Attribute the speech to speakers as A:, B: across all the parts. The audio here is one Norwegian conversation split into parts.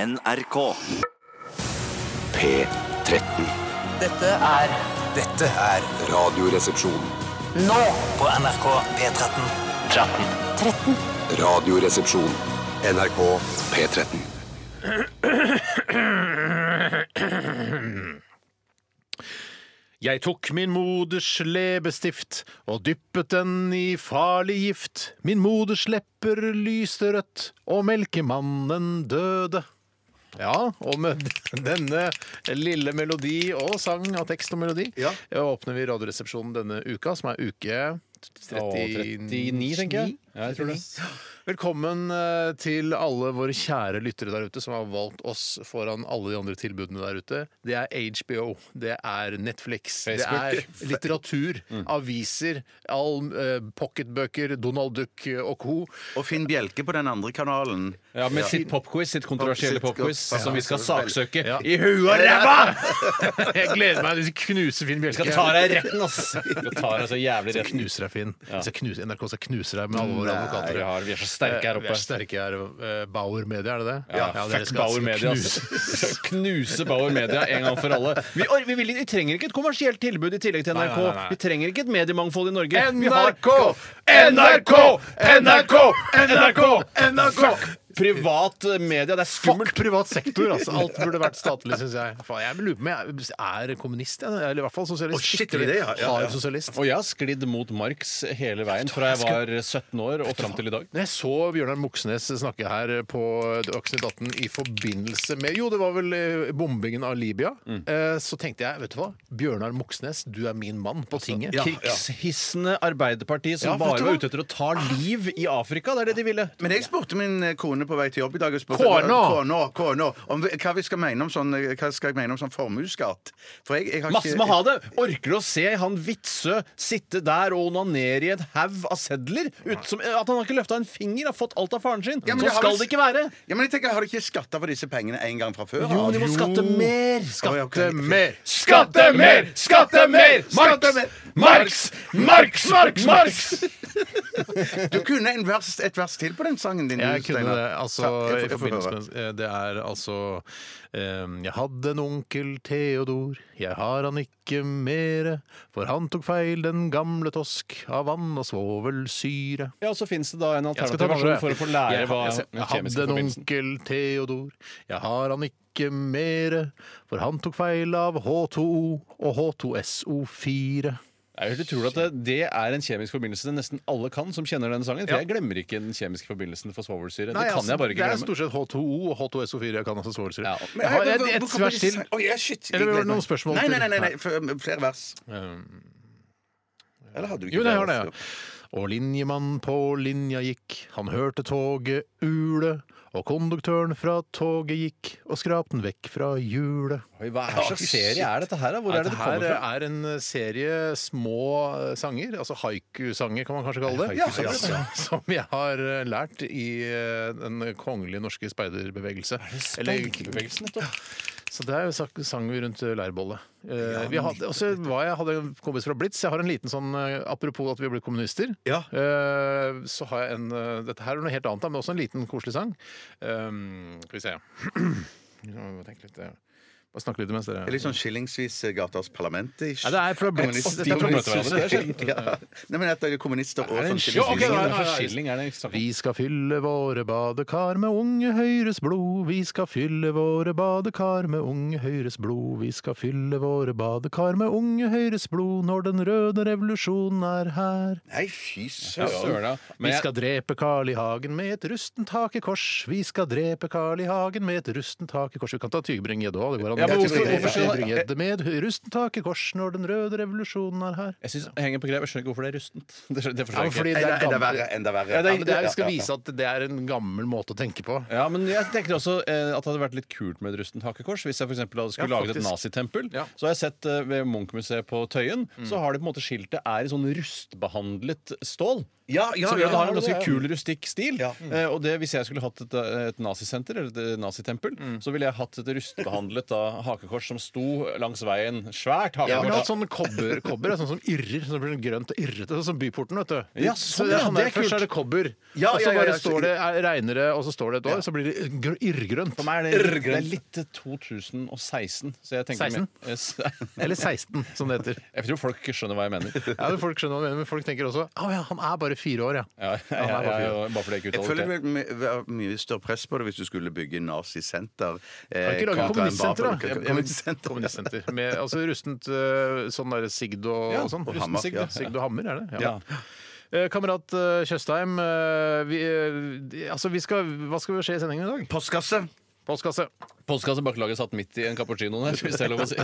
A: NRK.
B: P13.
C: Dette er
D: Dette er
B: Radioresepsjon.
C: nå
D: på NRK P13.
B: Radioresepsjon. NRK P13.
E: Jeg tok min moders lebestift og dyppet den i farlig gift. Min moders lepper lyste rødt, og melkemannen døde. Ja, og med denne lille melodi og sang av tekst og melodi eh,
F: Ja.
E: åpner vi Radioresepsjonen denne uka, som er uke 39, tenker jeg.
F: Ja, jeg tror det.
E: Velkommen eh, til alle våre kjære lyttere der ute som har valgt oss foran alle de andre tilbudene der ute. Det er HBO, det er Netflix, det er litteratur,
G: Mm.
E: aviser, all, eh, pocketbøker, Donald Duck og co.
F: Og Finn Bjelke på den andre kanalen.
G: Ja, med sitt popquiz, sitt kontroversielle
F: Sitt
G: popquiz,
F: pop-
G: som vi skal saksøke
E: Ja.
G: i huet og ræva!
E: Jeg gleder meg til å knuse Finn Bjelke.
G: Skal ta deg i retten, ass! Skal ta deg så jævlig i
E: Jeg
G: retten.
E: knuser deg, Finn. Jeg skal knuse, NRK skal knuse deg med alle våre
G: Nei,
E: advokater.
G: vi har- vi er så sterke her
E: Vi
G: oppe.
E: er sterke her. Eh, Bauer Media, er det det?
G: Ja,
E: dere
G: fuck
E: skal-
G: Bauer
E: skal
G: Media. altså. ass.
E: knuse-
G: Skal knuse Bauer Media en gang for alle. Vi, or- vi, vil, vi trenger ikke et kommersielt tilbud i tillegg til
E: Nei,
G: NRK.
E: nei, nei, nei.
G: Vi trenger ikke et mediemangfold i Norge. Vi har
E: NRK! NRK! NRK! NRK! NRK!
G: privat media. Det er skummelt.
E: Fuck privat sektor, altså. Alt burde vært statlig, syns jeg. Faen, jeg lurer på om jeg er kommunist, jeg. Eller i hvert fall sosialist.
F: Å, shit, er det det? Ja, ja, ja.
E: Hard sosialist.
G: Og jeg har sklidd mot Marx hele veien fra jeg var 17 år og fram til i dag.
E: Når jeg så Bjørnar Moxnes snakke her på Dagsnytt 18 i forbindelse med Jo, det var vel eh, bombingen av Libya.
F: Mm.
E: Eh, Så tenkte jeg, vet du hva, Bjørnar Moxnes, du er min mann på
F: Altså,
E: tinget.
G: Krigshissende Arbeiderparti som
E: Ja, vet
G: bare
E: du
G: var
E: hva?
G: ute etter å ta liv i Afrika. Det er det de ville.
F: Men jeg spurte min eh, kone på vei til jobb i dag og spurte,
E: Kona?
F: Kona, kona, om vi- hva, vi skal mene om sånn, hva skal jeg mene om sånn formuesskatt? For jeg, jeg har
G: Masse
F: ikke-
G: må ha det! Orker du å se han Vitsø sitte der og onanere i en haug av sedler? Ut, som, eh, at han har ikke løfta en finger, har fått alt av faren sin!
F: Ja, men
G: Sånn
F: det har
G: skal
F: vel-
G: det ikke være!
F: Ja, men jeg tenker, Har de ikke skatta for disse pengene en gang fra før?
G: Jo, de må skatte
F: Å,
G: mer! Skatte
F: ja, ok.
E: Mer.
G: Skatte mer! Skatte mer!
F: Skatte mer!
G: Marx! Marx! Marx! Marx!
F: Du kunne en vers, et vers til på den sangen din.
E: Jeg kunne
F: Steinar.
E: det. Altså,
F: Ja, jeg får-
E: i
F: jeg får
E: forbindelse
F: høre.
E: med eh, Det er altså eh, Jeg hadde en onkel Theodor, jeg har han ikke mere, for han tok feil, den gamle tosk, av vann og svovelsyre.
G: Ja, og så fins det da en
E: Jeg skal ta
G: alternativ
E: den andre,
G: versjon for å få lære
E: jeg.
G: hva
E: Jeg- jeg- Jeg
G: den
E: hadde
G: kjemiske
E: en
G: forbindelsen
E: onkel Theodor, jeg har han ikke mere, for han tok feil av H2O og H2SO4.
G: Jeg vil tro at det, det er en kjemisk forbindelse nesten alle kan som kjenner denne sangen. For jeg glemmer ikke den kjemiske forbindelsen for svovelsyre. Det kan jeg bare
E: altså, det
G: ikke
E: er
G: glemme.
E: stort sett H2O og H2SO4 jeg kan altså svovelsyre.
G: Ja.
E: Jeg har et, et
F: Hvorfor-
E: vers til.
F: Å, ja, shit.
E: Eller var det
F: Jeg gleder meg.
E: noen spørsmål
F: Nei, nei,
E: til? Um,
F: nei, nei, nei. f- Flere vers. Eller hadde du ikke
E: Jo, det har det.
F: flere vers?
E: ja. Og linjemannen på linja gikk, han hørte toget ule. Og konduktøren fra toget gikk og skrap den vekk fra hjulet.
G: Oi, hva er slags serie er dette her, da? Hvor er det det
E: her eh,
G: kommer fra?
E: er en serie små eh, sanger, altså haiku-sanger kan man kanskje kalle det,
G: Haiku-sanger,
E: som- som jeg har eh, lært i eh, den kongelige norske speiderbevegelse. Eller-
G: Speiderbevegelsen, nettopp.
E: Så der sak- sang vi rundt leirbålet. Eh, vi hadde, også var jeg hadde en kompis fra Blitz. Jeg har en liten sånn eh, Apropos at vi ble kommunister.
F: Ja.
E: Eh, så har jeg en eh, Dette her er noe helt annet, da, men også en liten koselig sang. Eh, skal vi se Vi må tenke litt, eh, Bare snakke litt mens dere
F: Det er Litt sånn skillingsvis eh, Gatas parlament ish.
E: Nei, det er fra Blitz.
F: Kommunist-
E: Dette er fra
G: møter
E: Blitz.
G: hverandre, det er sjelden.
F: Ja. Nei, men at det er kommunister og
G: Er det
F: sånn
G: en skilling?
E: ok,
G: Hva
E: nei, nei,
G: slags
E: nei.
G: skilling er det? vi snakker om?
E: Vi skal fylle våre badekar med Unge Høyres blod. Vi skal fylle våre badekar med Unge Høyres blod. Vi skal fylle våre badekar med Unge Høyres blod når den røde revolusjonen er her.
F: Nei, fy
G: Ja,
F: søren.
G: søren, ja.
E: Vi
G: Men jeg-
E: skal drepe Carl I. Hagen med et rustent hakekors. Vi skal drepe Carl I. Hagen med et rustent hakekors. Vi kan ta Tygbring-Gjedde òg.
G: Ja, men hvorfor- hvorfor skal-
E: Tygbring-Gjedde med et rustent hakekors når den røde revolusjonen er her.
G: jeg synes, jeg henger på greip. Jeg skjønner ikke hvorfor det er rustent. Det skjønner, det forstår jeg ikke.
E: fordi
F: Enda, enda
E: gammel-
F: verre. Enda verre.
E: Ja, det, er- det er-
F: Ja,
E: skal
F: ja, ja.
E: vise at det er en gammel måte å tenke på.
G: Ja, men jeg tenker også eh, at det hadde vært litt kult med et rustent hakekors. Hvis jeg for eksempel hadde skulle
E: Ja,
G: laget et
E: faktisk.
G: nazitempel,
E: Ja. Mm.
G: så har jeg sett eh, ved Munch-museet på Tøyen, så har de på en måte skiltet er i sånn rustbehandlet stål.
F: Ja, ja,
G: som gjør
F: ja,
G: at det har en
F: ja,
G: ganske
F: ja.
G: kul, rustikk stil.
F: Ja.
E: Mm.
G: Eh, og det, hvis jeg skulle hatt et, et nazisenter, eller et nazitempel, så ville jeg hatt et rustbehandlet da, hakekors som sto langs veien. Svært
E: Ja, men
G: hakekors.
E: det er sånn kobber, kobber er sånn som irrer. Sånn som blir sånn grønt og irrete. Sånn som byporten, vet du.
G: Ja, sånn,
E: Så det,
G: ja,
E: han
G: det
E: der,
G: er kult.
E: først er det kobber,
F: Ja,
E: og
F: ja,
E: så
F: ja,
E: bare
F: ja, så-
E: står det er- regner det, og så står det et år, så blir det gr- irrgrønt.
G: For meg er det, det
F: Grønt.
G: er litt til 2016. Så jeg tenker
E: 16?
G: Yes.
E: Eller 16, som det heter.
G: Jeg tror folk skjønner hva jeg mener.
E: Ja, men Folk skjønner hva jeg mener, men folk tenker også Å ja, han er bare fire år, ja.
G: Ja, jeg, jeg,
E: Han er bare
G: jeg,
E: fire år.
G: bare fordi jeg ikke
F: Jeg føler
G: uttaler
F: det ville
G: det.
F: my- være mye større press på det hvis du skulle bygge nazisenter. Eh,
E: Kan ikke lage
F: kontra en
E: kommunistsenter, da?
F: barbar-
E: Ja,
F: Kommunistsenter.
E: Kommunistsenter. Med altså, rustent øh, sånn derre sigd og,
G: Ja,
E: og sånn.
F: og
E: Rusten
F: hammer,
E: sigd,
F: ja.
E: Sigd og hammer, er det?
G: Ja.
E: Eh, Kamerat eh, Tjøstheim, eh, vi, eh, altså, vi skal, hva skal skje i sendingen i dag?
F: Postkasse.
E: Postkasse.
G: Postkasse bakelage satt midt i en cappuccino der, hvis det er lov å si.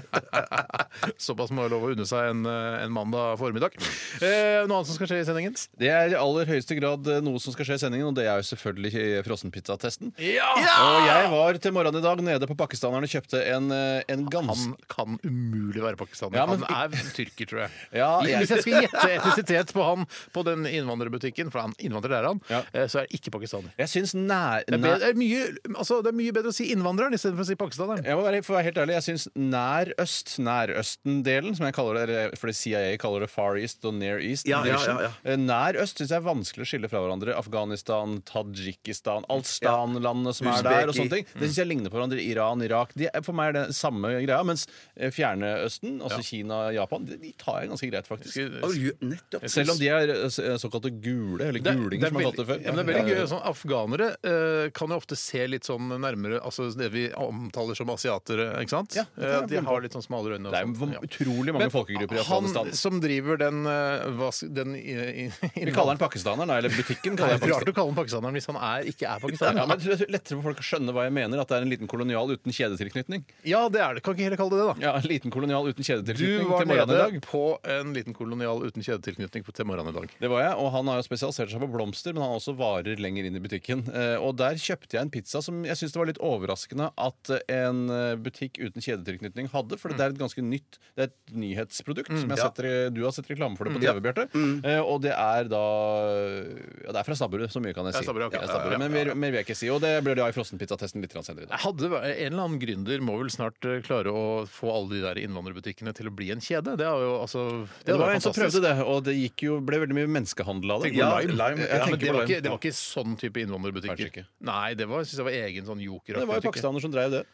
E: Såpass må jeg lov å unne seg en, eh, en mandag formiddag. Eh, noe annet som skal skje i sendingen?
G: Det er i aller høyeste grad eh, noe som skal skje i sendingen, og det er jo selvfølgelig eh, frossenpizzatesten.
E: Ja!
G: Og jeg var til morgenen i dag nede på pakistaneren og kjøpte en, eh, en ganske
E: Han kan umulig være pakistaner.
G: Ja, men-
E: Han er tyrker, tror jeg.
G: Ja,
E: I-
G: jeg-
E: Hvis jeg skal gjette etnisitet på han på den innvandrerbutikken, for han innvandrer er han,
G: Ja.
E: eh, så er det ikke pakistaner.
G: Jeg syns nær...
E: Det er,
G: nær
E: bedre, det er mye, altså, det er mye bedre å si innvandreren istedenfor å si pakistaneren.
G: jeg må være, for å være helt ærlig, jeg syns nær øst, nærøsten-delen, som jeg kaller det, fordi CIA kaller det Far East og Near East
F: Ja, ja,
G: Division.
F: ja,
G: Eh, Nær øst syns jeg er vanskelig å skille fra hverandre. Afghanistan, Tadsjikistan, Alstan-landene som er der, og sånne ting. Det syns jeg ligner på hverandre. Iran, Irak. De, er- for meg er det samme greia. Mens eh, Fjerne Østen, altså Kina, Japan, de, de tar jeg ganske greit, faktisk.
F: Å, jo, nettopp.
G: Selv om de er eh, såkalte gule, eller gulinger, som man kalte det før.
E: ja, men det er veldig gøy. Sånn, afghanere eh, kan jo ofte se litt sånn nærmere altså det vi omtaler som asiatere. ikke sant?
G: Ja, det er
E: Eh, de har litt sånn smalere øyne. og
G: Det er
E: sånn, ja.
G: jo utrolig mange folkegrupper i Afghanistan.
E: Han som driver den, eh, hva s- den i- i-
G: Vi kaller den pakistaner, da. Eller butikken
E: Det er
G: kaller
E: rart
G: jeg pakistaner.
E: å kalle den pakistaneren hvis han er, ikke er pakistaner.
G: Ja, men det er lettere for folk å skjønne hva jeg mener. At det er en liten kolonial uten kjedetilknytning.
E: Ja, det er det. Kan ikke heller kalle det det, da.
G: Ja, en liten kolonial uten kjedetilknytning
E: Du var
G: til morgenen i
E: nede
G: dag.
E: på en liten kolonial uten kjedetilknytning på- til morgenen i dag.
G: Det var jeg, og Han har jo spesialisert seg på blomster, men han har også varer lenger inn i butikken. Eh, Og Der kjøpte jeg en pizza som jeg syns det var litt overraskende at en eh, butikk uten kjedetilknytning hadde. For
E: Mm.
G: det er et ganske nytt Det er et nyhetsprodukt. som jeg setter, Du har sett reklame for det
E: Mm,
G: på TV, Bjarte. Eh, Og det er da ja, Det er fra Stabburet, så mye kan jeg si.
E: Ja, Stabburet, ok.
G: Ja,
E: Ja,
G: Stabburet,
E: ja,
G: Men mer, mer vil jeg ikke si. Og det blir da i frossenpizzatesten litt grann senere i dag.
E: Jeg Hadde, vært- en eller annen gründer må vel snart eh, klare å få alle de der innvandrerbutikkene til å bli en kjede. Det er jo altså
G: Det var
E: jo
G: en som prøvde det, og det gikk jo, ble veldig mye menneskehandel av det.
F: Ja, lime.
G: Jeg
E: Ja,
G: tenker
E: men det
G: på
E: var,
G: lime.
E: ikke, det var ikke sånn type innvandrerbutikker.
G: Kanskje ikke.
E: Nei, det var, synes jeg var egen sånn joker.
G: Det var jo pakistaner som drev det.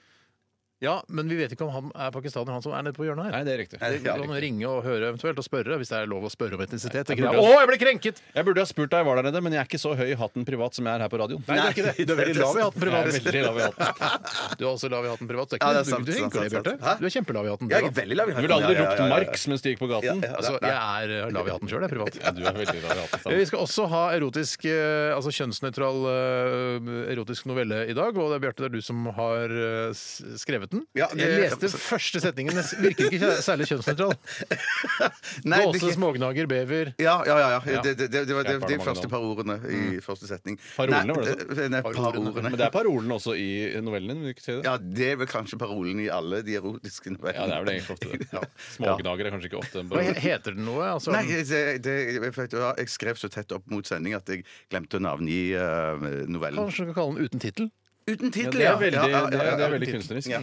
E: Ja, men vi vet ikke om han er pakistaner, han som er nede på hjørnet her.
G: Nei, det er riktig.
E: Du kan ringe og høre eventuelt, og spørre hvis det er lov å spørre om etnisitet. tenker
G: burde-
E: jeg. Å, jeg ble krenket!
G: Jeg burde ha spurt deg, jeg var der nede, men jeg er ikke så høy i hatten privat som jeg er her på radioen.
E: Nei, det er ikke det. Du er veldig lav i hatten
G: Jeg er
E: privat.
G: veldig lav i hatten.
E: Du er også lav i hatten privat. Det er
F: Ja,
E: ikke
F: det er
E: du-
F: sant,
E: du, du,
F: sant,
E: tenker det,
F: sant,
E: Bjarte.
F: sant. Hæ?
E: Du er kjempelav i hatten. du
F: Jeg er
E: da.
F: veldig lav i
G: Du
F: hatten.
G: ville aldri
F: Ja, ja,
G: ropt
F: ja, ja, ja.
G: Marx mens du gikk på
F: Ja,
G: gaten.
F: ja.
E: Altså, jeg er eh, lav i hatten sjøl, jeg, privat.
G: Ja, du er veldig lav i
E: Vi
G: hatten. Sam.
E: skal også ha erotisk, eh, altså kjønnsnøytral eh, erotisk novelle i dag. Og det er Bjarte, det er du som har eh, s- skrevet den.
F: Ja,
E: jeg
F: det-
E: leste første setningen. Den virker ikke kjæ- særlig kjønnsnøytral.
F: Nei, det-
E: Gåse, smågnager, bever.
F: Ja, ja, ja. ja. Det, det, det, det var det,
G: Jeg tar
F: de
G: mange
F: første
G: navn.
F: par ordene i første setning.
G: Mm. Parolene,
F: Nei,
G: var det
F: eh, Nei,
G: Men
F: parolene.
G: det er parolen også i novellen din. vil du ikke si det?
F: Ja, det er vel kanskje parolen i alle de erotiske novellene.
G: Ja, det er vel egentlig ofte det.
F: Ja.
G: Smågnagere er kanskje ikke ofte en
E: Hva he-
G: parole.
E: heter den noe? Altså,
F: Nei, det, det, jeg, vet du hva, jeg skrev så tett opp mot sending at jeg glemte å navngi eh, novellen.
E: Kanskje du kan kalle den uten tittel?
F: Uten
G: Ja,
F: tittel,
G: det,
F: ja!
G: er veldig,
F: Ja, ja,
G: det,
F: ja,
G: er, det
F: ja.
G: er veldig kunstnerisk.
F: Ja.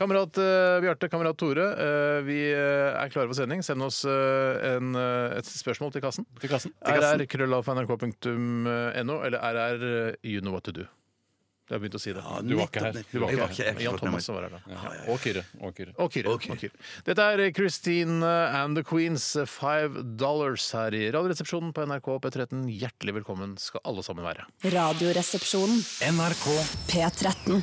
E: Kamerat eh, Bjarte, kamerat Tore, eh, vi eh, er klare for sending. Send oss eh, en, eh, et spørsmål til kassen.
G: Til kassen.
E: RR krøllalfa.nrk.no eller RR eh, you know what to do. Jeg har begynt å si det.
G: Du var ikke her.
F: nettopp,
G: Du var
F: Jeg
G: ikke
F: var
G: her.
F: ikke jeg har ikke
E: Jan
F: fått med
E: Thomas
F: meg.
E: var her da.
G: Og Kyrre. Og Kyrre.
E: Og Kyrre.
F: Ok.
E: og Kyrre. Dette er Christine and the Queens Five Dollars her i Radioresepsjonen på NRK P13. Hjertelig velkommen skal alle sammen være.
D: Radioresepsjonen.
H: NRK
D: P13.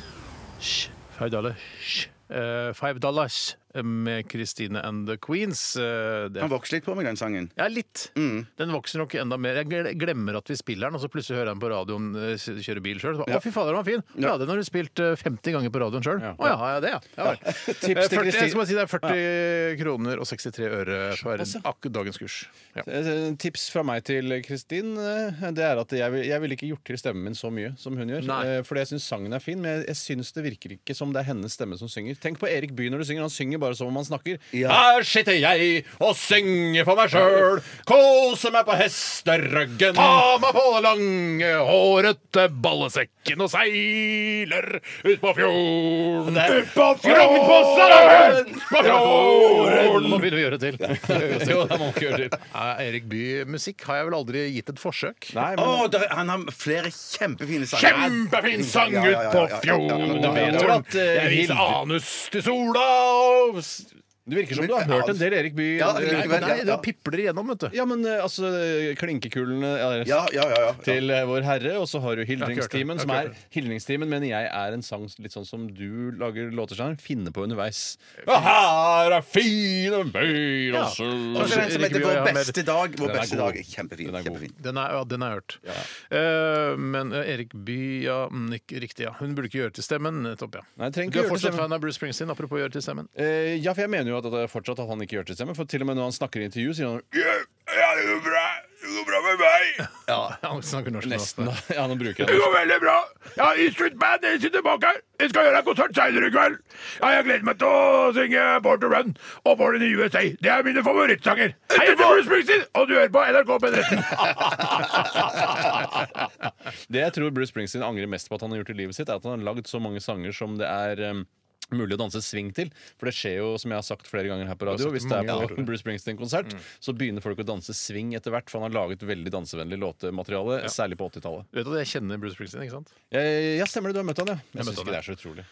E: Five dollars. Eh, five dollars med Christine and the Queens. Eh, det er
F: Han vokste litt på meg, den sangen.
E: Ja, litt. Den vokser nok enda mer. Jeg gle- glemmer at vi spiller den, og så plutselig hører jeg den på radioen eh, s- kjøre bil sjøl. Å, fy fader, den var fin! Ja, den har du spilt eh, 50 ganger på radioen sjøl. Å ja, har jeg det, ja. ja. vel. Eh, 40,
G: til Kristin.
E: jeg skal bare si det er 40 kroner og 63 øre for akkurat dagens kurs. Ja.
G: Eh, Tips fra meg til Kristin eh, Det er at jeg, vil- jeg ville ikke gjort til stemmen min så mye som hun gjør.
E: Nei.
G: Eh, Fordi jeg syns sangen er fin, men jeg, jeg syns det virker ikke som det er hennes stemme som synger. Tenk på Erik Bye når du synger. Han synger bare som om han snakker.
F: Ja.
G: Her sitter jeg og synger for meg sjøl, koser meg på hesteryggen.
E: Ta meg på den lange, hårete ballesekken og seiler ut på fjorden.
G: Det er-
E: Ut på fjorden! På fjorden! På fjorden! Må begynne å gjøre det til.
G: Jo, det må man ikke gjøre til.
E: Nei, Erik Bye-musikk har jeg vel aldri gitt et forsøk.
G: Nei,
F: Å,
G: men
F: der- han har flere kjempefine sanger.
E: Kjempefin sang
F: Ja, ja, ja,
E: ut på
F: ja, ja, ja.
E: fjorden!
G: Du vet jo at, eh,
E: Jeg viser anus til sola og s-
G: Det virker som du har hørt en del Erik Bye.
F: Ja,
G: Nei,
F: likevel,
G: nei,
E: Nei,
G: det
E: da
G: var pi-
E: pipler det igjennom, vet du.
G: Ja, men eh, altså Klinkekulene eh,
F: Ja, ja, ja, ja.
G: til eh, Vår Herre, og så har du Hildringstimen,
E: Jeg
G: som
E: har ikke hørt
G: er
E: det.
G: Hildringstimen, mener jeg er en sang litt sånn som du lager låter Steinar, finner på underveis.
E: Eh,
G: Og her er fine byer og sol
F: Og så er det en som heter Vår
E: Erik Bye, ja,
F: beste dag. Vår
G: Den er
F: beste
G: god.
F: dag. Kjempefin.
G: Den er god.
F: kjempefin.
E: Den er, ja, den er hørt. Eh, men eh, Erik Bye, ja, mm, ikke riktig, ja. Hun burde ikke gjøre til stemmen. Nettopp, ja.
G: Nei, trenger ikke
E: du er
G: gjøre til
E: fortsatt
G: stemmen.
E: fan av Bruce Springsteen, apropos gjøre til stemmen.
G: Eh, ja, for jeg mener jo at det er fortsatt at han ikke gjør til stemme, for til og med når han snakker i intervju, sier han «Ja,
I: Ja, det går bra. Det går bra med meg.
E: Han snakker norsk
G: nesten
E: nå.
G: da. Ja, nå bruker jeg det.
I: går veldig bra. Jeg har isfritt band. Jeg sitter bak her. Jeg skal gjøre en konsert senere i kveld. Ja, jeg gleder meg til å synge Born to Run og Born in the USA. Det er mine favorittsanger. Hei, jeg heter Bruce Springsteen, og du hører på NRK P13.
G: Det jeg tror Bruce Springsteen angrer mest på at han har gjort i livet sitt, er at han har lagd så mange sanger som det er um, mulig å danse sving til. For det skjer jo, som jeg har sagt flere ganger her på radio,
E: sagt
G: hvis det
E: mange Mm.
G: er
E: ganger,
G: på en Bruce Springsteen-konsert, så begynner folk å danse sving etter hvert, for han har laget veldig dansevennlig låtemateriale, særlig på 80-tallet.
E: Du vet at jeg kjenner Bruce Springsteen, ikke sant?
G: Eh, Ja, stemmer det, du har møtt han, ja. Jeg,
E: møtte han,
G: synes ikke
E: ja.
G: det er så utrolig.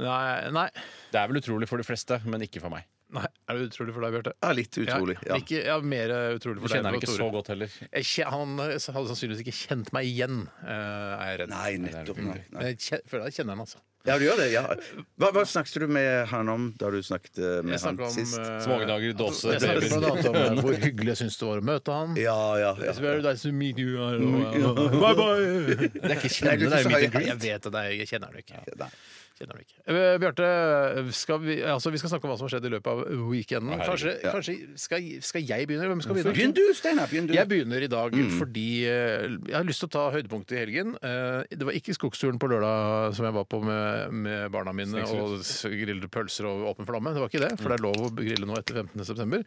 E: Nei, nei.
G: Det er vel utrolig for de fleste, men ikke for meg.
E: nei. Er det utrolig for deg, Bjarte?
F: Ja, litt utrolig.
E: Ja,
F: Ja.
E: ikke, ja mer eh, utrolig
G: Du
E: for deg.
G: kjenner han
E: for
G: ikke
E: Tore.
G: så godt heller.
E: Jeg kje- Han eh, hadde sannsynligvis ikke kjent meg igjen, eh, er jeg redd.
F: Nei, nettopp. Nei, nei.
E: Jeg kje- føler jeg kjenner han, altså.
F: Ja, du gjør det. ja Hva, hva snakket du med han om da du snakket eh, med
E: Jeg
F: han
E: snakker om
F: sist?
E: eh,
G: Smågedager, dåse,
E: Jeg snakket
G: babyer.
E: blant annet om eh, hvor hyggelig jeg syns det var å møte han.
F: Ja, ja, ja.
E: It's very nice to meet you. Bye bye!
G: Mm, Det er ikke
F: Nei, du er
G: kjenne, det er jo meet
F: ikke
G: and
F: så-
G: greet.
E: Jeg vet det, det er- jeg kjenner den ikke.
F: Nei.
E: Kjenner den ikke. Eh, Bjarte, skal vi, altså, vi skal snakke om hva som har skjedd i løpet av weekenden.
G: herregud.
E: Kanskje,
F: Ja.
E: kanskje skal, skal jeg begynne? eller Hvem skal begynne?
F: Begynn du, Steinar. Begynn du. Mm.
E: Jeg begynner i dag fordi eh, jeg har lyst til å ta høydepunktet i helgen. Eh, Det var ikke skogsturen på lørdag som jeg var på med, med barna mine og s- grille pølser og åpen flamme. Det var ikke det, for det
F: Mm.
E: er lov å grille nå etter 15.9.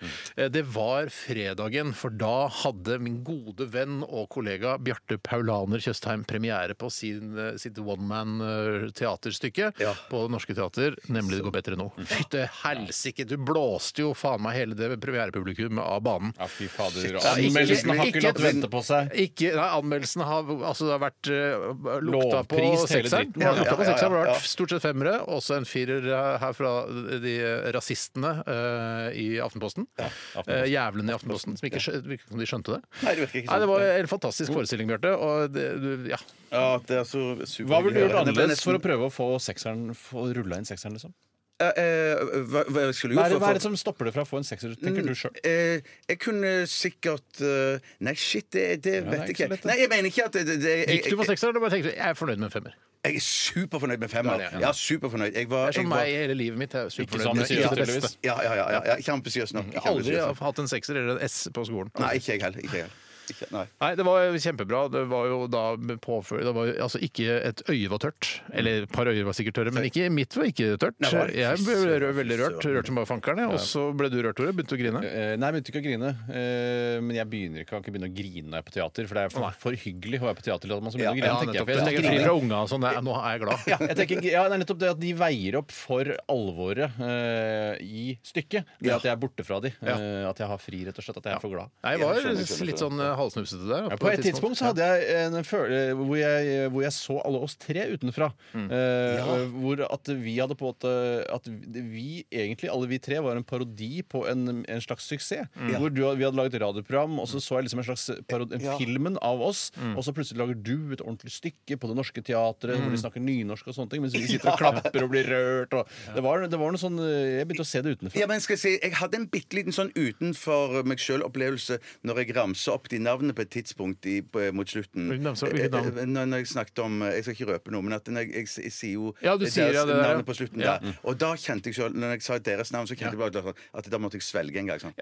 E: Det var fredagen, for da hadde min gode venn og kollega Bjarte Paulaner Tjøstheim premiere på sin, eh, sitt one man eh, teaterstykke
F: Ja. Mm.
E: på Det Norske Teater, nemlig Det går bedre nå. Fytte helsike, du blåste jo faen meg hele det premierepublikummet av banen.
G: Ja, fy fader.
E: Ja, ikke-
G: Anmeldelsen har
E: ikke-
G: ikke latt vente på seg.
E: Ikke, nei, Anmeldelsene har altså det har vært eh, lukta på
G: Lovpris, hele
E: sekseren.
G: dritten.
E: Ja,
G: Ja,
E: lukta på
F: ja, ja,
E: sekseren, Det har
F: ja.
E: vært stort sett femmere. Også en firer eh, her fra de rasistene eh, i Aftenposten. Eh, Jævlene i Aftenposten, som ikke skjø- virker som de skjønte det.
F: Nei, det virker ikke
E: Nei, det
F: sånn.
E: var en fantastisk forestilling, Bjarte. Og det, du, ja.
F: Ja, det er så super-
G: Hva ville du gjort
F: Det ble
G: annerledes
F: nesten-
G: for å prøve å få sekseren Få rulla inn sekseren, liksom?
F: Eh, eh, hva, hva skulle du
G: Hva er,
F: gjort
G: det, hva er det
F: for-
G: som stopper deg fra å få en sekser, tenker du sjøl?
F: Eh, jeg kunne sikkert eh, Nei, shit, det, det
G: det er
F: vet jeg
G: ikke så
F: ikke.
G: lett, det.
F: Nei, jeg mener ikke at det, det, det, jeg,
E: Gikk du på
F: jeg,
E: sekseren og bare tenkte jeg er fornøyd med en femmer?
F: jeg er superfornøyd med femmer.
E: Ja, det er-
F: Ja, superfornøyd. Jeg var,
E: Det er
F: jeg
E: sånn
F: var
E: meg i hele livet mitt. Jeg er
G: Ikke så
E: superfornøyd med
G: ambisiøs,
E: ikke det beste.
G: tydeligvis.
F: ja, ja, ja, ja, ja, ikke ambisiøs nok. Ikke
E: Aldri
F: ambisiøs
E: har
F: nok.
E: hatt en sekser eller en S på skolen.
F: Nei, ikke jeg heller. Ikke jeg heller. Ikke- Nei.
E: Nei, det var kjempebra. Det var jo da påfør... Det var jo, altså ikke et øye var tørt. Eller et par øyer var sikkert tørre, men ikke mitt var ikke tørt.
F: Nei, var det?
E: Jeg ble rø- veldig rørt. Rørt som bare fankeren. jeg. Og så ble du rørt, Tore. Begynte å grine.
G: Nei, jeg begynte ikke å grine. eh, Men jeg begynner ikke, kan ikke begynne å grine når jeg er på teater. For det er for, for hyggelig å være på teater til at man skal begynne å grine.
E: Ja,
G: tenker jeg,
E: nettopp.
G: for
E: Jeg
G: jeg
E: legger
G: skal
E: fri
G: grine.
E: fra unga og sånn. Nei, Nå er jeg glad.
G: Ja, jeg tenker, ja, det er nettopp det at de veier opp for alvoret eh, i stykket. Ved at jeg er borte fra de. eh, at jeg har fri, rett og slett. At jeg er for glad.
E: Nei, jeg var litt sånn eh, halvsnufsete der.
G: Ja, på et tidspunkt så hadde jeg en følelse hvor, jeg- hvor jeg så alle oss tre utenfra. Eh, Hvor at vi hadde på en måte At vi egentlig, alle vi tre, var en parodi på en, en slags suksess. Hvor du, vi hadde laget radioprogram, og så så jeg liksom en slags parodi,
F: Ja.
G: filmen av oss. Og så plutselig lager du et ordentlig stykke på Det Norske Teatret hvor de snakker nynorsk og sånne ting, mens vi sitter og klapper og blir rørt. Og det, var, det var noe sånn eh, Jeg begynte å se det utenfra.
F: Ja, men skal jeg, si, jeg hadde en bitte liten sånn utenfor meg sjøl-opplevelse når jeg ramsa opp de navnene på et tidspunkt i, på, mot slutten.
E: Hvilke navn så- hvilke navn?
F: Eh, eh, Når, når jeg snakket om eh, Jeg skal ikke røpe noe, men at når jeg, jeg, s- jeg sier jo
E: Ja, du sier ja, det der, ja.
F: navnet på slutten
E: Ja.
F: der. Og da kjente jeg sjøl Når jeg sa deres navn, så kjente jeg bare at da måtte jeg svelge en gang. Sånn.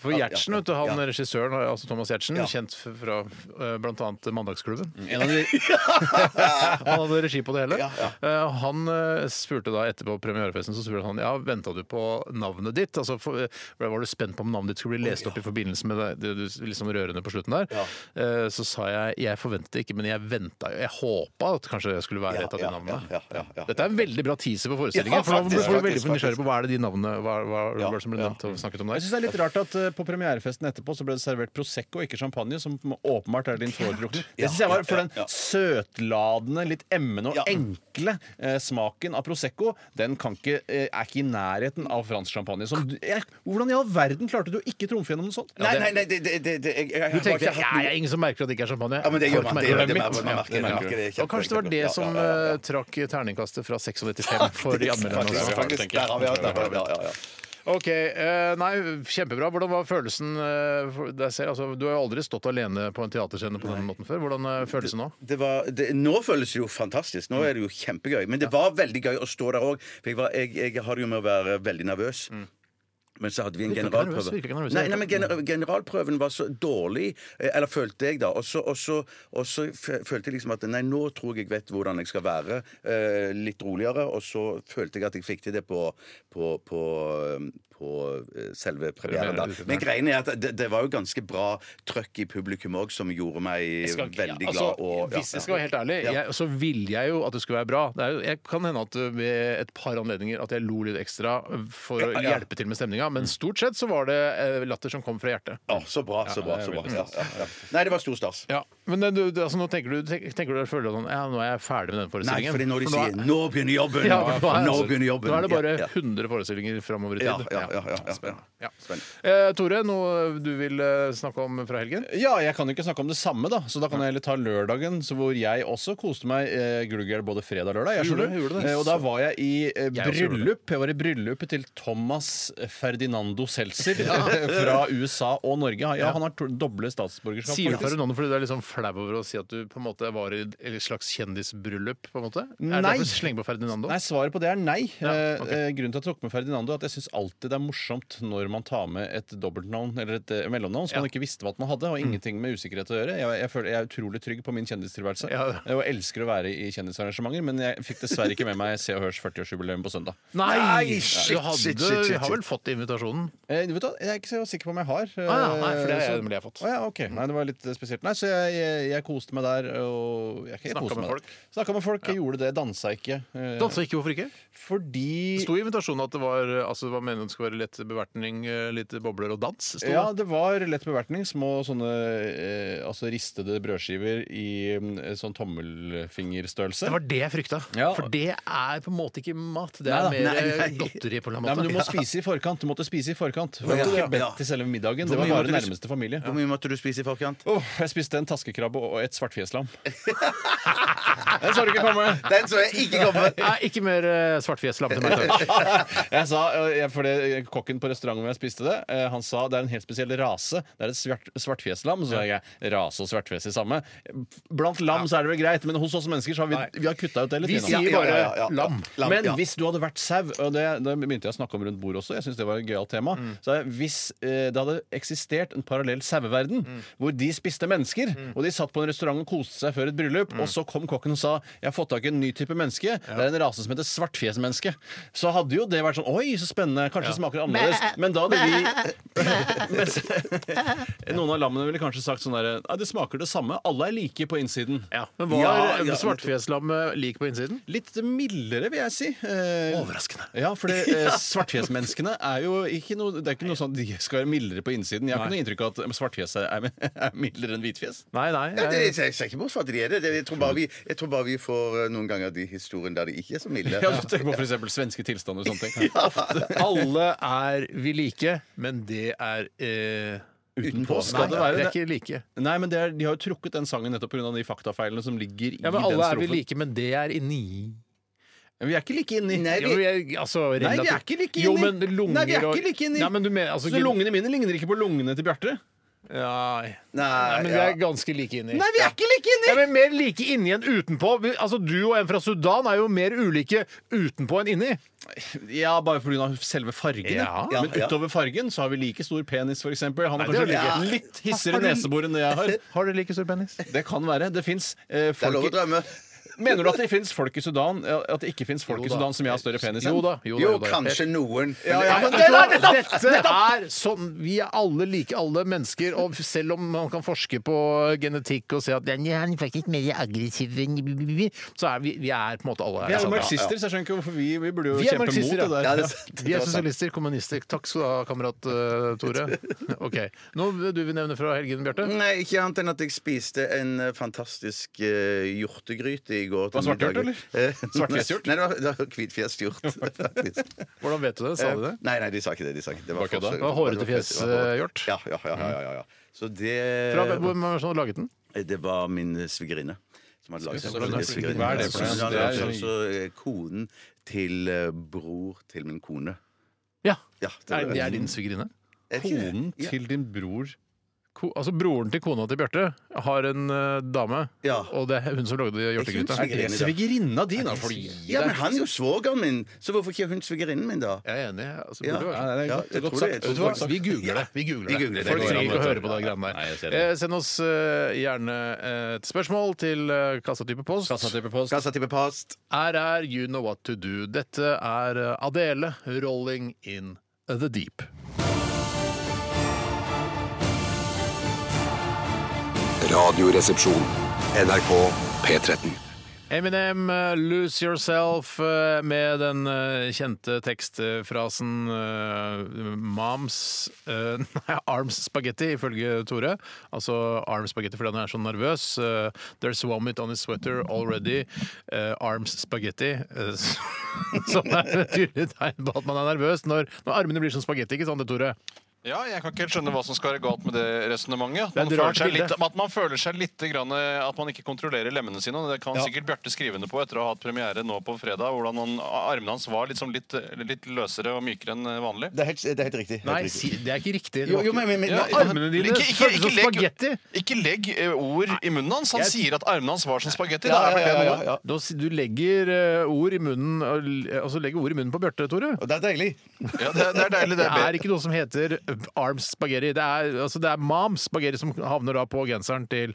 E: For Gjertsen, vet du, han
F: Ja.
E: regissøren, altså Thomas Gjertsen,
F: Ja.
E: kjent f- fra eh, blant annet Mandagsklubben.
G: En av de,
E: Han hadde regi på det hele.
F: Ja,
E: Eh, Han eh, spurte da etterpå premierefesten så spurte han, ja, venta du på navnet ditt? Altså, for, eh, Var du spent på om navnet ditt skulle bli lest opp i forbindelse med det, det du- liksom rørende på slutten der? Eh, Så sa jeg jeg forventet det ikke, men jeg venta jo. Jeg håpa at kanskje det skulle være
F: Ja,
E: et av de
F: ja,
E: navnene.
F: ja, ja, ja.
E: Dette er en veldig bra teaser på forestillingen.
F: Ja,
E: for nå
F: faktisk,
E: blir folk
F: faktisk,
E: veldig nysgjerrig på hva er det de navnene hva, hva, hva som ble
F: ja.
E: nevnt og snakket om
G: jeg
E: der.
G: syns det er litt rart at eh, på premierefesten etterpå så ble det servert Prosecco, ikke champagne, som åpenbart er din foretrukne. Det synes jeg var For den
F: Ja, ja, ja.
G: søtladende, litt emmende og
F: Ja.
G: enkle eh, smaken av Prosecco, den kan ikke, eh, er ikke i nærheten av fransk champagne. Som, du- jeg, hvordan i all verden klarte du å ikke trumfe gjennom noe sånt?
F: Nei, nei, nei, det, det, det, det jeg, jeg,
E: Du
F: har
E: tenkte
F: ikke
E: ja,
F: hatt
E: jeg
F: noe
E: er ingen som merker at det ikke er champagne.
F: Ja, men det gjør man,
E: Folk
F: det
E: merker
F: gjør det, man-
E: mitt.
F: man merker det, man
E: Ja.
F: merker det,
E: Og kanskje det var det
F: kjempe-
E: som
F: ja, ja, ja, ja.
E: eh, trakk terningkastet fra 695 for altså.» de anmelderne.
F: Faktisk,
E: også.
F: faktisk, der har vi hatt det. Ja, ja, ja.
E: Ok, eh, nei, Kjempebra. Hvordan var følelsen eh, for deg selv? Altså, du har jo aldri stått alene på en teaterscene på den måten før. Hvordan eh, føles det nå?
F: det var, det, nå føles det jo fantastisk. Nå er det jo kjempegøy. Men det var veldig gøy å stå der òg. For jeg, var, jeg, jeg har det jo med å være veldig nervøs. Men så hadde vi en
E: Mm. Virker ikke
F: generalprøve.
E: nervøs, virker ikke nervøs i
F: nei,
E: det
F: nei, men gener Generalprøven var så dårlig, eh, eller følte jeg, da. Og så, og så, og så f- følte jeg liksom at nei, nå tror jeg jeg vet hvordan jeg skal være. eh, litt roligere. Og så følte jeg at jeg fikk til det på, på, på, eh, på eh, selve premieren. Da.
E: Premiere-
F: Men greiene er at det, det var jo ganske bra trøkk i publikum òg, som gjorde meg
E: skal- ja,
F: veldig glad.
E: altså,
F: og, ja,
E: hvis jeg
F: ja.
E: skal være helt ærlig,
F: Ja.
E: jeg, så vil jeg jo at det skulle være bra. Det er jo, jeg kan hende at uh, ved et par anledninger at jeg lo litt ekstra for
F: Ja,
E: å
F: ja.
E: hjelpe til med stemninga, men stort sett så var det eh, latter som kom fra hjertet.
F: Ja, så bra, så bra. så bra. Ja, ja, ja. Nei, det var stor stas.
E: Ja, men eh, du, du- altså, nå tenker du, tenker, tenker du føler du sånn, ja, nå er jeg ferdig med den
F: Nei,
E: forestillingen.
F: fordi når de
E: For nå
F: sier
E: er-
F: 'nå begynner jobben',
E: Ja, for nå er-
F: nå begynner jobben.
E: Nå er det bare
F: Ja, ja.
E: 100 forestillinger framover i
F: Ja,
E: tid.
F: ja, ja, ja, ja.
E: Spennende. Ja.
F: Spennende.
E: Eh, Tore, noe du vil eh, snakke om fra helgen?
G: Ja, jeg kan jo ikke snakke om det samme, da. Så da kan jeg heller ta lørdagen, så hvor jeg også koste meg eh, glugghjel både fredag og lørdag. Jeg
E: Gjorde
G: skjønner.
E: du? Gjorde du det?
G: Eh, og da var jeg i eh,
E: Jeg også gjorde
G: bryllup. Jeg var i bryllupet til Thomas Ferdinando Seltzer fra USA og Norge. Ja, han har to- doble statsborgerskap.
E: Sier du
G: faktisk.
E: Ferdinando fordi du er litt sånn flau over å si at du på en måte var i et slags kjendisbryllup? på en måte? Er det
G: Nei.
E: derfor du slenger på Ferdinando?
G: Nei, svaret på det er nei.
E: Ja, ok.
G: Eh, eh, Grunnen til at jeg tok med Ferdinando, er at jeg syns alltid det er morsomt når man tar med et dobbeltnavn eller et eh, mellomnavn som
E: Ja. Mm.
G: man ikke visste hva man hadde, og ingenting med usikkerhet å gjøre. Jeg, jeg, føler, jeg er utrolig trygg på min kjendistilværelse
E: Ja.
G: eh, og elsker å være i kjendisarrangementer, men jeg fikk dessverre ikke med meg Se og Hørs 40-årsjubileum på søndag.
E: Nei!
F: Nei, shit,
E: du hadde,
F: shit, shit, shit,
E: vi har vel
F: shit.
E: fått invitasjonen?
G: Eh, vet du, hva, jeg er ikke så sikker på om jeg har. eh,
E: Ah, ja, nei, for det er
G: så-
E: nemlig jeg har fått.
G: Å ja, ok. Nei, det var litt eh, spesielt. Nei, så jeg, jeg, jeg koste meg der. Og jeg, jeg
E: Snakka
G: koste
E: med
G: meg der.
E: folk.
G: Snakka med folk. Jeg gjorde det. Dansa ikke. eh,
E: Dansa ikke, hvorfor ikke?
G: Fordi
E: Det sto i invitasjonen at det var, altså, det var meningen at det skulle være lett bevertning, eh, litt bobler og dans. Sto
G: Ja,
E: det.
G: det var lett bevertning. Små sånne eh, altså ristede brødskiver i mm, sånn tommelfingerstørrelse.
E: det var det jeg frykta.
G: Ja.
E: For det er på en måte ikke mat. Det
G: Nei
E: er
G: da.
E: mer
G: Nei,
E: eh,
G: nei.
E: godteri, på en
G: Nei,
E: måte.
G: men du må spise i forkant. Du måtte spise i forkant. Du
F: Ja,
G: hadde
F: ja,
G: ikke
F: ja.
G: bedt til selve middagen. Det
F: Hvor
G: var
F: mye
G: bare
F: måtte du-
G: nærmeste familie.
F: Hvor mye måtte du spise i forkant?
G: Åh, jeg spiste en taskekrabbe og et svartfjeslam. Den så du ikke komme!
E: Ah.
F: Den så jeg ikke komme!
E: Nei, ikke mer eh, svartfjeslam til meg, takk.
G: Jeg sa, eh, jeg- for det, Kokken på restauranten hvor jeg spiste det, eh, han sa det er en helt spesiell rase. Det er et svart, svartfjeslam. Så sa jeg rase og svartfjes i samme. Blant lam så er det vel greit, men hos oss mennesker så har
E: Nei.
G: vi, vi har kutta ut det litt.
E: Vi
G: nå.
E: sier
F: ja,
E: bare
F: ja, ja, ja.
E: lam.
F: Lam,
G: Men
F: ja.
G: hvis du hadde vært sau, og det, det begynte jeg å snakke om rundt bordet også, jeg synes det var et gøyalt tema
E: Mm.
G: så er- Hvis eh, det hadde eksistert en parallell saueverden,
E: Mm.
G: hvor de spiste mennesker, og de satt på en restaurant og koste seg før et bryllup,
E: Mm.
G: og så kom kokken og sa 'Jeg har fått tak i en ny type menneske', det er en rase som heter svartfjesmenneske, så hadde jo det vært sånn 'Oi, så spennende, kanskje smaker det annerledes', men da hadde vi Mens- Noen av lammene ville kanskje sagt sånn derre 'Nei, det smaker det samme, alle er like på innsiden'.
E: Ja, men var
F: Ja, ja,
E: svartfjeslammet lik på innsiden?
G: Litt mildere, vil jeg si. Eh,
E: Overraskende.
G: Ja, for det, eh, svartfjesmenneskene er jo ikke noe Det er ikke noe sånn at de skal være mildere på innsiden. Jeg har ikke noe inntrykk av at svartfjes er, er, er mildere enn hvitfjes.
E: Nei, nei. Eh,
F: Ja, det,
E: Jeg,
F: jeg ser ikke bort fra at de er det. Det- Jeg tror bare vi, jeg tror bare vi får eh, noen ganger de historiene der de ikke er så milde.
E: altså,
G: Ja, du tenker på f.eks. svenske tilstander og sånne ting.
E: alle er vi like, men det er eh,
G: Utenpå
E: Nei,
G: skal det
E: det
G: være
E: er
G: det.
E: ikke like.
G: Nei, men det er, de har jo trukket den sangen nettopp pga. de faktafeilene som ligger i
E: Ja, men
G: den
E: alle er vi
G: strofen.
E: like, men det er inni
G: Men vi er ikke like inni.
E: Jo, vi er, altså,
G: Nei, vi er
E: relativt-
G: ikke like
E: Jo,
G: inni.
E: men lunger
G: Nei, vi er
E: og-
G: ikke like inni.
E: Nei, men du mener, altså,
G: Så lungene mine ligner ikke på lungene til Bjarte.
E: Nei.
F: Nei,
E: men vi
F: ja.
E: er ganske like inni.
J: Nei, vi er ikke like inni!
E: Ja, men Mer like inni enn utenpå. Vi, altså, Du og en fra Sudan er jo mer ulike utenpå enn inni.
J: Ja, bare pga. selve fargen.
E: Ja.
J: Men utover fargen så har vi like stor penis, f.eks. Han har
E: det
J: kanskje
E: er
J: like,
E: jo ikke-
J: litt hissigere nesebor enn det jeg har.
E: Har du like stor penis?
J: Det kan være. Det fins
F: Det er lov å
J: folk i
F: drømme.
J: Mener du at det fins folk i Sudan eh, At det ikke fins folk i Sudan som jeg har større penis enn?
E: Jo da. Jo, da,
F: Jo,
E: jo da.
F: kanskje noen.
E: Ja,
F: Men
E: men
F: det-
E: det er, dette er sånn Vi er alle like alle mennesker, og selv om man kan forske på genetikk og se at den er faktisk mer aggressiv enn blablabla», Så er vi, vi er på en måte alle
J: Vi er jo
E: samme.
J: marxister, så jeg skjønner ikke hvorfor vi, vi burde jo
E: Vi er
J: kjempe mot
E: marxister,
J: det
E: ja.
J: der.
F: Ja, det er sant.
E: Vi er sosialister, kommunister. Takk skal du ha, kamerat eh, Tore. Ok, Noe du vil nevne fra helgen, Bjarte?
F: Nei, ikke annet enn at jeg spiste en eh, fantastisk eh, hjortegryte i går. til
J: Var det svart
F: middag.
J: hjort,
F: Eh,
J: Svartfjesjhjort?
F: Nei, det var, det var hvitfjest hjort. faktisk.
E: Hvordan vet du det? Sa de det?
F: Eh, Nei, nei, de sa ikke det. De sa ikke. det. Det
J: Var ikke
F: forsøk-
J: det?
E: Det var hårete fjes,
F: det var hårete.
E: eh, hjort.
F: Ja, ja, ja, ja, ja, ja. Så det
E: Eh,
F: eh,
E: Fra, hvem var det som hadde laget den?
F: Det var min svigerinne. Som hadde laget
J: Så-
F: den.
J: så- hva er det for noe?
F: Så- så-
J: Det er-
F: altså, eh, konen til eh, bror til min kone.
E: Ja,
F: Ja,
E: Det er, det er din svigerinne?
F: Er ikke det?
J: Konen
F: Ja.
J: til din bror
E: Ko, altså Broren til kona til Bjarte har en eh, dame,
F: Ja.
E: og det er hun som lagde
F: Ikke
E: hjortegryta.
F: hun
J: Det er svigerinna altså. di, da. Fordi
F: Ja, men han er jo svogeren min, så hvorfor ikke hun svigerinnen min, da?
E: Jeg er enig. Altså,
F: Ja.
E: burde det være.
J: Nei, det er
F: Ja,
J: godt,
F: jeg
J: godt
F: tror
J: sagt.
F: det-
E: Vet du hva? Vi googler det. Vi googler
F: Vi
E: det.
F: googler det.
E: Folk
F: Det går
E: trenger
F: an å
E: ikke å
F: gjøre
E: høre på de greiene
J: Nei, jeg
E: der.
J: ser det.
E: Eh, send oss eh, gjerne et spørsmål til eh, kassatype post.
J: Kassatypepost.
F: Kassatype past.
E: RR, you know what to do. Dette er eh, Adele, 'Rolling in the Deep'.
B: Radioresepsjon. NRK P13.
E: Eminem, eh, 'Lose Yourself', eh, med den eh, kjente tekstfrasen eh, 'Moms eh, Nei, Arms Spaghetti', ifølge Tore. Altså Arms Spaghetti fordi han er så nervøs. Eh, 'There's vomit on his sweater already'. eh, arms Spaghetti. eh, som er et tydelig tegn på at man er nervøs når, når armene blir som spagetti, ikke sant det, Tore?
G: Ja, jeg kan ikke helt skjønne hva som skal være galt med det resonnementet.
E: Det er
G: At, man
E: et
G: føler
E: rart
G: seg
E: bilde.
G: litt- at man føler seg litt grann, eh, At man ikke kontrollerer lemmene sine. og Det kan sikkert Bjarte skrive under på etter å ha hatt premiere nå på fredag. Hvordan han, armene hans var liksom litt, litt løsere og mykere enn vanlig.
F: Det er helt, det er helt riktig. Helt
E: Nei,
F: riktig.
E: si, det er ikke riktig. Det
F: Jo,
E: var
F: jo,
E: ikke-
F: men, men, men,
G: Ja,
F: nei,
E: armene dine
G: Ikke- ikke-
E: føles som
G: ikke legg-
E: spagetti.
G: Ikke legg eh, ord i munnen hans. Han sier at armene hans var som spagetti. Da
F: ja,
G: er
F: ja,
G: vel det
F: ja,
G: noe.
F: ja.
E: Da si- Du legger eh, ord i munnen eh, Altså legger ord i munnen på Bjarte, Tore.
F: Og det er deilig.
G: Ja, det, er- det er deilig, det.
E: Det er ikke noe som heter arms spagetti. Det er, altså, det er moms spagetti som havner da på genseren til,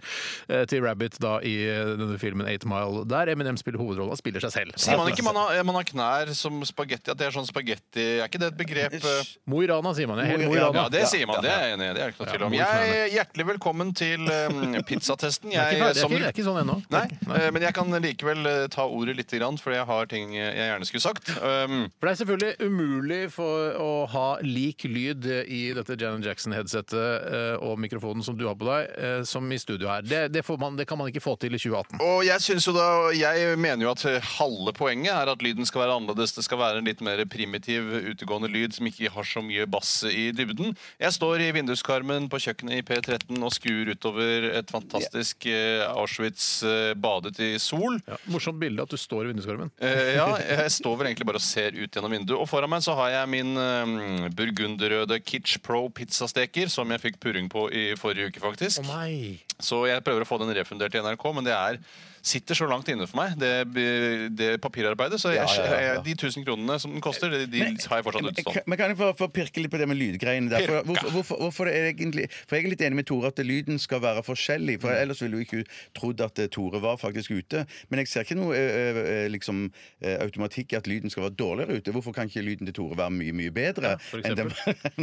E: eh, til Rabbit da, i eh, denne filmen Eight Mile, der Eminem spiller hovedrollen og spiller seg selv. Altså,
G: Sier man ikke man har, man har knær som spagetti? At det er sånn spagetti Er ikke det et begrep? eh?
E: Mo i Rana, sier man. Jeg er helt
F: Mo
E: Mo
F: i
E: i
F: Rana.
G: Ja,
E: Rana.
G: det sier man. Det er jeg enig i. Det er det ikke noe tvil om.
E: mor knærne.
G: Jeg, hjertelig velkommen til um, pizzatesten.
E: Det er ikke, det
G: Jeg,
E: er
G: som,
E: ikke, det er ikke sånn ennå.
G: nei, eh, men jeg kan likevel eh, ta ordet lite grann, for jeg har ting eh, jeg gjerne skulle sagt. Um,
E: For det er selvfølgelig umulig for å ha lik lyd eh, i dette Janet Jackson-headsetet eh, og mikrofonen som du har på deg, eh, som i studio her. Det, det, får man, det kan man ikke få til i 2018.
G: Og jeg synes jo da, jeg mener jo at eh, halve poenget er at lyden skal være annerledes. Det skal være en litt mer primitiv, utegående lyd som ikke har så mye bass i dybden. Jeg står i vinduskarmen på kjøkkenet i P13 og skuer utover et fantastisk eh, Auschwitz eh, badet i sol.
E: Ja, morsomt bilde at du står i vinduskarmen.
G: Eh, ja, jeg står vel egentlig bare og ser ut gjennom vinduet. Og foran meg så har jeg min eh, burgunderrøde Kitsch Pro pizzasteker, som jeg fikk purring på i forrige uke, faktisk.
E: Nei.
G: Så jeg prøver å få den refundert til NRK, men det er, sitter så langt inne for meg, det, det papirarbeidet. Så jeg, de 1000 kronene som den koster, de, de har jeg fortsatt
F: Men-
G: utstående.
F: Men kan jeg få, få pirke litt på det med lydgreiene der? For, hvorfor, hvorfor, hvorfor det er egentlig For jeg er litt enig med Tore at lyden skal være forskjellig. For ellers ville jo ikke trodd at eh, Tore var faktisk ute. Men jeg ser ikke noe eh, eh, liksom, eh, automatikk i at lyden skal være dårligere ute. Hvorfor kan ikke lyden til Tore være mye, mye bedre?
E: for
F: enn den-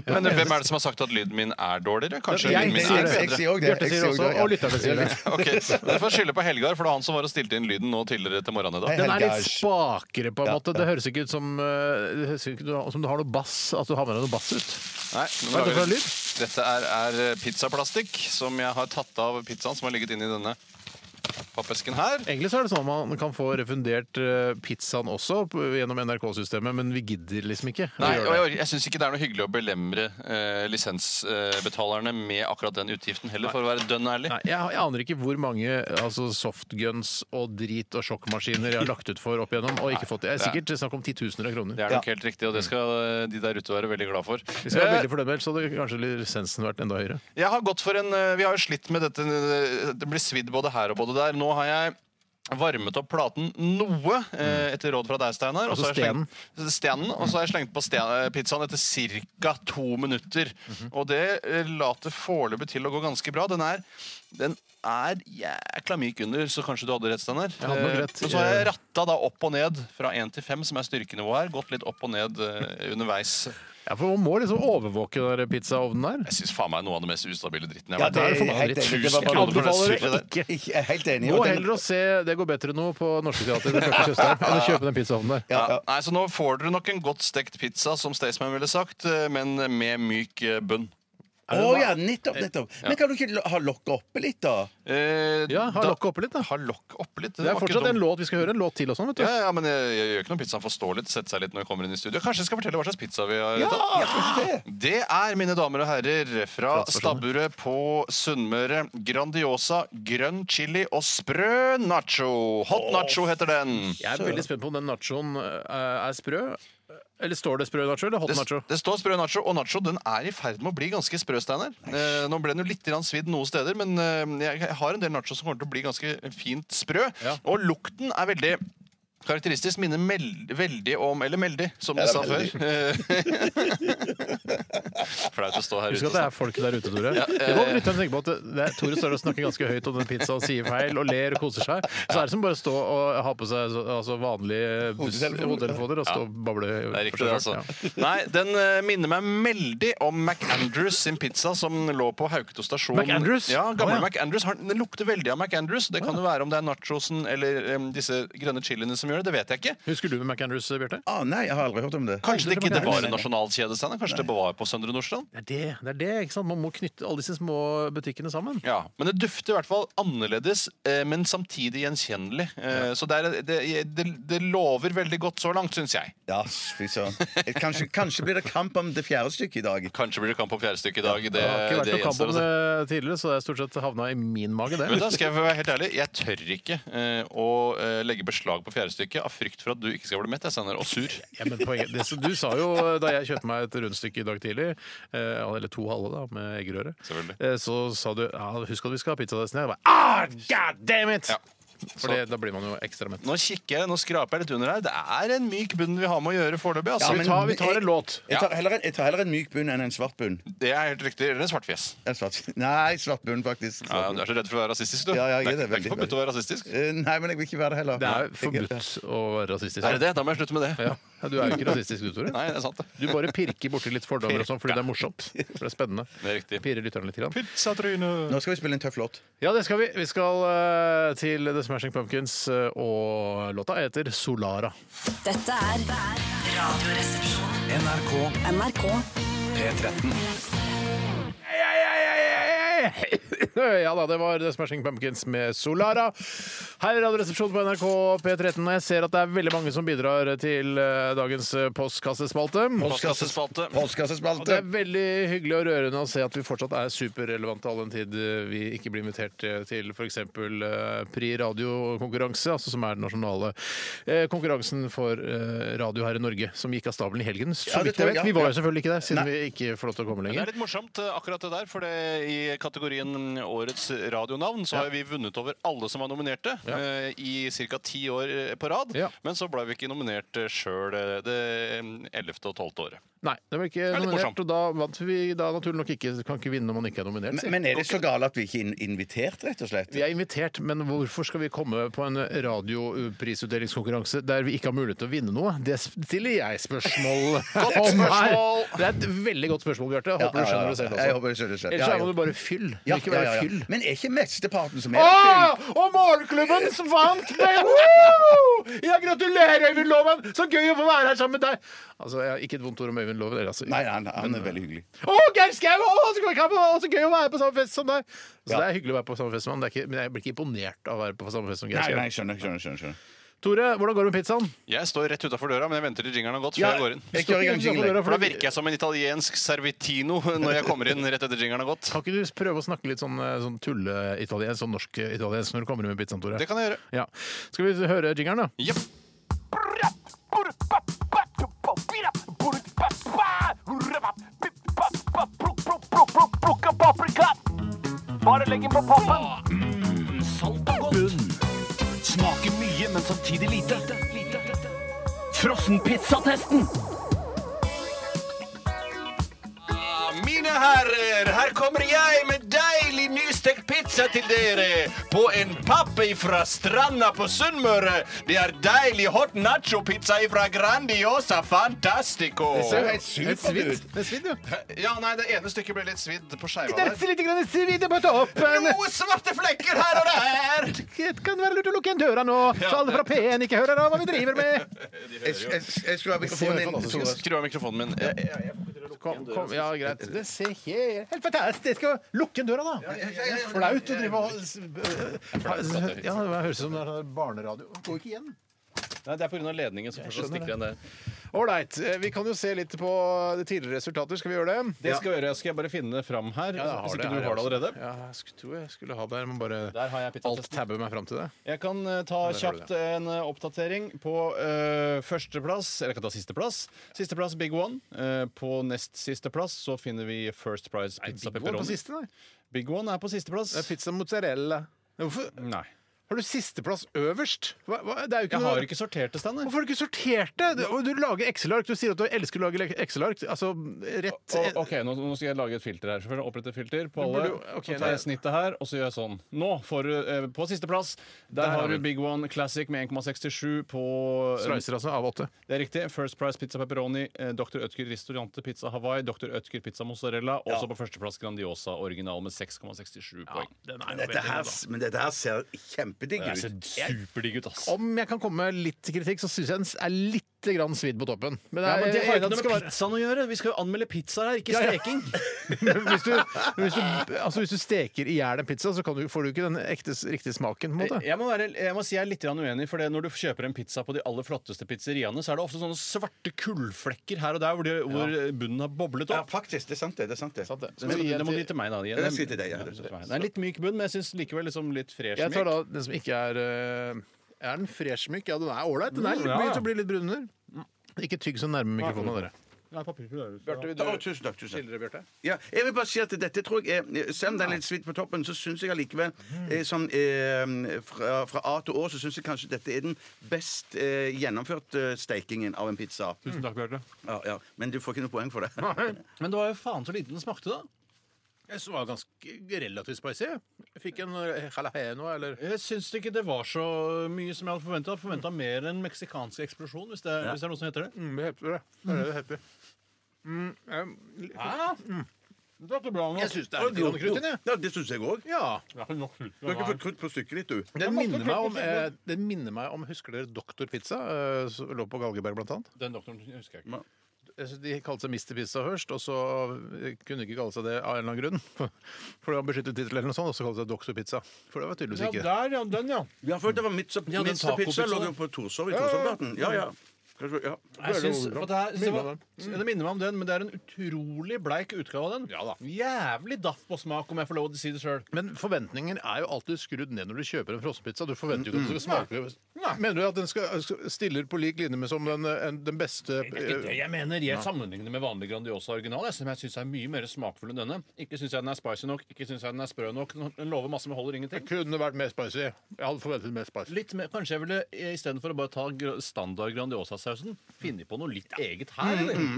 G: Men hvem er det som har sagt at lyden min er dårligere? Kanskje
E: Jeg
G: lyden min
E: sier
G: er
E: det.
G: bedre?
F: jeg sier også det.
E: Bjarte
F: Jeg
E: sier
F: sier
E: også,
F: også det, ja.
E: og lytterne sier det.
G: Ok, Jeg får skylde på Helgar, for det var han som var og stilte inn lyden nå tidligere til morgenen i dag.
F: Hei, hei.
E: Den er litt
F: Helgars.
E: spakere, på en
F: Ja,
E: måte. Det høres ikke ut som, eh, det høres ikke ut som du har noe bass, at du har med deg noe bass ut.
G: Nei, nå
E: Hva er det
G: lager-
E: for lyd?
G: eh, Dette er, er pizzaplastikk som jeg har tatt av pizzaen som har ligget inni denne pappesken her.
E: Egentlig så er det sånn at man kan få refundert eh, pizzaen også p- gjennom NRK-systemet, men vi gidder liksom ikke. å
G: Nei,
E: gjøre
G: og
E: det.
G: jeg, jeg syns ikke det er noe hyggelig å belemre eh, lisensbetalerne med akkurat den utgiften heller, for å være dønn ærlig.
E: Nei, jeg, jeg aner ikke hvor mange altså softguns og drit og sjokkmaskiner jeg har lagt ut for opp igjennom og ikke fått det. Det er sikkert snakk om titusener av kroner.
G: Det er nok helt riktig, og det skal eh, de der ute være veldig glad for.
E: Vi skal være
G: Eh,
E: veldig fordømmelt, så hadde kanskje lisensen vært enda høyere.
G: Jeg har gått for en eh, Vi har jo slitt med dette. eh, Det blir svidd både her og både der. Nå har jeg varmet opp platen noe, eh, etter råd fra deg, Steinar. Og
E: Mm. Altså
G: så har jeg slengt- stenen. Og så har jeg slengt på sten, eh, pizzaen etter ca. to minutter.
E: Mhm.
G: Og det eh, later foreløpig til å gå ganske bra. Den er, den er jækla myk under, så kanskje du hadde rett, Steinar.
E: hadde nok
G: Eh,
E: rett.
G: Men så har jeg ratta da opp og ned fra én til fem, som er styrkenivået her. Gått litt opp og ned eh, underveis.
E: Ja, for Man må liksom overvåke den der pizzaovnen der.
G: Jeg syns faen meg noe av det mest ustabile dritten jeg
F: Ja,
G: har vært
F: det
G: i.
F: er helt
E: forbannet.
F: enig. Det var
G: Tusen
F: bare
G: kroner for det
E: Anbefaler
G: surret der.
E: det ikke.
F: Jeg er helt enig.
E: Gå
F: og den-
E: heller og se Det går bedre nå på Norske Teater med Bjarte Tjøstheim enn å kjøpe den pizzaovnen der.
G: Ja. Nei, så Nå får dere nok en godt stekt pizza, som Staysman ville sagt, eh, men med myk eh, bunn.
F: Å ja, nettopp, nettopp. Men kan du ikke lo- ha lokket oppe litt, da?
G: Eh,
E: Ja, ha
G: da-
E: lokket oppe litt, da.
G: Ha lokket oppe litt.
E: Det er
G: var ikke
E: fortsatt en
G: dumt.
E: låt vi skal høre. En låt til og sånn, vet du.
G: Ja, ja, men jeg, jeg gjør ikke noe pizza. Han får stå litt, sette seg litt når jeg kommer inn i studio. Kanskje jeg skal fortelle hva slags pizza vi har tatt? Det er, mine damer og herrer, fra stabburet på Sunnmøre, Grandiosa, grønn chili og sprø nacho. Hot nacho heter den.
E: Jeg er veldig spent på om den nachoen eh, er sprø. Eller står det sprø nacho eller hot
G: Det,
E: nacho?
G: det står sprø nacho, og nacho den er i ferd med å bli ganske sprø, Steinar. Eh, nå ble den jo litt grann svidd noen steder, men eh, jeg har en del nacho som kommer til å bli ganske fint sprø.
E: Ja.
G: Og lukten er veldig Karakteristisk minner mel veldig om Eller meldig, som du sa før. Eh, Flaut å stå her
E: Husk
G: ute.
E: at det er folk der ute, Tore. Det
G: eh,
E: må lytterne tenke på at det- det er, Tore står og snakker ganske høyt om den pizzaen, sier feil og ler og koser seg. Så er det som bare å stå og ha på seg så- altså, vanlige buss- hodetelefoner og stå og bable.
G: Det er
E: for
G: riktig,
E: seg
G: det,
E: selv. Ja.
G: altså. Nei, den eh, minner meg veldig om McAndrews sin pizza som lå på Hauketo stasjon.
E: McAndrews?
G: Ja,
E: Å, ja.
G: gamle McAndrews. Han- Den lukter veldig av McAndrews. Det kan jo være om det er nachosen eller em, disse grønne chiliene som gjør det. Det vet jeg ikke.
E: Husker du med McAndrews, Bjarte?
F: Ah, nei, jeg har aldri hørt om det.
G: Kanskje det ikke det var
F: Nei, nei,
G: en
F: nei.
G: nasjonalkjede, Steinar? Kanskje det var på Søndre Nordstrand?
E: Det er det, det er det, ikke sant? Man må knytte alle disse små butikkene sammen.
G: Ja, Men det dufter i hvert fall annerledes, eh, men samtidig gjenkjennelig. Eh, Så det, er, det, det, det lover veldig godt så langt, syns jeg.
F: Ja, fy søren. Kanskje, kanskje blir det kamp om det fjerde stykket i dag.
G: Kanskje blir det kamp om fjerde stykke i dag. Det,
E: Det har ikke vært
G: Eh, det
E: noe kamp
G: gjenstår å
E: om
G: se.
E: det tidligere, så det er stort sett havna i min mage, det.
G: Vet du, hva, skal Jeg være helt ærlig Jeg tør ikke eh, å eh, legge beslag på fjerde stykket av frykt for at du ikke skal bli mett. Jeg sender og sur.
E: Ja, men poenget, det, som du sa jo da jeg kjøpte meg et rundstykke i dag tidlig, eh, eller to halve da, med eggerøre,
G: Selvfølgelig.
E: eh, så sa du ja, husk at vi skal ha pizzadressen her. Jeg bare, ah, god damn it!
G: Ja.
E: For det- da blir man jo ekstra mett.
G: Nå kikker jeg, nå skraper jeg litt under her. Det er en myk bunn vi har med å gjøre foreløpig. Altså.
F: Ja,
E: vi,
F: men-
E: tar, vi tar en låt.
F: Jeg tar heller en, jeg tar heller en myk bunn enn en svart bunn.
G: Det er helt riktig. Eller en svartfjes.
F: En svart. Nei, svart bunn, faktisk.
G: Ja, du er så redd for å være rasistisk, du.
F: Ja, ja, jeg er det,
G: det er ikke
F: veldig,
G: forbudt å være rasistisk.
F: Eh, Nei, men jeg vil ikke være det heller.
E: Det er
F: Jeg-
E: forbudt å være rasistisk.
G: Er det det? Da må jeg slutte med det.
E: Ja. Ja, Du er jo ikke rasistisk, du, Tore.
G: Nei, det er sant. det.
E: Du bare pirker borti litt fordommer og sånn fordi det er morsomt. For det er spennende.
G: Det er riktig.
E: Pirrer lytterne litt. Grann.
G: Pizzatryne.
F: Nå skal vi spille en tøff låt.
E: Ja, det skal vi. Vi skal eh, til The Smashing Pumpkins, eh, og låta heter Solara.
D: Dette er Radioresepsjonen.
K: NRK
D: NRK
K: P13.
E: Ja da, det var The Smashing Pumpkins med Solara. Her i Radioresepsjonen på NRK P13. og Jeg ser at det er veldig mange som bidrar til eh, dagens eh, postkassespalte. Og det
G: Postkassespalte.
E: er
F: Postkassespalte.
E: veldig hyggelig og rørende å se at vi fortsatt er superrelevante all den tid eh, vi ikke blir invitert eh, til f.eks. Pri radiokonkurranse, altså som er den nasjonale eh, konkurransen for eh, radio her i Norge, som gikk av stabelen i helgen. Så
F: Ja, det
E: vidt jeg
F: tror jeg,
E: vet. Vi
F: ja.
E: var jo selvfølgelig ikke der, siden vi ikke får lov til å komme
G: Det er
E: lenger.
G: litt morsomt eh, akkurat det der, for det, i kategorien Årets radionavn så har vi vunnet over alle som var nominerte
E: Ja.
G: eh, i ca. ti år eh, på rad.
E: Ja.
G: Men så ble vi ikke nominert sjøl det eh, ellevte og tolvte året.
E: Nei, det var ikke
G: er litt
E: nominert,
G: morsomt.
E: og da vant vi da naturlig nok ikke. Kan ikke vinne når man ikke er nominert. sier jeg.
F: Men, men er det så gale at vi ikke er invitert, rett og slett?
E: Vi er invitert, men hvorfor skal vi komme på en radioprisutdelingskonkurranse der vi ikke har mulighet til å vinne noe? Det stiller jeg spørsmål om her.
G: spørsmål!
E: Det er et veldig godt spørsmål, Bjarte. Jeg Håper du skjønner det selv
F: Jeg
E: også.
F: håper jeg skjønner det selv.
E: Ellers
F: Ja,
E: er man
F: jo.
E: jo bare fyll fyll.
F: Ja,
E: det vil ikke
F: ja,
E: være
F: ja, ja.
E: fyll.
F: Men er ikke mesteparten som er
E: Å, og målklubben som vant med Woo! Ja, gratulerer, Øyvind Loven! Så gøy å få være her sammen med deg! Altså, jeg har Ikke et vondt ord om Øyvind Loven. eller, Altså,
F: Nei, han, han er veldig hyggelig.
E: Å, Geir Skau! Å, så gøy, å, så gøy å være på samme fest som deg! Så det er hyggelig å være på samme fest som han, det er ikke, men jeg blir ikke imponert av å være på samme fest som Geir
F: Nei, nei,
E: Skau.
F: skjønner, skjønner, skjønner, skjønner.
E: Tore, hvordan går det med pizzaen?
G: Jeg står rett utafor døra, men jeg venter til jingeren har gått. før
F: Ja,
G: jeg går inn.
F: jeg kjører i gang jingle.
E: Døra,
G: For Da virker jeg som en italiensk servitino når jeg kommer inn rett etter jingeren har gått.
E: Kan ikke du prøve å snakke litt sånn, eh, sånn tulle-italiensk, sånn norsk-italiensk når du kommer inn med pizzaen, Tore?
G: Det kan jeg gjøre.
E: Ja. Skal vi høre jingeren, da?
G: Jepp. Mine herrer, her kommer jeg med deilig nystekt pizza til dere. På en pappe fra stranda på Sunnmøre. Det er deilig hot nacho-pizza fra Grandiosa Fantastico.
F: ser jo helt supert
E: Et svidd.
F: ut.
E: Det er svidd, jo.
G: Ja, nei, det ene stykket ble litt svidd på skeiva
E: Det er
G: der.
E: lite grann svidd på toppen.
G: Noe svarte flekker her og der!
E: Det kan være lurt å lukke igjen døra nå, så alle fra P1 ikke hører av hva vi driver med.
F: Jeg, jeg, jeg skulle ha mikrofonen min. Tore.
G: Skru av mikrofonen min. Jeg, jeg, jeg får ikke til å lukke
E: Kom, kom, ja, greit. Det ser helt, helt fantastisk ut. Lukk igjen døra, da. Det er flaut å drive og Ja, det høres ut som det er sånn barneradio. Gå ikke igjen.
J: Nei, det er pga. ledningen som fortsatt stikker igjen der.
E: Ålreit. Eh, Vi kan jo se litt på tidligere resultater. Skal vi gjøre det?
J: Det skal jeg gjøre. Skal jeg bare finne det fram her? hvis ikke du har det allerede.
E: altså. Ja, jeg sk- tror jeg skulle ha det. Jeg må bare
J: Der har jeg
E: alt
J: pizzatesten.
E: tabbe meg fram til det.
J: Jeg kan eh, ta
E: der har du
J: kjapt en eh, oppdatering på eh, førsteplass. Eller jeg kan ta sisteplass. Sisteplass Big One. Eh, på nest sisteplass så finner vi First Price Pizza
E: Big One på
J: Pepperoni.
E: siste, nei.
J: Big One er på sisteplass.
E: Det er pizza mozzarella. Hvorfor
J: Nei.
E: har du sisteplass øverst? Hva, hva? Det er jo ikke
J: Jeg
E: noe
J: har ikke sortert det, Steinar.
E: Hvorfor har du ikke sortert det? Du, og du lager Excel-ark. Du sier at du elsker å lage Excel-ark. Altså rett
J: Å, OK, nå, nå skal jeg lage et filter her. Så får jeg opprette et filter på
E: Men
J: alle.
E: burde jo- ok,
J: så tar
E: nei.
J: jeg snittet her, og så gjør jeg sånn. Nå får du eh, på sisteplass. Der,
E: har
J: har
E: vi
J: du Big One Classic med 1,67 på eh,
E: Slicer altså av åtte.
J: Det er riktig. First Price Pizza Pepperoni, eh, Dr. Ødker Ristorante Pizza Hawaii, Dr. Ødker Pizza Mozzarella. Også på førsteplass Grandiosa original med 6,67 poeng.
F: Dette her, men dette her ser kjempedigg
J: Det
F: ut.
J: ser superdigg ut, ass.
E: Om jeg kan komme med litt kritikk, så syns jeg den er litt grann svidd på toppen. Men,
J: Ja,
E: jeg
J: men Det
E: er enig at
J: har jo ikke
E: det
J: noe
E: skal
J: med
E: være-
J: pizzaen å gjøre. Vi skal jo anmelde pizzaer her, ikke
E: Ja, ja.
J: steking.
E: Men hvis, du, men hvis, du, altså hvis du steker i hjel en pizza, så kan du, får du ikke den ekte, riktige smaken. på en måte.
J: Jeg må, være, jeg må si jeg er litt grann uenig, for det, når du kjøper en pizza på de aller flotteste pizzeriaene, så er det ofte sånne svarte kullflekker her og der hvor, de, hvor eh, bunnen har boblet
F: Ja,
J: opp.
F: faktisk. Det er sant, det. det, er sant, det.
J: Så det, det må du gi til meg, da.
F: Ja, den sier til deg, ja.
J: det er en litt myk bunn, men jeg syns likevel liksom litt fresh
E: Jeg tar
J: myk.
E: da den som ikke er øh, Er den fresh myk? Mm, Ja, den er ålreit. Den er litt
J: ja, ja.
E: myk til å bli litt brun under. Ikke tygg så nærme mikrofonen, dere.
J: Nei, papir,
E: Bjarte, vil
F: Å,
E: du
F: tusen takk. tusen takk
E: skildre, Bjarte?
F: ja, Jeg vil bare si at dette tror jeg er, Selv om den er litt svidd på toppen, så syns jeg allikevel eh, sånn, eh, fra, fra A til Å så syns jeg kanskje dette er den best eh, gjennomførte steikingen av en pizza.
J: Tusen takk, Bjarte.
F: Ja, ja. Men du får ikke noe poeng for det.
J: Men det var jo faen så liten den smakte, da.
E: Mm. Jeg var ganske relativt spicy. Jeg fikk en eh, jalapeno eller
J: Jeg syns ikke det var så mye som jeg hadde forventa. Forventa mer enn meksikansk eksplosjon, hvis det, hvis det er noe som heter det.
E: mm, Det heter det. Det er det det heter. Mm, jeg
J: Mm. Det er ikke bra
E: jeg syns det er litt grann krutt i den, jeg.
F: Ja, det syns jeg òg.
E: Ja.
F: Du har ikke fått krutt på stykket ditt, du.
E: Den minner, meg om, eh, den minner meg om Husker dere Doktor Pizza? Eh, som lå på Galgeberg, blant annet.
J: Den doktoren husker jeg ikke.
E: Jeg synes De kalte seg Mr. Pizza først, og så eh, kunne de ikke kalle seg det av en eller annen grunn. For det var beskyttet tittel eller noe sånt, og så kalte de seg Doktor Pizza. For det var tydeligvis ikke det.
J: der, ja. Den, ja.
F: Ja, for det var Mitz
J: Ja, den
F: Pizza, pizza
J: tacopizzaen.
F: lå jo på Torshov i Torshovgaten. Ja, ja. Kanskje- ja.
J: Jeg syns, for det, her,
E: Minner
J: det, var, det minner meg om den, men det er en utrolig bleik utgave av den.
E: Ja da.
J: Jævlig daff på smak, om jeg får lov til å si det sjøl.
E: Men forventninger er jo alltid skrudd ned når du kjøper en frossenpizza. Du forventer jo ikke at den
F: Mm,
E: skal smake Mener du at den skal, skal stiller på lik linje med som den, eh, en- den beste
J: Det er ikke det
E: eh,
J: jeg mener. Jeg sammenligner med vanlig Grandiosa original, jeg, som jeg syns er mye mer smakfull enn denne. Ikke syns jeg den er spicy nok, ikke syns jeg den er sprø nok. Den lover masse, men holder ingenting.
E: Kunne vært mer spicy. Jeg hadde forventet mer spicy.
J: Litt mer, Kanskje jeg ville eh, istedenfor å bare ta gr- standard Grandiosa-sausen, finne på noe litt eget
E: Mm,
J: her, eller?
E: Eh,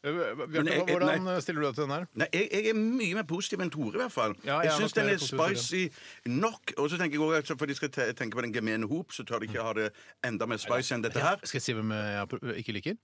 F: Men
E: Bjarte,
F: jeg- jeg-
E: hvordan eh, stiller du deg til den her?
F: Nei, jeg, jeg er mye mer positiv enn Tore, i hvert fall.
E: Ja, jeg
F: jeg
E: er nok
F: syns den
E: mer
F: er
E: positiv til det.
F: spicy nok. Og så tenker jeg også at for de skal te tenke på den gemene hop, så tør de ikke ha det enda mer spicy enn dette her.
E: Skal jeg si hvem jeg har pro- ikke liker?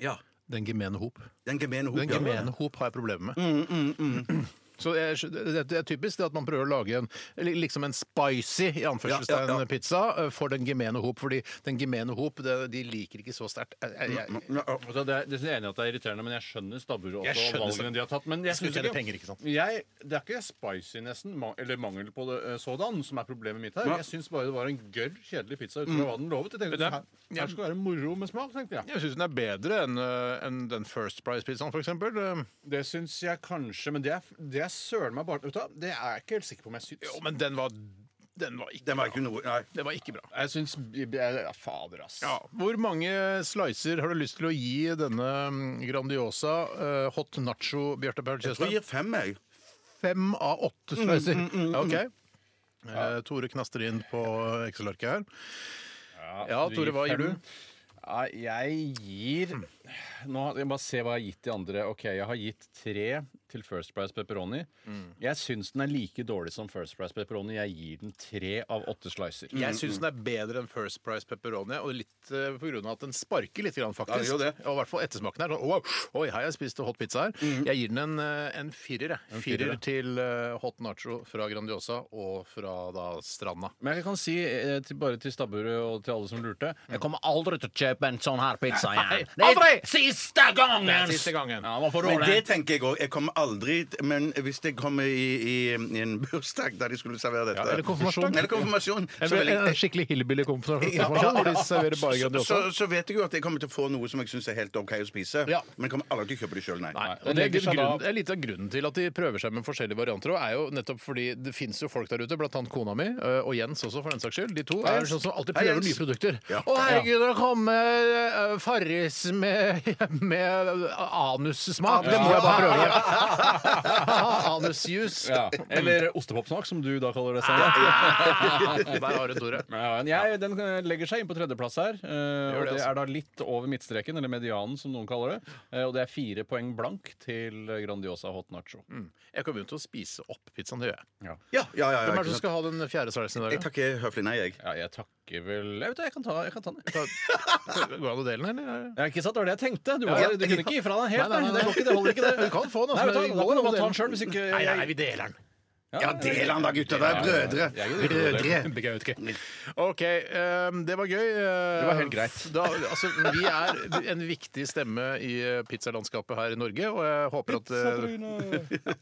F: Ja,
E: Den gemene hop.
F: Den gemene hop.
E: Den
F: ja. Mm,
E: gemene hop har jeg problemer med. Så det er, det det er typisk det at man prøver å lage en li- liksom en spicy i anførselstegn
F: Ja, ja, ja.
E: pizza eh, for den gemene hop, fordi den gemene hop det, de liker ikke så sterkt. Jeg, jeg, jeg,
J: Altså, det er, det er jeg enig i at det er irriterende, men jeg skjønner stabburet også.
E: Jeg skjønner
J: og
E: stabburet.
J: valgene de har tatt. Men jeg
E: Skulle
J: synes
E: tjene penger, ikke sant?
J: Jeg, det er ikke spicy, nesten, ma- eller mangel på det, eh, sådan, som er problemet mitt her.
F: Nei.
J: Jeg syns bare det var en gørr, kjedelig pizza ut fra hva den lovet. Jeg tenkte,
E: Det er-
J: her, her skal Mm. det være moro med smak, tenkte jeg.
E: jeg syns den er bedre enn eh, enn den First Price-pizzaen, Eh, f.eks.
J: Det syns jeg kanskje, men det er, det er søren meg bare Vet du hva, det er jeg ikke helt sikker på om jeg syns.
E: Jo, men den var, den var ikke
F: Den var ikke noe Nei.
E: Det var ikke bra.
J: Jeg syns ja, Fader, ass.
E: Ja. Hvor mange slicer har du lyst til å gi denne mm, Grandiosa eh, hot nacho Bjarte Paul
F: Jeg tror
E: Tjøstheim?
F: jeg gir fem, jeg.
E: Fem av åtte slicer. OK. Eh, Tore knaster inn på Excel-arket her. Ja,
J: du
E: Tore,
J: gir
E: hva gir
J: fem.
E: du?
J: Nei, Ah, jeg gir Nå jeg må bare se hva jeg har gitt de andre. Ok, Jeg har gitt tre til First Price Pepperoni. Jeg syns den er like dårlig som First Price Pepperoni. Jeg gir den tre av åtte slicer.
E: Jeg syns den er bedre enn First Price pepperoni, og litt eh, på grunn av at den sparker litt, grann,
F: Ja,
E: faktisk.
F: det gjør det.
E: Og i hvert fall ettersmaken her. sånn, Wow, oi, her har jeg spist hot pizza her. Jeg gir den en, eh, en firer, jeg.
J: firer,
E: firer
J: ja.
E: til eh, hot nacho fra Grandiosa og fra da Stranda.
J: Men jeg kan si eh, til, bare til stabburet og til alle som lurte Jeg kommer aldri til å kjøpe en sånn her pizza igjen. Det er
E: aldri!
J: siste gangen!
E: Det er siste gangen.
J: Ja, man får
F: Men
J: rolig.
F: det tenker jeg òg. Jeg kommer aldri t- Men hvis jeg kommer i, i, i en bursdag der de skulle servere dette
E: eller konfirmasjon.
F: Eller konfirmasjon, så, vil
E: En
F: jeg,
E: skikkelig hillbilly-konfirmasjon hvor de serverer bare Grandiosa.
F: så, så vet jeg jo at jeg kommer til å få noe som jeg syns er helt OK å spise.
E: Ja.
F: Men jeg kommer aldri til å kjøpe det sjøl, nei.
E: Nei,
J: og
E: og det,
J: det legger
E: er
J: seg da-
E: grunnen, det er litt av grunnen til at de prøver seg med forskjellige varianter. Og er jo nettopp fordi Det fins jo folk der ute, blant annet kona mi øh, og Jens også, for den saks skyld. De to er
F: Jens.
E: sånn som alltid
F: Hei,
E: prøver
F: Jens.
E: nye produkter.
F: Ja.
E: Å herregud, det kommer øh, Farris med, med anussmak! Det må jeg bare prøve! Anusjuice.
J: Ja. Mm. Eller ostepopsmak, som du da kaller det. Sånn.
E: Der har du Tore.
J: Ja, men jeg, den eh, legger seg inn på tredjeplass her. eh,
E: Gjør
J: og
E: det,
J: det
E: altså.
J: er da litt over midtstreken, eller medianen, som noen kaller det. Eh, og det er fire poeng blank til Grandiosa hot nacho.
E: Mm. Jeg kommer jo til å spise opp pizzaen, det gjør jeg.
F: Ja, ja, ja, ja,
E: Hvem er
F: ikke
E: det som
F: sant.
E: skal ha den fjerde slice i
F: Jeg
E: dag? da?
F: takker høflig nei, jeg.
J: Ja, jeg takker vel Jeg vet det, jeg kan ta, jeg kan ta den.
E: Går
J: jeg.
E: det an å dele den, eller?
J: Ja, ikke sant? Det var det jeg tenkte. Du, var, du kunne ikke gi fra deg helt.
E: Nei, nei, nei,
J: Det, går ikke, det holder ikke, det.
E: Du kan få den,
J: Nei,
E: altså,
J: vet du, hva,
E: men går an
J: da kan du
E: å
J: bare ta
E: dele
J: den sjøl, hvis ikke
E: Nei, nei, vi deler den.
F: Ja, del han da, gutter. Dere er brødre.
J: Ja, ja, ja.
F: Brødre.
E: OK. ehm, det var gøy. Det
J: var helt greit.
E: Da, altså, vi er en viktig stemme i eh, pizzalandskapet her i Norge, og jeg håper at, eh,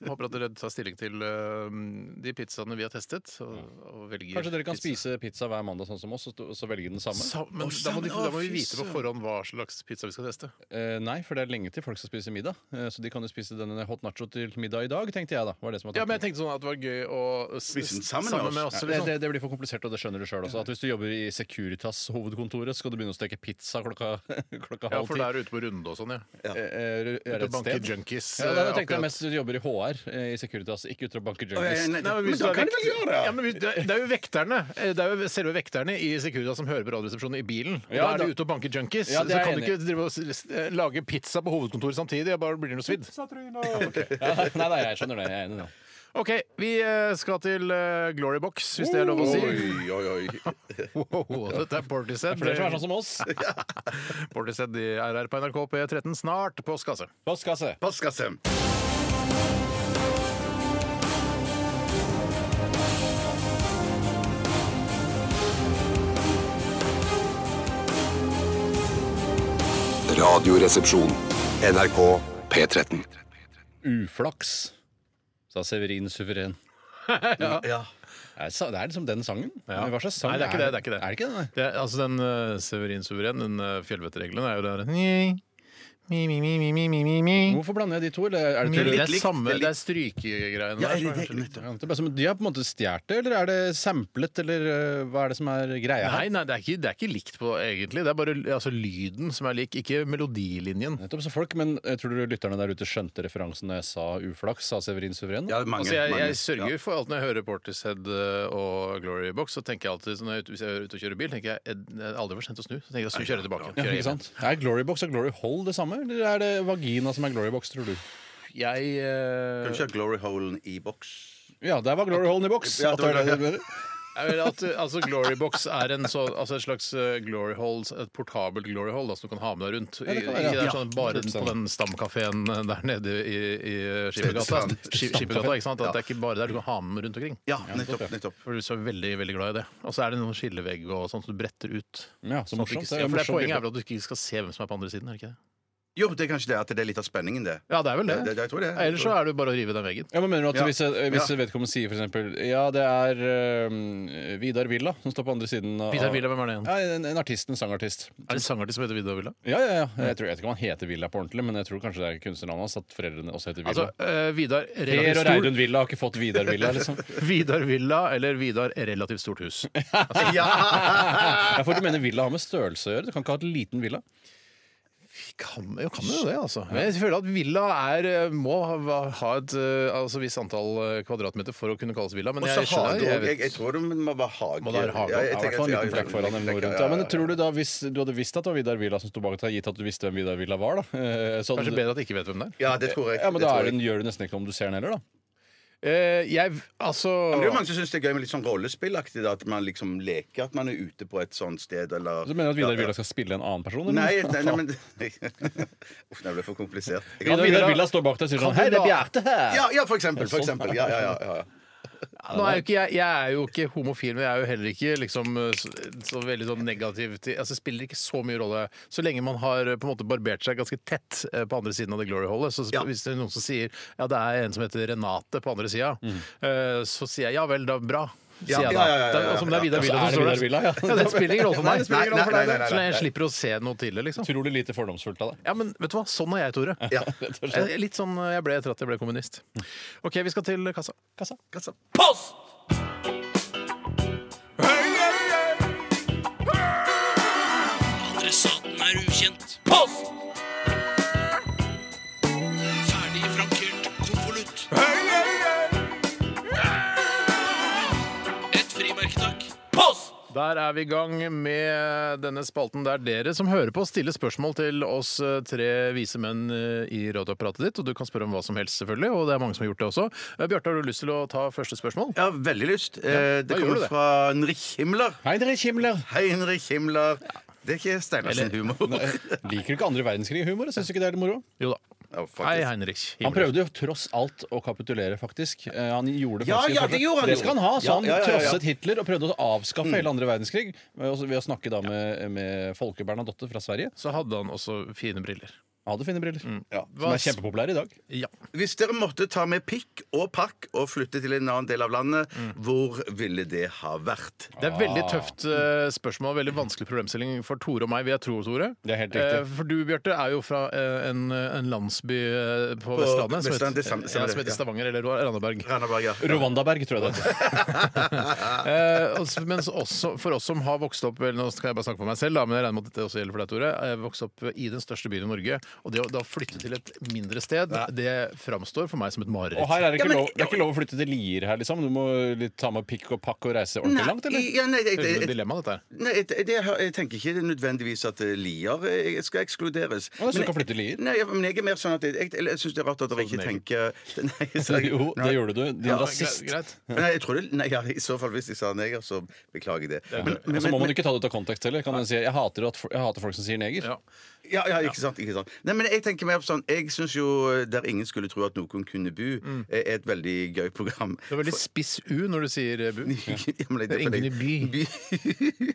E: håper at dere tar stilling til eh, de pizzaene vi har testet. Og, og velger
J: Kanskje dere kan
E: pizza.
J: spise pizza hver mandag sånn som oss, og st- og så velge den samme?
E: Sa- Men da må, de, da må vi vite på forhånd hva slags pizza vi skal teste.
J: Eh, nei, for det er lenge til folk skal spise middag. Eh, så de kan jo spise denne hot nacho til middag i dag, tenkte jeg da. Var det som var
E: Ja, men
J: tanken.
E: jeg tenkte sånn at det var gøy å s-
F: Spise den sammen med oss.
E: oss. liksom.
J: Det, det, det blir for komplisert, og det skjønner du sjøl også. At hvis du jobber i Securitas hovedkontoret, skal du begynne å steke pizza klokka, klokka
E: Ja,
J: halv
E: for
J: ti.
E: det er ute på runde og sånn, ja.
J: Eh, Er, er
E: Ute
J: det
E: og
J: et
E: banke
J: sted?
E: junkies.
J: Ja, da,
E: eh,
J: tenkte jeg
E: akkurat.
J: mest du jobber i HR eh, i Securitas, ikke ute og
F: Å,
J: banker
F: ja, ja,
J: junkies.
F: nei,
E: Nei, men,
F: men
E: hvis
F: da
E: du er
F: kan de vel
E: vekt-
F: gjøre det?
E: Ja, men hvis- det, det er jo vekterne. Eh, Det er jo selve vekterne i Securitas som hører på Radioresepsjonen i bilen. Og
J: Ja,
E: da er
J: da-
E: de ute og banker junkies.
J: Ja, det
E: så
J: er
E: kan
J: jeg
E: du ikke drive og s- eh, lage pizza på hovedkontoret samtidig. Jeg bare blir noe svidd.
J: Ja, nei, nei, jeg skjønner det. Jeg er enig nå.
E: OK, vi eh, skal til eh, Glory Box, hvis det er lov å si.
F: Oi, oi, oi.
E: Wow, dette er Portishead.
J: For det som er sånn som oss.
E: Portishead i RR på NRK på E13 snart. Postkasse.
J: Postkasse.
F: Postkasse.
B: Radioresepsjon. NRK P13.
J: Uflaks, sa Severin Suveren. Ja. Det er liksom den sangen. Men Hva slags sang
E: Nei, det er ikke det. det, er ikke det.
J: Er det ikke det? nei?
E: Det er, altså den uh, Severin Suveren, den uh, fjellvettregelen, er jo der mi, mi, mi, mi, mi, mi, mi, mi.
J: Hvorfor blander jeg de to? Eller er det
E: Det
J: til
E: er,
F: likt,
E: samme,
F: det er
E: det er strykegreiene
F: Ja,
E: der.
F: eller
E: som er
F: det,
E: kanskje litt-
F: nettopp.
J: Ja, det er bare som- De har på en måte stjålet det, eller er det samplet, eller eh, hva er det som er greia her?
E: Nei, nei det, er ikke, det er ikke likt på egentlig. Det er bare altså, lyden som er lik, ikke melodilinjen.
J: Nettopp så folk, men eh, Tror du lytterne der ute skjønte referansen når jeg sa uflaks? Sa Severin Suveren?
F: Ja, mange,
E: Altså, jeg,
F: mange.
E: jeg sørger for alt når jeg hører Portishead eh, og Glory Box. Så tenker jeg alltid, så når jeg, er ute- Hvis jeg er ute og kjører bil, tenker jeg eh, det er aldri for sent å snu. Så tenker jeg, så kjører jeg tilbake.
J: Ja,
E: Kjører
J: ikke sant? Er Glorybox og Glory Hole det samme, eller er det vagina som er Glorybox, tror du?
E: Jeg, eh,
F: Kanskje Glory Hole i boks.
J: Ja, der var Glory Hole i boks!
F: Ja, det var
J: At det var
F: det.
J: det.
E: Jeg vil at, uh, altså Glorybox er en, så, altså et slags uh, glory hole, et portabelt glory hole da, som du kan ha med deg rundt. I,
J: det kan være,
E: ikke det
J: ja.
E: er sånn bare den, på den stamkafeen der nede i, i uh, Skippergata.
F: Stam-
E: Skip- Skippergata, ikke sant? At det er ikke bare der du kan ha med den rundt omkring.
F: Ja, nettopp. nettopp.
E: For du er veldig, veldig glad i det. Og så er det noen skillevegg og sånn som du bretter ut.
J: Ja, så
E: Sånn at du
J: morsomt.
E: ikke-
J: Det
E: ja, for
J: er jo
E: det er
J: morsomt
E: poenget er
J: bilde.
E: vel at du ikke skal se hvem som er på andre siden, er det ikke det?
F: Jo, det er kanskje det at det er litt av spenningen, det.
E: Ja, det er vel det.
F: Det- det- jeg tror det.
E: Ellers så er det jo bare å rive den veggen.
J: Ja, men mener du at
F: Ja.
J: Hvis, eh, hvis
F: Ja.
J: vedkommende sier f.eks.: Ja, det er eh, Vidar Villa som står på andre siden av
E: Vidar Villa, hvem er det igjen?
J: Ja, en, en artist, en sangartist.
E: Er det en sangartist som heter Vidar Villa?
J: Ja, ja, ja. Jeg, tror, jeg vet ikke om han heter Villa på ordentlig, men jeg tror kanskje det er kunstnernavnet hans at foreldrene også heter Villa.
E: Altså, eh, Vidar
J: Per
E: relativt
J: og
E: stor
J: Reidun Villa har ikke fått Vidar Villa, liksom.
E: Vidar Villa eller Vidar relativt stort hus. Altså,
J: Ja, for du mener Villa har med størrelse å gjøre? Du kan ikke ha et liten villa?
E: Kan, jo, kan jo det, altså. Men jeg føler at villa er, eh, må ha ha et eh, altså, visst antall eh, kvadratmeter for å kunne kalles villa. Men
F: Og
E: jeg
F: så
E: skjønner jeg,
F: hage òg. Jeg,
E: vet.
F: jeg tror det må være hage.
E: Må det være hage?
F: Ja,
E: Ja,
F: jeg
J: Ja, i
F: tenker
J: hvert fall en
F: at- ja,
J: liten flekk foran eller noe
F: flekk,
J: rundt.
F: ja,
J: Ja, men
F: ja,
J: tror du da, hvis du hadde visst at det var Vidar Villa som sto bak deg, gitt at du visste hvem Vidar Villa var, da eh, så hadde
E: Kanskje
J: du-
E: bedre at jeg ikke vet hvem det er.
F: Ja, det tror jeg.
J: Ja, men
F: det
J: da
F: tror
J: er
F: jeg.
J: det, gjør du nesten ikke noe om du ser den heller, da.
E: Eh, jeg altså
F: Men det er jo mange som syns det er gøy med litt sånn rollespillaktig. da, At man liksom leker at man er ute på et sånt sted, eller
J: Så mener du at Vidar
F: Ja, ja.
J: Villa skal spille en annen person? eller?
F: Nei, nei, nei, men Uff, det ble for komplisert. Jeg-
J: Vidar, Vidar Villa står bak deg og sier
E: Kan
J: sånn Hei,
E: du
J: det er
E: da-
J: Bjarte her!
F: Ja, ja, for eksempel. For
J: sånn.
F: eksempel. Ja, ja, ja, ja.
E: Nå er jo ikke, jeg, jeg er jo ikke homofil, men jeg er jo heller ikke liksom, eh, så, så veldig sånn negativ til altså, Det spiller ikke så mye rolle. Så lenge man har eh, på en måte barbert seg ganske tett eh, på andre siden av det glory hole, så sp-
F: Ja.
E: hvis det er noen som sier ja, det er en som heter Renate på andre sida, eh, så sier jeg ja vel, da bra. Sier
F: Ja,
E: jeg da.
F: ja, ja, ja, ja,
E: Det er- altså, om det er Vidar
J: Ja, så
E: Villa
J: er det
E: som står
J: Vidar Villa, ja.
E: der. Ja, det spiller ingen rolle for meg.
F: Nei, nei, nei, nei, nei,
E: Så lenge jeg
F: nei.
E: slipper å se noe til det, liksom.
J: Utrolig lite fordomsfullt av deg.
E: Ja, men vet du hva? Sånn er jeg, Tore.
F: Ja.
E: Jeg er Litt sånn eh, jeg ble etter at jeg ble kommunist. OK, vi skal til kassa.
J: Kassa.
F: Kassa.
A: Adressaten er ukjent. Post! Ferdig frankert konvolutt. Et frimerke, takk. Post!
E: Der er vi i gang med denne spalten der dere som hører på, stiller spørsmål til oss eh, tre vise menn eh, i radioapparatet ditt. Og du kan spørre om hva som helst, selvfølgelig. Og det er mange som har gjort det også. Eh, Bjarte, har du lyst til å ta første spørsmål?
F: Jeg har veldig lyst. Eh,
E: da
F: Det
E: gjør du
F: kommer
E: det.
F: fra Henrik Himmler.
J: Hei, dere Kimler!
F: Hei, Henrik Himmler. Det er ikke Steinar sin humor.
J: Liker du ikke andre verdenskrig-humor? Syns du ikke det er litt moro?
E: Jo da.
F: Ja,
E: Hei,
F: faktisk.
E: Heinrich.
J: Han prøvde jo tross alt å kapitulere, faktisk. Eh, Han gjorde det
F: Ja,
J: faktisk
F: ja, det gjorde han jo.
J: Det skal han ha. Så
F: Ja, ja,
J: han
F: ja, Mm. ja.
J: trosset Hitler og prøvde å avskaffe hele andre verdenskrig eh, også ved å snakke da med, med Folke Bernadotte fra Sverige.
E: Så hadde han også fine briller.
J: Han hadde fine briller.
F: Mm.
J: Som
E: Hva
J: er
E: s-
J: kjempepopulære i dag.
E: Ja.
F: Hvis dere måtte ta med pikk og pakk og flytte til en annen del av landet,
J: Mm.
F: hvor ville det ha vært?
E: Det
J: Ah.
E: er veldig tøft eh, spørsmål, veldig vanskelig problemstilling for Tore og meg, vil jeg tro, Tore.
J: Det er helt riktig.
E: Eh, For du, Bjarte, er jo fra eh, en, en landsby eh, på, Vestlandet som
F: Vestlandet,
E: heter,
F: det er samme-
E: ja,
F: samme det,
E: som heter
F: ja.
E: Stavanger eller Randaberg.
F: Randaberg, ja.
J: Rwandaberg, tror jeg det heter.
E: Eh, altså, men så også, for oss som har vokst opp eller Nå skal jeg bare snakke for meg selv, da, men jeg regner med at dette også gjelder for deg, Tore. Jeg vokste opp i den største byen i Norge, og det å da flytte til et mindre sted, det framstår for meg som et mareritt.
J: Og her er det ikke,
F: Ja, men-
J: lov, det er ikke lov å flytte til Lier her, liksom. Du må litt ta med pikk og pakk og reise ordentlig
F: Nei,
J: langt, eller?
F: ja, nei,
E: Det
F: jeg,
E: er jo
F: jeg,
E: et dilemma, dette her.
F: nei jeg, jeg, jeg tenker ikke nødvendigvis at eh, Lier eh, skal ekskluderes.
J: Å, så du
F: Men-
J: kan flytte til Lier? Sånn
F: Nei, jeg- men jeg er mer sånn at jeg, jeg, eller jeg syns det er rart at dere ikke tenker nei, så-
J: Altså, Jo, det
F: nei.
J: gjorde du. Din
E: Ja,
J: rasist.
E: greit, greit.
F: Nei, jeg tror det, nei, ja, I så fall, hvis jeg sa neger, så beklager jeg det. Men,
J: Og så Altså, må man ikke ta det ut av kontekst heller. Kan man si, jeg, hater at, jeg hater folk som sier neger.
E: Ja.
F: Ja, ja, ikke sant, ikke sant. Nei, men jeg tenker mer på sånn Jeg syns jo Der ingen skulle tro at noen kunne bo,
J: Mm.
F: eh, er et veldig gøy program.
E: Det er veldig spiss U når du sier eh, bu.
F: Ja, men det
E: Det er
F: fordi-
E: ingen i by.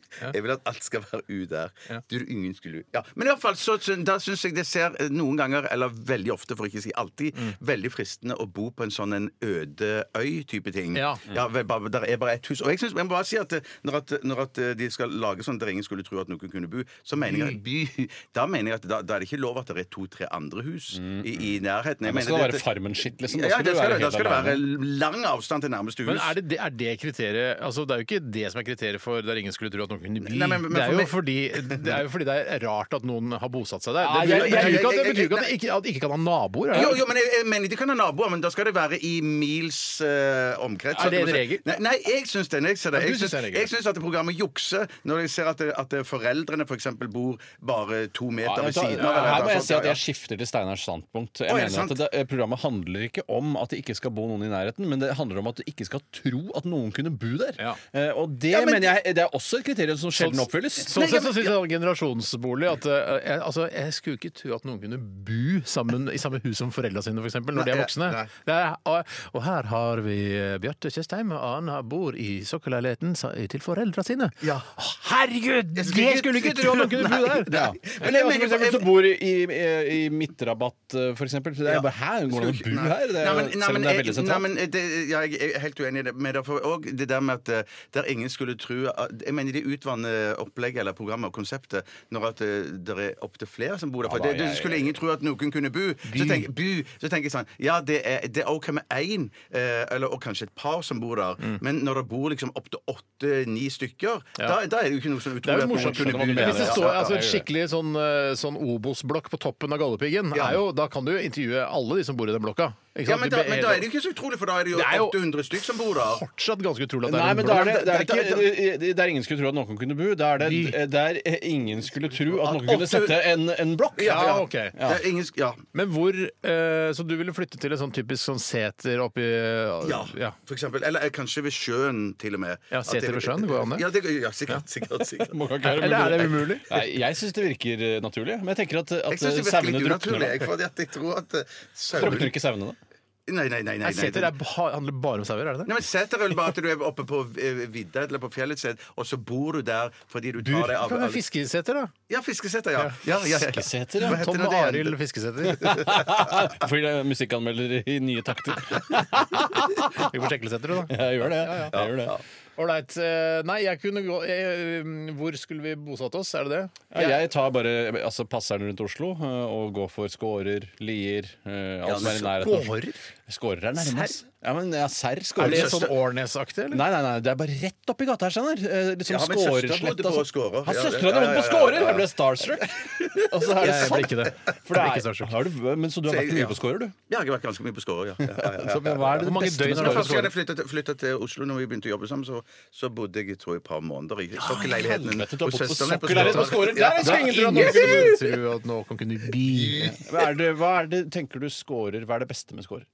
F: Jeg vil at alt skal være U der. Du, ingen skulle ja. Men i hvert fall, så, så, da syns jeg det ser eh, noen ganger, eller veldig ofte, for ikke å si alltid, veldig fristende å bo på en sånn en øde øy-type ting.
E: Ja.
F: vel, bare- Der er bare ett hus. Og jeg, synes, jeg må bare si at eh, når, at når at eh, de skal lage sånn der ingen skulle tro at noen kunne bo, så mener jeg at by Da mener jeg at da, da er det ikke lov at det er to-tre andre hus i, i nærheten. Jeg
J: Men
F: mener
J: skal det være
F: dette-
J: farmen-skitt, liksom? Da
F: Ja,
J: skal
F: det
J: du
F: skal
J: være
F: det- da
J: helt
F: skal det være
J: alene.
F: lang avstand til nærmeste hus.
E: Men er det, det- er det kriteriet altså Det er jo ikke det som er kriteriet for der ingen skulle tro at noen kunne bli.
F: Nei, men-
E: det,
F: men
E: er
F: for
E: jo
F: meg-
E: fordi, det er jo fordi det er rart at noen har bosatt seg der.
J: Nei,
E: Det
J: jeg-
E: betyr
J: jeg-
E: jo ikke at det,
F: jeg-
E: betyr ikke at
F: jeg-
E: det ikke, at det ikke kan ha naboer. er det?
F: Jo, jo, men jeg, jeg mener de kan ha naboer, men da skal det være i mils eh, omkrets.
E: Er det en
F: Så-
E: regel?
F: Nei, nei jeg syns det. Jeg, ser det.
E: Ja, du
F: jeg,
E: syns
F: syns,
E: det er en regel.
F: jeg syns at det programmet jukser når jeg ser at, det, at det foreldrene f.eks. For eksempel bor bare to meter dette ved
J: vet du hva,
F: siden av. altså. eller
J: Her må
F: noe
J: jeg
F: sånt,
J: si at
F: ja, ja.
J: jeg skifter til Steinars standpunkt. Jeg
F: Å, er det
J: mener at
F: sant?
J: det, eh, Programmet handler ikke om at det ikke skal bo noen i nærheten, men det handler om at du ikke skal tro at noen kunne bo der.
E: Ja.
J: Eh, Og det
F: men
J: mener jeg det er også et kriterium som sjelden oppfylles.
E: Sånn sett så synes jeg det var generasjonsbolig at eh, jeg, altså, jeg skulle ikke tro at noen kunne bo sammen, i samme hus som foreldra sine, f.eks., når de er
F: Nei,
E: voksne.
F: nei.
E: Det er, og, og her har vi eh, Bjarte Tjøstheim, og han har- bor i sokkelleiligheten sa- eh, til foreldra sine.
F: Ja.
E: Å, Herregud! Det
F: Jeg skulle ikke
E: skulle jeg ikke
F: tro-
E: tro at noen kunne bo
F: Nei,
E: der!
J: Ja.
E: Ja.
J: Men jeg, for eksempel, som bor i, i, i Midtrabatt, eh, for eksempel. Så det er
F: Ja.
J: bare, Hæ, går det an å bo her? Det,
F: Nei,
J: er-
F: men- nei,
J: selv om
F: men
J: det er
F: jeg-
J: veldig
F: nei,
J: sentralt.
F: men eh, det- ja, Jeg er helt uenig i det. Men derfor òg det der med at eh, der ingen skulle tro at- Jeg mener de utvanner opplegget eller programmet og konseptet når at eh, det er opptil flere som bor der. For
J: da,
F: det, det
J: jeg-
F: skulle ingen tro at noen kunne bo. Så tenker, bu, så tenker jeg sånn Ja, det er, det er OK med én, eh, eller og kanskje et par som bor der, men når det bor liksom opptil åtte-ni stykker, da, da er det jo ikke noe som
E: Det
F: utrolig
E: er jo morsomt.
F: kunne bo
E: Men
F: der.
E: Hvis det
F: Ja,
E: står
F: ja, ja.
E: altså, en skikkelig sånn, eh, sånn Obos-blokk på toppen av Galdhøpiggen,
F: Ja.
E: er jo- da kan du jo intervjue alle de som bor i den blokka. Ikke
F: ja,
E: sant?
F: men
E: Du
F: da, men
E: be-
F: da er det jo ikke så utrolig, for da er det jo
E: Det er jo-
F: 800 stykk som bor der.
E: fortsatt ganske utrolig at det
J: Nei,
E: er en
J: men da
E: blokk.
J: er det, det er
F: Dette-
J: ikke det- det- der ingen skulle tro at noen kunne bo. Da er det der ingen skulle tro at noen kunne
F: Åtte-
J: sette en, en blokk.
F: Ja,
E: Ja, ok.
F: Det er ingen, sk- ja.
E: Men hvor eh, Så du ville flytte til en sånn typisk sånn seter oppi
F: Ja, for eksempel. Eller eh, kanskje ved sjøen, til og med.
E: Ja,
F: At
E: seter
F: det-
E: ved sjøen, går an det?
F: Ja, det, ja sikkert. sikkert, sikkert.
J: Må ikke være
E: Eller er det umulig?
J: Nei, jeg syns det virker eh, naturlig. Men jeg tenker at,
F: Jeg
J: at
F: syns det virker
J: eh, sauene
F: litt
J: drukner.
F: unaturlig,
J: da.
F: jeg, fordi at jeg tror at eh,
J: Drukner
F: sauene
J: ikke sauene, da?
F: Nei, nei,
E: Nei,
F: nei. nei, nei,
E: seter er, ba- handler bare om sauer, er det det?
F: Nei, men Seter er vel bare at du er oppe på eh, vidda eller på fjellet et sted, og så bor du der fordi du tar
E: Du
F: deg av
E: kan være fiskeseter, da.
F: Ja, fiskeseter, ja. ja, ja, ja.
J: Fiskeseter, ja.
F: Hva heter
E: Tom
F: det, det igjen?
E: Arild Fiskeseter.
J: Fordi det er musikkanmelder i nye takter.
E: Vi får sjekkelseter, da.
J: Jeg gjør det. Jeg gjør det.
E: Ålreit. eh, Nei, jeg kunne gå eh, Hvor skulle vi bosatt oss? Er det det?
J: Ja, jeg tar bare altså, passeren rundt Oslo eh, og går for Skårer, Lier eh, Alt som er i nærheten. av Oslo. Skårer er nærmest. Ja, men ja, Serr
E: Er det
J: Skårer.
E: sånn Årnes-aktig, eller?
J: Nei, nei, nei, det er bare rett oppi gata her, skjønner Eh, liksom
F: Ja, men søsteren bodde
J: Skårersletta,
F: på
J: sånn.
F: Skårer.
J: Han
F: Ja,
J: søsteren
F: ja, ja,
J: bodde
F: ja,
J: på
F: ja,
J: Skårer!
F: ja, ja.
J: Jeg ble starstruck. Og så er det
E: Jeg ble
J: sant.
E: ikke det.
J: For det
E: Jeg ble ikke
J: er,
E: starstruck.
J: har du, men så du har
F: Så
J: vært
F: jeg-
J: mye
F: ja.
J: på Skårer, du?
F: Jeg har vært ganske mye på Skåre, ja. ja, ja, ja,
J: Så
F: ja, ja.
J: Hva er det
E: Hvor mange
J: beste
E: døgn
J: med
E: har
F: Men
E: du vært på
J: Skårer?
F: Første gang jeg flyttet, flyttet til Oslo, når vi begynte å jobbe sammen, så, så bodde jeg tror, jeg, et par måneder i sokkelleiligheten
J: helvete, du har bodd på
F: søsteren min
J: sokkelleiligheten på Skåre. Der er
E: Det er
J: ingen
E: ingen som tror at noen kunne bli
J: Hva er det, hva er det, tenker du Skårer, hva er det beste med Skårer?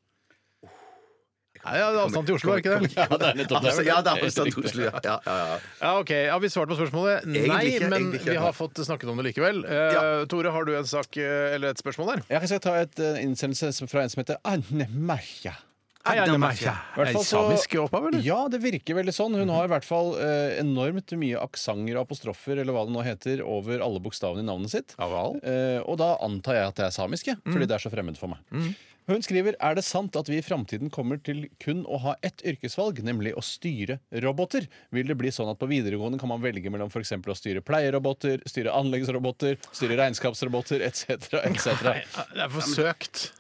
E: Nei, ja, det er avstand til Oslo, er ikke det?
J: det er nettopp
F: Altså, ja, det er avstand til Oslo, ja. ja, ja, ja.
E: Ja, ok. Har vi svart på spørsmålet? Nei,
F: Egentlig ikke,
E: men
F: egentlig ikke.
E: vi har fått snakket om det likevel. Eh,
F: Ja.
E: Tore, har du en sak eh, eller et spørsmål der?
J: Jeg skal ta et eh, innsendelse som- fra en som heter Anne Merja.
E: Hei,
F: Anne Marcia.
E: Er det samisk opphav, eller?
J: Ja, det virker veldig sånn. Hun har i hvert fall eh, enormt mye aksanger og apostrofer eller hva det nå heter, over alle bokstavene i navnet sitt.
E: Ja vel.
J: Eh, og da antar jeg at det er samisk, jeg, fordi det er så fremmed for meg. Hun skriver er det sant at vi i framtiden kommer til kun å ha ett yrkesvalg, nemlig å styre roboter. Vil det bli sånn at på videregående kan man velge mellom f.eks. å styre pleieroboter, styre anleggsroboter, styre regnskapsroboter etc.
E: Nei,
J: etc.?
E: det er forsøkt.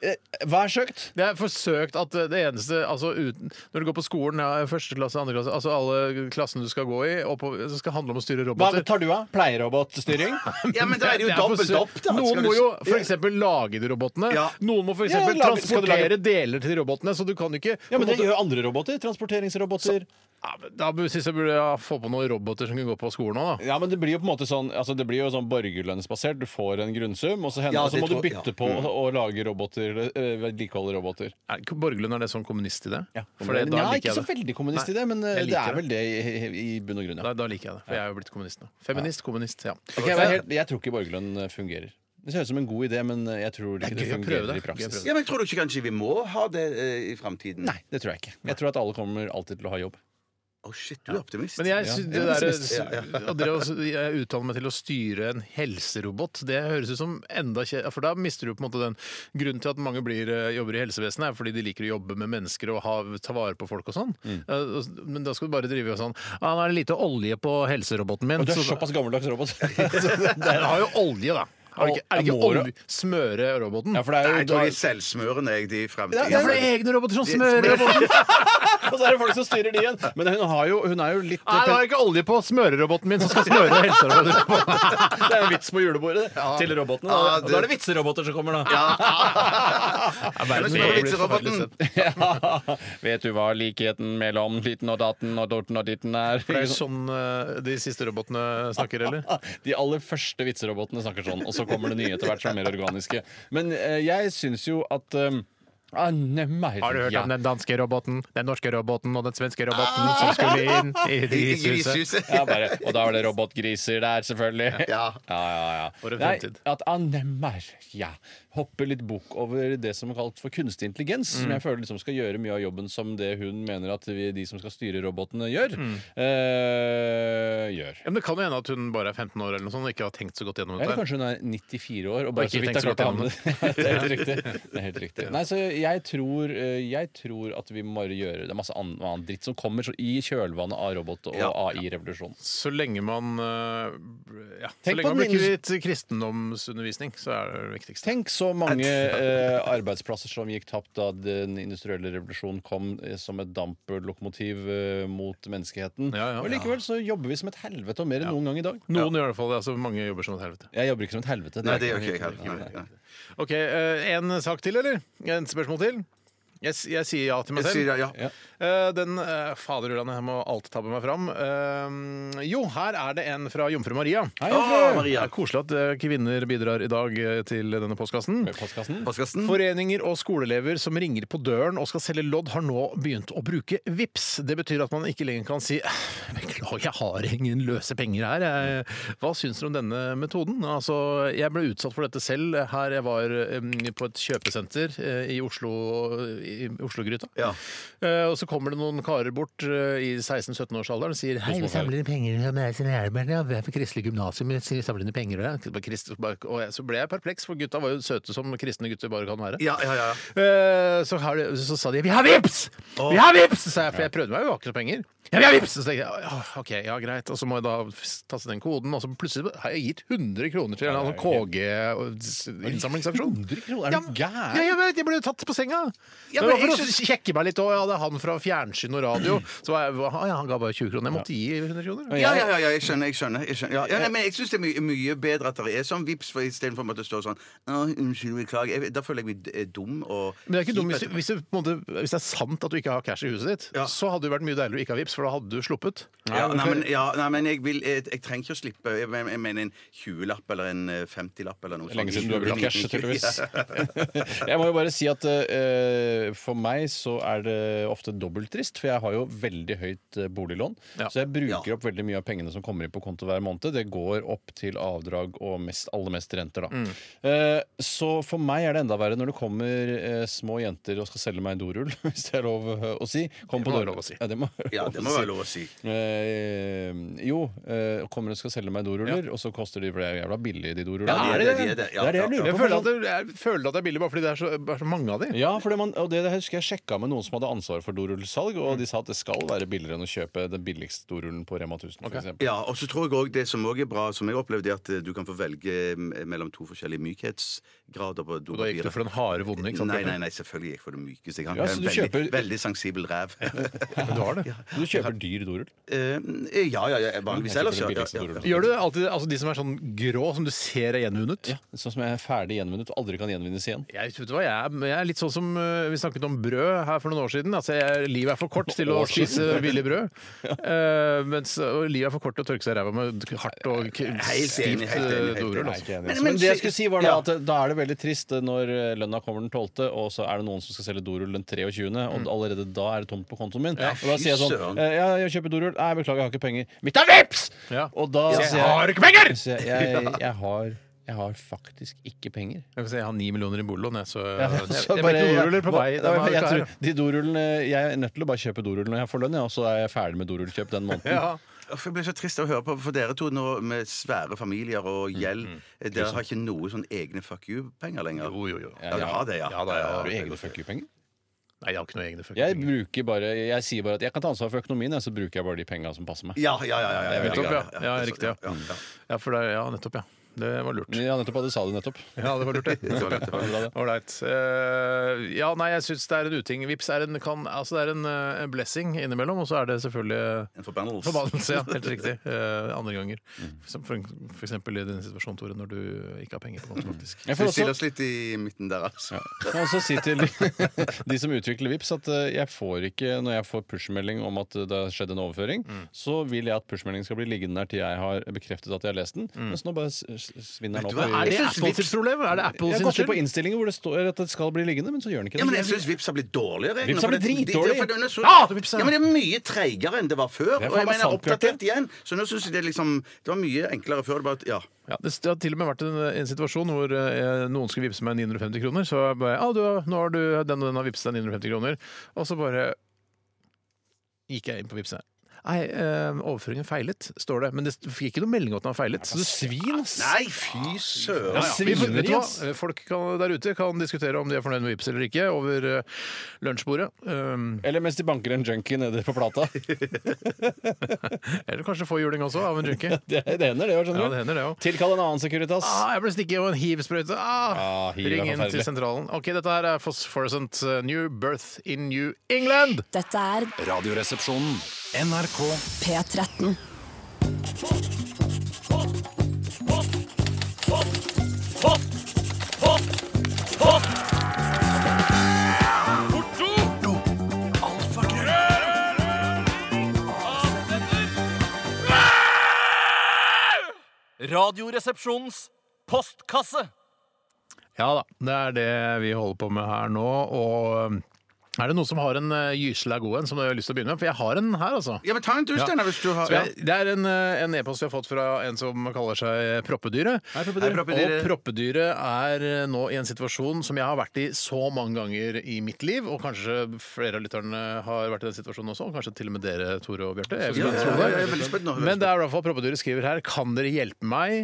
J: Hva er Eh, søkt?
E: Det er forsøkt at eh, det eneste altså uten, Når du går på skolen, ja, første klasse, andre klasse, altså alle klassene du skal gå i, og på, som skal handle om å styre
J: Hva
E: roboter
J: tar du av? Pleierobotstyring?
F: ja, men da er det jo dobbelt
E: forsøkt.
F: opp, da.
E: Noen
F: Skal
E: må
F: du-
E: jo f.eks. lage de robotene.
F: Ja.
E: Noen må f.eks.
J: Ja,
E: eksempel
J: lage- skal du lage-
E: transportere deler til de robotene, så du kan ikke på
J: Ja, men
E: en
J: det
E: måte-
J: gjør andre roboter. Transporteringsroboter.
E: ja, men Da syns jeg burde jeg få på noen roboter som kan gå på skolen òg, da.
J: Ja, men Det blir jo på en måte sånn altså det blir jo sånn borgerlønnsbasert. Du får en grunnsum, og så, hender,
F: Ja,
J: og så
F: det
J: må du
F: tror- ja.
J: bytte på å, å lage roboter. eller, eh, Vedlikeholde roboter.
E: Er ikke Borgerlund er det sånn kommunist i det? For
J: Nei,
E: det, da liker
J: ikke
E: jeg
J: så
E: det.
J: veldig kommunist
E: Nei,
J: i det, men eh,
E: jeg
J: det
E: liker
J: er vel det i, i bunn og grunn.
E: Da,
J: Ja.
E: da liker jeg det, for jeg er jo blitt kommunist nå. Feminist, kommunist, ja.
J: Ok, jeg, er helt, jeg tror ikke borgerlønn eh, fungerer. Det ser ut som en god idé, men eh, jeg tror ikke
E: Det er
J: det
E: gøy å prøve
J: fungerer
E: det.
J: i praksis.
E: Gøy
F: Ja, men Tror du ikke kanskje vi må ha det eh, i framtiden?
J: Nei, det tror jeg ikke. Jeg tror at alle kommer alltid til å ha jobb.
F: Å, shit, du er optimist.
E: Men jeg synes
J: Ja, jeg er
E: det der, å drive og- jeg uttaler meg til å styre en helserobot, det høres ut som enda kje... For da mister du på en måte den grunnen til at mange blir, eh, jobber i helsevesenet, er fordi de liker å jobbe med mennesker og ha, ta vare på folk og sånn.
J: Mm.
E: Eh, og- Men da skal du bare drive og sånn ah, 'Nå er det lite olje på helseroboten min.'
J: Og du er
E: så-
J: såpass gammeldags robot.
E: Den har jo olje, da. Har du ikke, er det ikke
J: Må du-
E: olje? Smøre roboten?
J: Ja, for det er
F: Nei,
J: jo,
F: jeg tror de er selvsmørende, jeg, de i framtiden.
E: Ja, for det er egne roboter som smører roboten.
J: og så er det folk som styrer de igjen! Men hun, har jo, hun er jo litt
E: Nei, det er ikke olje på smøreroboten min som skal smøre helseroboter på.
J: eh, Det er en vits på julebordet til robotene. Da,
F: Ja,
J: Og
F: det-
J: da er det vitseroboter som kommer, da.
E: liksom
F: Men så er det vitseroboten.
E: sånn-
J: Vet du hva likheten mellom liten og datten og dorten og ditten er?
E: Det er sånn eh, de siste robotene snakker, eller?
J: De aller første vitserobotene snakker sånn, og så kommer det nye etter hvert som er mer organiske. Men eh, jeg syns jo at eh, Anne Maria
E: Har du hørt om den danske roboten, den norske roboten og den svenske roboten som skulle inn Ah! i grishuset?
J: ja, bare, Og da var det robotgriser der, selvfølgelig.
F: Ja.
J: ja, ja, ja.
E: For en
J: Nei,
E: fremtid.
J: at Anne Maria hopper litt bukk over det som er kalt for kunstig intelligens,
E: Mm.
J: som jeg føler liksom skal gjøre mye av jobben som det hun mener at vi, de som skal styre robotene, gjør.
E: Mm.
J: eh, gjør.
E: Ja, men Det kan jo hende at hun bare er 15 år eller noe sånt og ikke har tenkt så godt gjennom
J: Eller
E: dette. her.
J: kanskje hun er 94 år og bare
E: Og
J: så
E: ikke
J: vidt har
E: tenkt så
J: klart å
E: godt
J: hamne Det er helt riktig. Det er helt riktig. Nei, så jeg tror, eh, jeg tror at vi må bare gjøre Det er masse annen, annen dritt som kommer så i kjølvannet av robot- og AI-revolusjonen.
E: Så lenge man eh, ja, så
J: Tenk
E: lenge
J: på
E: man
J: den
E: bruker litt kristendomsundervisning, så er det det viktigste.
J: Tenk så mange eh, arbeidsplasser som gikk tapt da den industrielle revolusjonen kom eh, som et damplokomotiv eh, mot menneskeheten.
E: Ja, ja.
J: og likevel så jobber vi som et helvete og mer enn noen gang i dag.
E: Noen gjør i hvert fall det. altså Mange jobber som et helvete.
J: Jeg jobber ikke som et helvete.
F: Nei,
J: er
F: det
J: ikke
F: gjør ikke jeg
J: noe hyggelig.
F: heller. Nei, nei.
E: Ok, eh, En sak til, eller? En spørsmål til? Jeg, s- jeg sier ja til meg
F: Jeg
E: selv.
F: sier ja.
J: Ja.
E: Eh, Den eh, Fader Ulland, jeg må alltid tabbe meg fram. Eh, Jo, her er det en fra Jomfru Maria.
J: Hei,
F: Å,
J: Jomfru!
E: Det
F: Maria.
E: er koselig at eh, kvinner bidrar i dag eh, til denne postkassen.
J: Med postkassen.
F: Postkassen.
E: Foreninger og skoleelever som ringer på døren og skal selge lodd, har nå begynt å bruke VIPS. Det betyr at man ikke lenger kan si Beklager, jeg har ingen løse penger her. Jeg- Hva syns dere om denne metoden? Altså, jeg ble utsatt for dette selv her jeg var em, på et kjøpesenter eh, i Oslo i Oslogryta.
F: Ja.
E: Eh, Og så kommer det noen karer bort eh, i 16-17-årsalderen og sier Hei, vi samler inn penger som jeg som lærer meg, ja, vi er fra kristelig gymnasium, vi samler inn penger. ja.» Krist- Og jeg- så ble jeg perpleks, for gutta var jo søte som kristne gutter bare kan være.
F: Ja, ja, ja.
E: Eh, så, har de, så sa de 'vi har vips! Vi har vips! sa jeg, for jeg prøvde meg jo, har ikke noe penger. Ja, vi har vips! Så tenkte jeg ja, OK, ja greit. Og så må jeg da f- taste den koden, og så plutselig har jeg gitt 100 kroner til en eller annen KG-innsamlingsaksjon.
J: 100 kroner? Er
E: Ja,
J: du gæren?
E: ja, jeg vet, jeg ble jo tatt på senga. det
F: Ja, men
E: var for
F: jeg
E: å sjekke meg litt òg. Jeg hadde han fra fjernsyn og radio. Så var jeg, «Hva, ja, han ga bare 20 kroner. Jeg måtte gi 100 kroner.
F: Ja, ja, ja, ja, jeg skjønner. jeg skjønner, jeg skjønner. Ja, ja, nei, men jeg syns det er mye, mye bedre at det er sånn vips, for istedenfor at det står sånn «Å, Unnskyld, beklager. Jeg, da føler jeg meg d- eh, dum og
E: Men det er ikke dumt hvis,
F: kjip
E: du- hvis, du, på en måte- hvis det er sant at du ikke har cash i huset ditt,
F: Ja.
E: så hadde det vært mye deiligere å ikke ha vips, for da hadde du sluppet.
F: Ja, nei, men, ja, nei, men jeg, vil, jeg, jeg trenger ikke å slippe Jeg, men- jeg mener en 20-lapp eller en eh, 50-lapp eller noe
J: Lenge
F: sånt.
J: siden du har brukt cash,
F: 20-lapp.
J: tydeligvis.
F: Ja.
J: Jeg må jo bare si at eh, for meg så er det ofte dobbelttrist, for jeg har jo veldig høyt eh, boliglån.
E: Ja.
J: Så jeg bruker
F: Ja.
J: opp veldig mye av pengene som kommer inn på konto hver måned. Det går opp til avdrag og mest, aller mest renter, da.
E: Mm.
J: Eh, så for meg er det enda verre når det kommer eh, små jenter og skal selge meg en dorull, hvis det er lov eh, å si. Kom
E: Det
J: på
E: må være
J: døra-
E: lov å si.
J: Ja, det må, være
F: Ja,
J: lov
F: det
J: å
F: må
J: si.
F: være lov å si.
J: Eh, jo, eh, kommer og skal selge meg doruller, og så koster de for det er jævla billig, de dorullene.
F: Ja, de er det, de er det. Ja,
J: det er det jeg
F: ja,
J: lurer
E: Jeg
J: på.
E: føler,
J: hvordan-
E: at det, jeg føler at det er billig bare fordi det er så, er så mange av de.
J: Ja, for det man, og det, det husker jeg sjekka med noen som hadde ansvar for dorullsalg, og de sa at det skal være billigere enn å kjøpe den billigste dorullen på Rema 1000, for eksempel.
F: Ja, og så tror jeg også Det som også er bra, som jeg opplevde, er at eh, du kan få velge eh, mellom to forskjellige mykhetsgrader på
E: Og da gikk du for den harde vonde, ikke sant?
F: Nei,
E: Bjarte?
F: nei, nei, selvfølgelig gikk jeg for det mykeste. Jeg har
J: Ja, så
F: en
J: du
F: veldig,
J: kjøper-
F: veldig sensibil ræv.
E: Du har det.
J: Du kjøper dyr dorull.
F: Eh, ja, ja, ja, vanligvis
J: Jeg
F: ellers, ja.
J: kjøper den
F: ja,
J: billigste
F: ja,
J: dorullen.
F: ja.
E: Gjør du det alltid altså de som er sånn grå, som du ser er gjenvunnet?
J: Sånn som jeg er ferdig gjenvunnet og aldri kan gjenvinnes igjen.
E: Jeg, vet du hva, jeg, er, jeg er litt sånn som eh, vi snakket om brød her for noen år siden. Altså, jeg, livet er for kort til å
J: år siden.
E: spise billig brød. Eh, mens og livet er for kort til å tørke seg i ræva med hardt og k-
F: Helt
E: stivt
F: enig, helt enig,
E: eh,
F: helt
E: dorull.
F: enig.
E: altså.
J: Men,
F: Men-
J: men,
F: men
J: det jeg
F: si-
J: skulle si var da
F: ja.
J: at eh, da er det veldig trist når eh, lønna kommer den 12., og så er det noen som skal selge dorull den 23., og allerede da er det tomt på kontoen min. og da
F: fy
J: sier jeg sånn
F: søren.
J: eh, Ja, jeg kjøper dorull. Nei, beklager, jeg har ikke penger. Mitt er vips!
E: Ja.
J: Og da
E: Jeg
J: sier
E: har ikke penger!
J: Så jeg, jeg, jeg, har, jeg har faktisk ikke penger.
E: Jeg vil si jeg har ni millioner i boliglån, jeg, så
J: Ja,
E: jeg, jeg,
J: så
E: jeg
J: bare-
E: blir ikke doruller på vei.
J: Ja,
E: denne
J: jeg,
E: uka her.
J: tror, de dorullene, jeg er nødt til å bare kjøpe dorull når jeg får lønn, ja, og så er jeg ferdig med dorullkjøp den måneden.
E: Ja.
F: Uff, Jeg ble så trist av å høre på, for dere to nå med svære familier og
E: Mm,
F: gjeld eh, Dere har ikke noe sånn egne fuck you-penger lenger?
E: Jo, jo, jo.
F: Ja, dere har det, ja.
E: Ja, da, ja.
J: Har du egne fuck you-penger?
E: Nei, jeg har ikke noe egne fuck.
J: Jeg bruker bare, jeg sier bare at jeg kan ta ansvar for økonomien, jeg, så bruker jeg bare de penga som passer meg.
F: Ja, ja, ja. ja, ja,
E: Nettopp, ja. Ja,
F: det er så-
E: riktig, ja. Ja, for det, ja, nettopp, ja. Det var lurt.
J: Ja, nettopp, ja, du sa det nettopp.
E: Ja, det var lurt, det.
F: Det var lurt, det var lurt.
E: Ålreit. Eh, ja, nei, jeg syns det er en uting. Vips er en, kan, altså det er en eh, blessing innimellom, og så er det selvfølgelig
F: En forbannelse.
E: forbannelse. Ja, helt riktig. Eh, andre ganger.
J: Mm.
E: Som For, for eksempel i din situasjon, Tore, når du ikke har penger på konto, faktisk.
J: Jeg
F: Vi
J: får
F: stiller
J: også,
F: oss litt i midten der, altså.
J: jeg kan også si til de som utvikler VIPS at eh, jeg får ikke, når jeg får pushmelding om at det har skjedd en overføring, så vil jeg at pushmeldingen skal bli liggende der til jeg har bekreftet at jeg har lest den. Mens nå bare s- forsvinner nå.
F: du hva?
J: på-
E: Er det
F: Jeg synes
E: Apple sitt
F: Vipps-
E: problem? Er det Apple
J: Jeg
E: sin
J: går til på
E: skyld?
J: innstillinger hvor det står at det skal bli liggende, men så gjør den ikke det.
F: Ja, men jeg syns Vipps har blitt dårligere. jeg.
J: Vipps har
F: Nå, for
J: blitt
F: det- det-
J: dritdårlig.
F: for den er så-
E: Ja, det er Vipps, ja.
F: Ja, men det er mye treigere enn det var før.
J: er
F: Og jeg
J: faen meg
F: mener
J: sant,
F: oppdatert igjen. Så nå syns jeg det liksom Det var mye enklere før. Det bare, at- ja.
E: Ja, det det har til og med vært en, en situasjon hvor eh, noen skulle vippse meg 950 kroner. Så jeg bare ah, du, har- 'Nå har du den og den har vippset deg 950 kroner.' Og så bare gikk jeg inn på vippsen. Nei, eh, overføringen feilet, står det. Men det fikk ikke noe melding om at den har feilet. Så det
J: Svin, ass!
F: Nei, fy søren.
E: Ja, ja. Vi, får- vet du
J: Svineri, ass.
E: hva? Eh, Folk kan, der ute kan diskutere om de er fornøyd med Vipps eller ikke over eh, lunsjbordet. Um,
J: Eller mens de banker en junkie nede på plata.
E: eller kanskje få juling også av en junkie.
J: Det, det hender, det òg, skjønner
E: Ja,
J: du.
E: det hender det òg.
J: Tilkall en annen Securitas.
E: Ah, jeg ble stikket og en hivsprøyte. Ah,
J: Ah, hiv er
E: ring inn til
J: forferdelig.
E: sentralen. Ok, Dette her er Phosphorescent eh, New Birth in New England.
D: Dette er
K: Radioresepsjonen. NRK
D: P13.
A: Radioresepsjonens postkasse.
E: Ja da, det er det vi holder på med her nå. Og um, er det noen som har en uh, gysla god en som dere har lyst til å begynne med? For jeg har en her, altså.
F: Ja, men ta en du, Steinar, hvis du har
E: Så jeg, det er en, eh, en e-post vi har fått fra en som kaller seg Proppedyret.
F: Hei, Proppedyret.
E: Og Proppedyret er eh, nå i en situasjon som jeg har vært i så mange ganger i mitt liv, og kanskje flere av lytterne har vært i den situasjonen også, og kanskje til og med dere, Tore og Bjarte. Jeg vil
F: Ja,
E: tro
F: ja, ja,
E: det.
F: jeg er veldig spent nå.
E: Men det er i hvert fall Proppedyret skriver her. Kan dere hjelpe meg?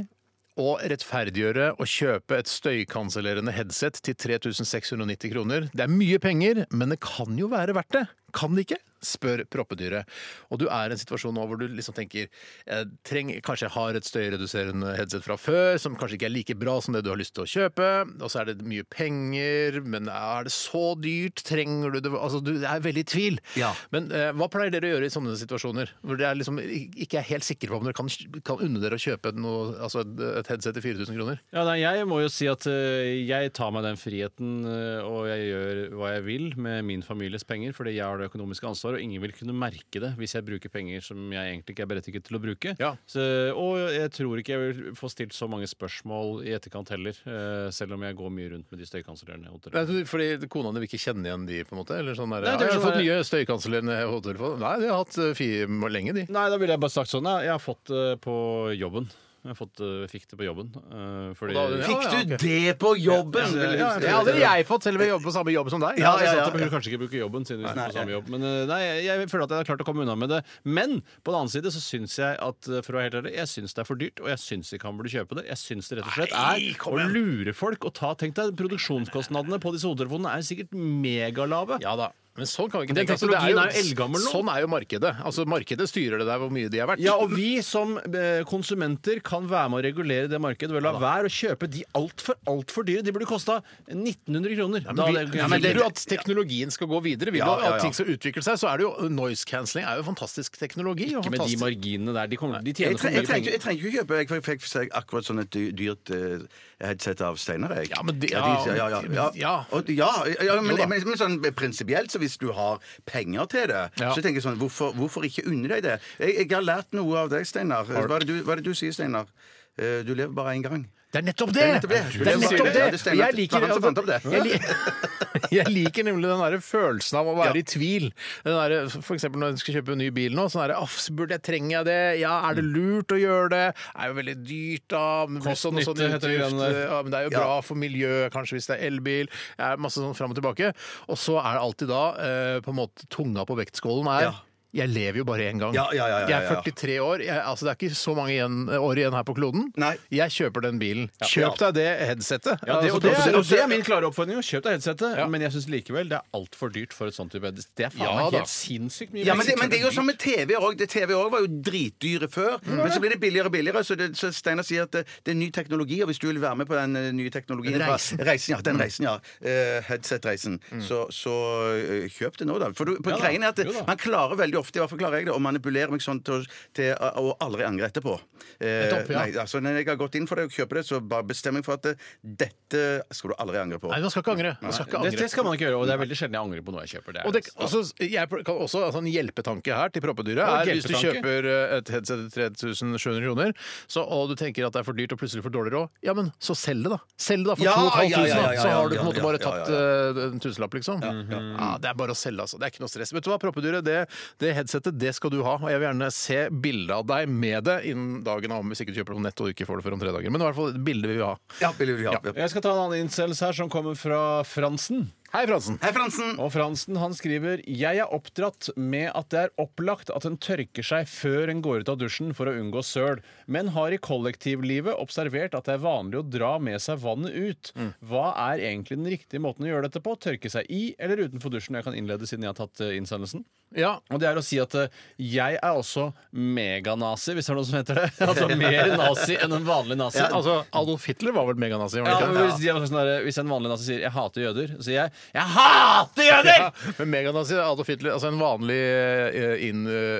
E: Å rettferdiggjøre å kjøpe et støykansellerende headset til 3690 kroner. Det er mye penger, men det kan jo være verdt det. Kan det ikke? Spør proppedyret. Og du er i en situasjon nå hvor du liksom tenker jeg treng, Kanskje jeg har et støyreduserende headset fra før, som kanskje ikke er like bra som det du har lyst til å kjøpe. Og så er det mye penger, men er det så dyrt? Trenger du det? Altså, du er veldig i tvil.
F: Ja.
E: Men eh, hva pleier dere å gjøre i sånne situasjoner? Hvor dere er liksom ikke er helt sikre på om dere kan, kan unne dere å kjøpe noe, altså et, et headset til 4000 kroner?
J: Ja, nei, jeg må jo si at eh, jeg tar meg den friheten, eh, og jeg gjør hva jeg vil med min families penger, fordi jeg har det økonomiske ansvaret, og ingen vil kunne merke det hvis jeg bruker penger som jeg egentlig ikke er berettiget til å bruke.
E: Ja.
J: Så, og jeg tror ikke jeg vil få stilt så mange spørsmål i etterkant heller, eh, selv om jeg går mye rundt med de støykansellerende hotellene.
E: Nei, altså, Fordi kona di vil ikke kenne igjen de, på en måte? Eller sånn der,
J: Nei, det
E: «Ja,
J: er
E: jeg har
J: sånn
E: fått
J: der-
E: nye støykansellerende hodetelefoner. Nei, de har hatt eh, fire lenge, de.
J: Nei, da ville jeg bare sagt sånn, ja, jeg har fått det på jobben. Jeg har fått, eh, fikk det på jobben. eh, fordi...
E: Og da- ja.
F: Fikk du
E: ok.
F: det på jobben?
E: Det har aldri jeg fått, selv om jeg jobber på samme jobb som deg.
J: Ja,
F: ja,
J: jeg
F: ja,
J: sa at jeg
F: ja.
J: burde kanskje ikke bruke jobben siden vi
F: Nei,
J: er på samme
F: ja.
J: jobb. Men eh, nei, jeg, jeg føler at jeg har klart å komme unna med det. Men på den annen side så syns jeg at eh, for å være helt ærlig, jeg syns det er for dyrt, og jeg syns ikke han burde kjøpe det. Jeg syns det rett og slett er å lure folk og ta Tenk deg, produksjonskostnadene på disse hodetelefonene er sikkert megalave.
E: Ja da. Men sånn kan vi ikke
J: Den
E: tenke. det
J: teknologien er jo eldgammel nå.
E: Sånn er jo markedet. Altså, markedet styrer det der hvor mye de er verdt.
J: Ja, og vi som eh, konsumenter kan være med å regulere det markedet ved å la være å kjøpe de altfor, altfor dyre. De burde kosta 1900 kroner.
E: Ja,
J: Da
E: men
J: hadde
E: vi,
J: jeg-
E: ja, men vil du at teknologien skal gå videre? Vil du
F: Ja, ja, ja.
E: at ting skal utvikle seg? Så er det jo Noise cancelling er jo fantastisk teknologi. og
J: Ikke med de
E: fantastisk-
J: marginene der. De, kommer, de tjener
F: Jeg, tre,
J: for
F: jeg, trenger,
J: mye penger.
F: jeg trenger ikke kjøpe. Jeg fikk- fikk seg akkurat sånn et dy- dyrt eh, headset av Steinar. jeg.
E: Ja, men det-
F: ja, de- ja, ja, ja.
E: ja.
F: Og, ja, ja men,
E: Jo da.
F: men, men sånn prinsipielt, så hvis du har penger til det,
E: Ja.
F: så tenker jeg sånn Hvorfor, hvorfor ikke unne deg det? Jeg, jeg har lært noe av deg, Steinar. Hva er det du, hva er det du sier, Steinar? Eh, Du lever bare én gang.
E: Det er nettopp
F: Det
E: det!
F: er nettopp det.
E: Det er
F: Du sier
E: nettopp
F: det.
E: det.
F: Ja, det stemmer.
E: Jeg liker- altså-
F: Det var han som fant opp det.
E: Jeg li- Jeg liker nemlig den der følelsen av å være
F: Ja.
E: i tvil. Den der, for eksempel når jeg skal kjøpe en ny bil nå. sånn der, «Aff, så Burde jeg trenge jeg det? Ja, Er det lurt å gjøre det? Er jo veldig dyrt, da. men blir sånn og sånn
J: Kost-nytte heter det
E: utgift.
J: greiene der.
E: Ja, men det er jo bra for miljøet, kanskje, hvis det er elbil. Det er masse sånn fram og tilbake. Og så er det alltid da eh, på en måte tunga på vektskålen er
F: Ja.
E: Jeg lever jo bare én gang.
F: Ja, ja, ja, ja,
E: Jeg
F: ja, ja.
E: er 43 år. Jeg, altså, det er ikke så mange igjen, eh, år igjen her på kloden.
F: Nei.
E: Jeg kjøper den bilen. Kjøp deg det headsetet.
J: Ja, det,
E: Altså,
J: og det,
E: Proppedyret-
J: er, og det er min klare oppfordring. å Kjøp deg headsetet. Men jeg syns likevel det er altfor dyrt for et sånt type headset. Det er faen
E: Ja,
J: meg
E: da.
J: helt sinnssykt mye.
F: Ja, men det,
J: penger.
F: men det er jo som med TV òg. TV også var jo dritdyre før, men så blir det billigere og billigere. Så, det- så Steinar sier at det, det er ny teknologi, og hvis du vil være med på den eh, nye teknologien fra-
E: Reisen.
F: reisen ja, Den reisen, ja. Eh, Headset-reisen. Så, så eh, kjøp det nå, da. For du, på
J: Ja da,
F: greien er at
J: jo da.
F: man klarer veldig ofte i hvert fall klarer jeg det, å manipulere meg sånn til, å- til å å aldri angre etterpå. Eh,
E: Nettopp, ja.
F: nei, altså, når jeg har gått inn for det og kjøper det, så bare bestemmer jeg for at eh, dette skal du aldri angre på.
E: Nei, man skal ikke angre. Man skal ikke
J: Det,
E: angre.
J: det skal man ikke gjøre, og det er veldig sjelden jeg angrer på noe jeg kjøper. Det er,
E: Og det, altså, jeg kan også, altså En hjelpetanke her til proppedyret
J: Ja,
E: er hvis du
J: hjelpetanke.
E: kjøper eh, et headset til 3700 kroner, så, og du tenker at det er for dyrt og plutselig for dårlig råd, ja, men så selg det, da! Selg det da for
F: Ja,
E: 2500,
F: ja, ja, ja, ja,
E: så har du på en
F: ja,
E: måte
F: ja,
E: bare
F: ja, ja,
E: tatt
F: ja.
E: eh, en tusenlapp, liksom. Ja, Det er bare å selge, altså. Det er ikke noe stress. Vet du hva, proppedyret, det, det headsetet, det skal du ha. Og jeg vil gjerne se bilde av deg med det innen dagen er omme, hvis ikke du kjøper det på nett og ikke får det før om tre dager. Men i hvert fall et bilde vil vi ha.
F: Ja, vil du ha.
J: Jeg skal ta en annen incels her, som kommer fra Fransen.
E: Hei, Fransen!
F: Hei, Fransen!
J: Og Fransen han skriver Jeg er oppdratt med at det er opplagt at en tørker seg før en går ut av dusjen for å unngå søl, men har i kollektivlivet observert at det er vanlig å dra med seg vannet ut. Hva er egentlig den riktige måten å gjøre dette på? Tørke seg i eller utenfor dusjen? Jeg kan innlede siden jeg har tatt eh, innsendelsen.
E: Ja,
J: Og det er å si at eh, jeg er også meganazi, hvis det er noe som heter det. Altså mer nazi enn en vanlig nazi.
E: ja, altså, Adolf Hitler var vel meganazi? var han
J: Ja,
E: ikke det?
J: men hvis, de er sånn der, hvis en vanlig nazi sier 'jeg hater jøder', så sier jeg 'jeg hater jøder'!
E: Ja, men meganazi Adolf Hitler, altså en vanlig eh,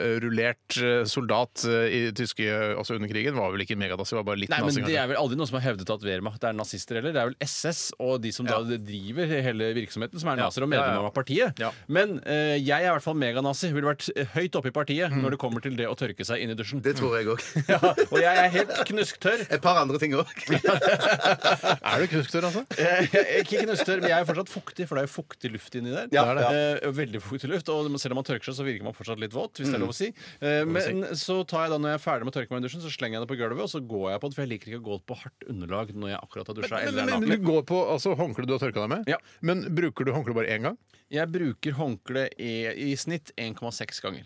E: innrullert eh, soldat eh, i tyske, altså under krigen, var vel ikke meganazi, var bare litt
J: Nei, men
E: nazi.
J: Det
E: kanskje.
J: er vel aldri noen som har hevdet at Wehrmacht er nazister heller. Det er vel SS og de som da driver hele virksomheten, som er
E: Ja.
J: nazier og medlemmer
E: Ja, ja.
J: av partiet.
E: Ja.
J: Men eh, jeg er i hvert fall meganazi. Ville vært eh, høyt oppe i partiet
E: Mm.
J: når det kommer til det å tørke seg inn i dusjen.
F: Det tror jeg òg.
J: Ja, og jeg er helt knusktørr.
F: Et par andre ting òg.
E: Er du knusktørr, altså?
J: Eh, jeg er Ikke knusktørr, men jeg er fortsatt fuktig, for det er jo fuktig luft inni der.
E: Ja, Mm. det
J: Eh, Veldig fuktig luft, og selv om man tørker seg, så virker man fortsatt litt våt, hvis det er lov å si. Eh, Men så tar jeg da, når jeg er ferdig med å tørke meg i dusjen, så slenger jeg det på gulvet, og så går jeg på det, for jeg liker ikke å gå på hardt underlag når jeg akkurat har dusja.
E: Men,
J: eller er
E: men,
J: naken.
E: men du går på altså, håndkle du har tørka deg med,
J: Ja.
E: men bruker du håndkle bare én gang?
J: Jeg bruker håndkle i, i snitt 1,6 ganger.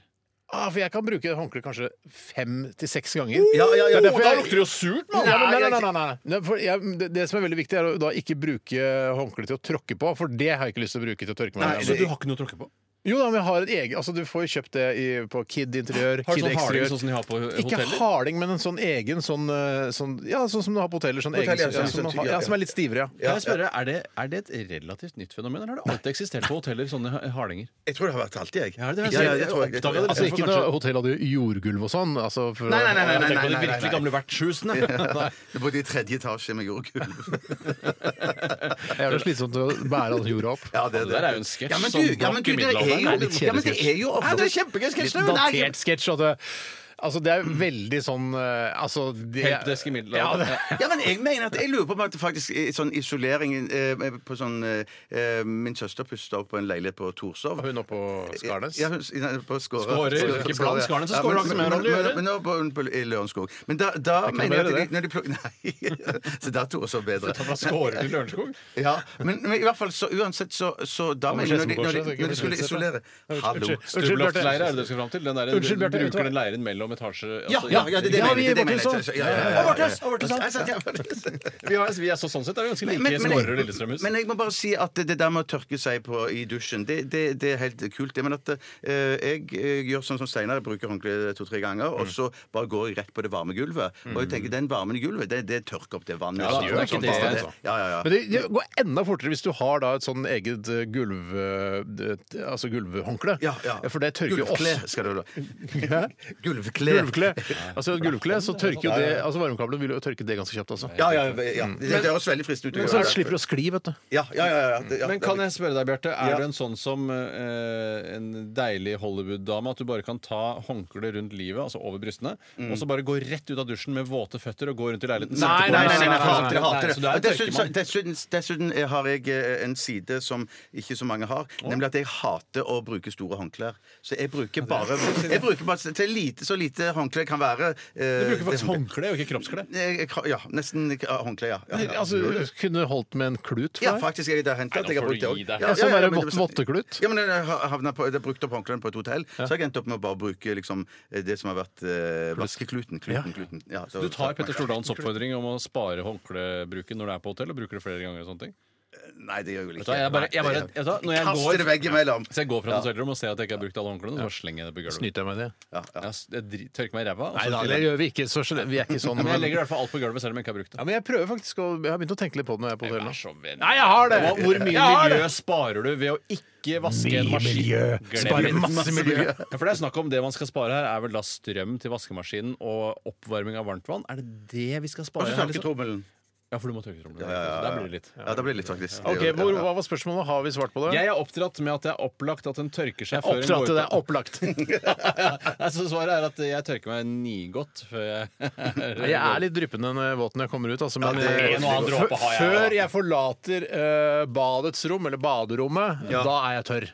E: Ah, for jeg kan bruke håndkle kanskje fem til seks ganger. Oh,
F: Ja, ja, ja.
E: Det er derfor
F: Da
E: jeg-
F: lukter det jo surt, mann.
E: Nei, nei, nei, nei, nei. Nei, for jeg, det, det som er veldig viktig, er å da ikke bruke håndkle til å tråkke på, for det har jeg ikke lyst til å bruke til å tørke meg.
F: Nei,
E: med.
F: så du
J: har ikke noe å tråkke på?
E: Jo da, men jeg har et eget Altså, du får jo kjøpt det i, på Kid Interiør,
J: Har du
E: Kid
J: sånn harding
E: Exteriør.
J: sånn som de har på eh,
E: Ikke
J: hoteller?
E: harding, men en sånn egen sånn, eh, sånn Ja, sånn som du har på hoteller. Sånn
F: Hotell,
E: egen,
F: ja,
E: ja,
F: sånn
E: som, man
F: tygg,
E: har-
F: ja,
E: ja, som er litt stivere, ja.
J: Kan jeg spørre, er det, er det et relativt nytt fenomen, eller har det alltid eksistert på hoteller, sånne ha- hardinger?
F: Jeg tror det har vært alltid, jeg.
J: Ja, det har jeg
F: Ja, ja,
J: sett.
F: det tror jeg.
J: Jeg oppdaget det
E: Altså
J: liksom
E: ikke
J: for kanskje-
E: noe hotell hadde jordgulv og sånn. Altså, for,
F: Nei, nei, nei, nei, nei,
J: Tenk
F: nei,
J: på de
F: nei,
J: virkelig
F: nei, nei.
J: gamle vertshusene!
F: Jeg bodde i tredje etasje med jordgulv.
E: Det er jo slitsomt å bære all jorda opp.
F: Ja, det
J: Det der er jo en sketsj
F: Ja, men
J: som
F: du, ja, men du,
J: blokk i
F: det er
J: middelalderen.
F: jo,
E: Det er litt
F: ja, men det er jo
E: kjedelig.
F: ofte-
J: kjempegøy
E: Altså, Litt datert sketsj. at det- Altså, det er veldig sånn eh, altså, det-
J: Helpdesk i middelalderen.
E: Ja, det-
F: Ja, men jeg mener at jeg lurer på om at faktisk i sånn isolering eh, på sånn eh, Min søster pusta opp på en leilighet på Torshov.
E: Hun oppå Skarnes.
F: Ja, hun, nei, på Skåre.
J: Skåre, ikke blant Skarnes
F: Ja,
J: og Skåre,
F: men-
J: det har ikke så mye med
F: men-
J: hverandre å gjøre.
F: Men, men, nå på- på, i Lørenskog. Men da, da mener jeg
E: være
F: at de, når de plukker Nei, så da er Torshov bedre.
J: Fra Skåre til Lørenskog?
F: Ja, men, men i hvert fall så uansett så, så da mener jeg når de, når de, når de skulle isolere Hallo.
E: Unnskyld, Bjarte.
J: Stubbeloftleire er det du skal fram til? Den der,
E: Unnskyld, Bjarte, vet du hva?
J: bruker den leiren mellom etasje
F: Ja,
J: altså,
F: ja, ja, det, det
E: Ja,
F: mener
E: vi
F: jeg.
E: er
F: Det mener jeg.
E: borte,
F: Så- ja, ja, ja, ja.
J: Overklass, overklass,
F: Nei, sant, ja, overklass.
J: Vi, har, vi er så sånn sett er vi ganske like
F: Men- men-
J: Skårer og Lillestrømhus.
F: Men jeg må bare si at det der med å tørke seg på i dusjen, det, det, det er helt kult. det, Men at eh, jeg, eh, gjør sånn som Steinar, jeg bruker håndkle to-tre ganger, og så bare går jeg rett på det varme gulvet. Og jeg tenker, den varmen i gulvet, det, det tørker opp det vannet.
J: Ja,
F: og så
J: det
F: gjør
J: er
F: jeg
J: ikke
F: sånn
J: det,
F: bare
J: altså.
F: Ja, ja, ja.
E: Men det, det går enda fortere hvis du har da et sånn eget eh, gulv... eh, det- Altså gulvhåndkle.
F: Ja, ja.
E: For det tørker jo
F: Gulvkle,
E: oss.
F: skal du da.
E: Hæ?
F: Gulvkle.
E: Gulvkle. Altså et gulvkle, så tørker jo det Altså varmekabelen vil jo tørke det ganske kjapt, altså.
F: Ja, ja, ja. Det, det høres veldig fristende ut. å
E: Men
F: gjøre
E: så
F: det.
E: slipper du å skli, vet du.
F: Ja, ja, ja. ja, det- ja
J: Men kan jeg spørre deg, Bjarte, er
F: Ja.
J: du en sånn som eh, en deilig Hollywood-dame? At du bare kan ta håndkleet rundt livet, altså over brystene, og så bare gå rett ut av dusjen med våte føtter og gå rundt i leiligheten?
F: Mm. Nei, nei, nei, nei,
J: Nei,
F: jeg hater det. jeg hater
J: nei,
F: det.
J: Så du er en
F: Dessuten, så-
J: tørkemann.
F: dessuten, dessuten eh, har jeg eh, en side som ikke så mange har, nemlig at jeg hater å bruke store håndklær. Så jeg bruker bare Jeg bruker bare til lite så lite håndkle kan være. eh,
J: Du bruker faktisk håndkle og ikke kroppskle.
F: Ja, nesten eh, håndkle, ja. ja, ja.
E: Altså, du kunne holdt med en klut for
F: Ja,
E: deg.
F: faktisk. Jeg, det har hendt
J: Nei,
F: at
J: nå
F: jeg har
J: får du
F: brukt det
J: gi
F: også.
J: deg.
F: Ja,
E: Ja, som
F: ja,
E: er en
F: men
E: våt-
F: det var- sånn-
E: votteklut.
F: Ja, men jeg har havnet på, jeg har brukt opp håndklærne på et hotell, så har jeg endt opp med å bare bruke liksom, det som har vært eh, vaskekluten. Kluten, kluten. Ja, så-
J: Du tar Petter Stordalens oppfordring om å spare håndklebruken når du er på hotell, og bruker det flere ganger og sånne ting?
F: Nei, det gjør jeg vel
J: Vet
F: ikke.
J: du hva, jeg bare, jeg bare,
F: Nei,
J: vet du hva, når jeg
F: Kaster
J: går,
F: det veggimellom.
J: så jeg går fra hotellrommet og ser at jeg ikke har brukt alle håndklærne, så bare slenger jeg det på gulvet.
E: Snyter jeg meg i det?
F: Ja, ja.
J: Jeg, s- jeg dri- tørker meg i ræva. og så
E: Nei da,
J: skyller
E: det
J: jeg
E: gjør vi ikke. Så, slem- vi er ikke sånn.
J: Ja, Men jeg legger i hvert fall alt på gulvet selv om jeg ikke har brukt det.
E: Ja, men jeg prøver faktisk å Jeg har begynt å tenke litt på det når jeg er på
J: Vær
E: hotellet.
J: så vennlig.
E: Nei, jeg har det!
J: Hva- Hvor mye
E: Jeg har
J: miljø sparer du ved å ikke vaske en
E: Mye
J: maskin?
E: miljø.
J: Glem
E: Sparer
J: det.
E: masse miljø.
J: Ja, for det er snakk om det man skal spare her, er vel da strøm til vaskemaskinen og oppvarming av varmtvann? Er det det vi skal
F: Og
J: spare
F: så
J: her? Liksom?
F: tørketrommelen.
J: Ja, for du må tørke trommelen.
F: ja, ja.
J: Der blir det litt.
F: Ja, det blir det litt, faktisk.
E: Ok, hvor, Hva var spørsmålet? Har vi svart på det?
J: Jeg er oppdratt med at det er opplagt at den tørker seg før den
E: Oppdratt
J: går
E: til det.
J: på-
E: Opplagt.
J: Nei, Så svaret er at jeg tørker meg nigodt før jeg
E: Jeg er litt dryppende når jeg- våt når jeg kommer ut. Altså, men
J: det er en og annen
E: Før-
J: dråpe har jeg,
E: før
J: da.
E: jeg forlater eh, badets rom, eller baderommet, da er jeg tørr.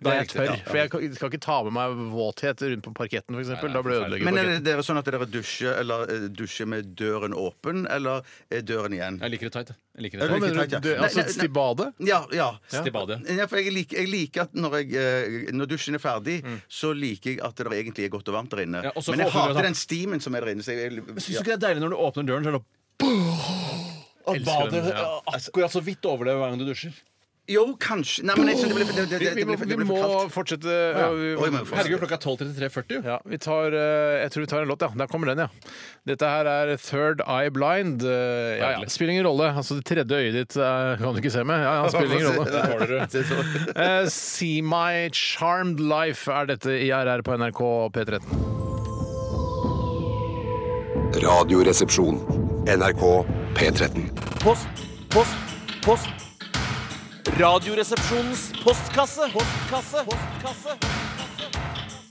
E: Da er jeg
J: Det er riktig,
E: tørr, For jeg kan, skal ikke ta med meg våthet rundt på parketten, f.eks.
J: Nei, nei,
E: Da blir jeg ødelegget.
F: Men er
E: parketten.
F: det, det er sånn at dere dusjer, eller, eh, dusjer med døren åpen, eller er døren igjen?
J: Jeg liker det tight. jeg. Jeg liker det
E: Hva
F: Jeg
J: tight.
E: mener
F: liker
E: du?
F: tight,
E: du
F: ja. Nei,
E: altså,
F: nei, nei.
E: til badet?
F: Ja, ja.
J: Til badet.
F: Ja, for jeg, liker, jeg liker at når, jeg, eh, når dusjen er ferdig, så liker jeg at det egentlig er godt og varmt der inne.
J: Mm. Ja, og så
F: Men jeg
J: håper du at-
F: hater den stimen som er der inne. Så jeg,
J: Syns du
F: ja.
J: ikke det er deilig når du åpner døren, så er det og
E: Elsker
J: badet
E: den, ja.
J: akkurat så vidt overlever hver gang du dusjer.
F: Jo, kanskje Nei, men jeg synes det blir for- det- det-
E: Vi,
F: det- det
E: må,
F: blir for-
E: vi
F: det blir
E: må
F: for kaldt.
E: fortsette.
F: Oi,
E: øh,
F: men for-
J: Herregud, klokka er 12.33,40.
E: Ja, vi tar, eh, jeg tror vi tar en låt, ja. Der kommer den, ja. Dette her er Third Eye Blind. eh, Ja, ja.
J: Herlig.
E: Spiller ingen rolle. Altså, det tredje øyet ditt eh, kan du ikke se med. Ja, ja, spiller ingen rolle.
F: Det er så-
E: Eh, See My Charmed Life er dette i RR på NRK P13.
B: Radioresepsjon. NRK P13.
A: Post, post, post. Radioresepsjonens postkasse. Postkasse. Postkasse.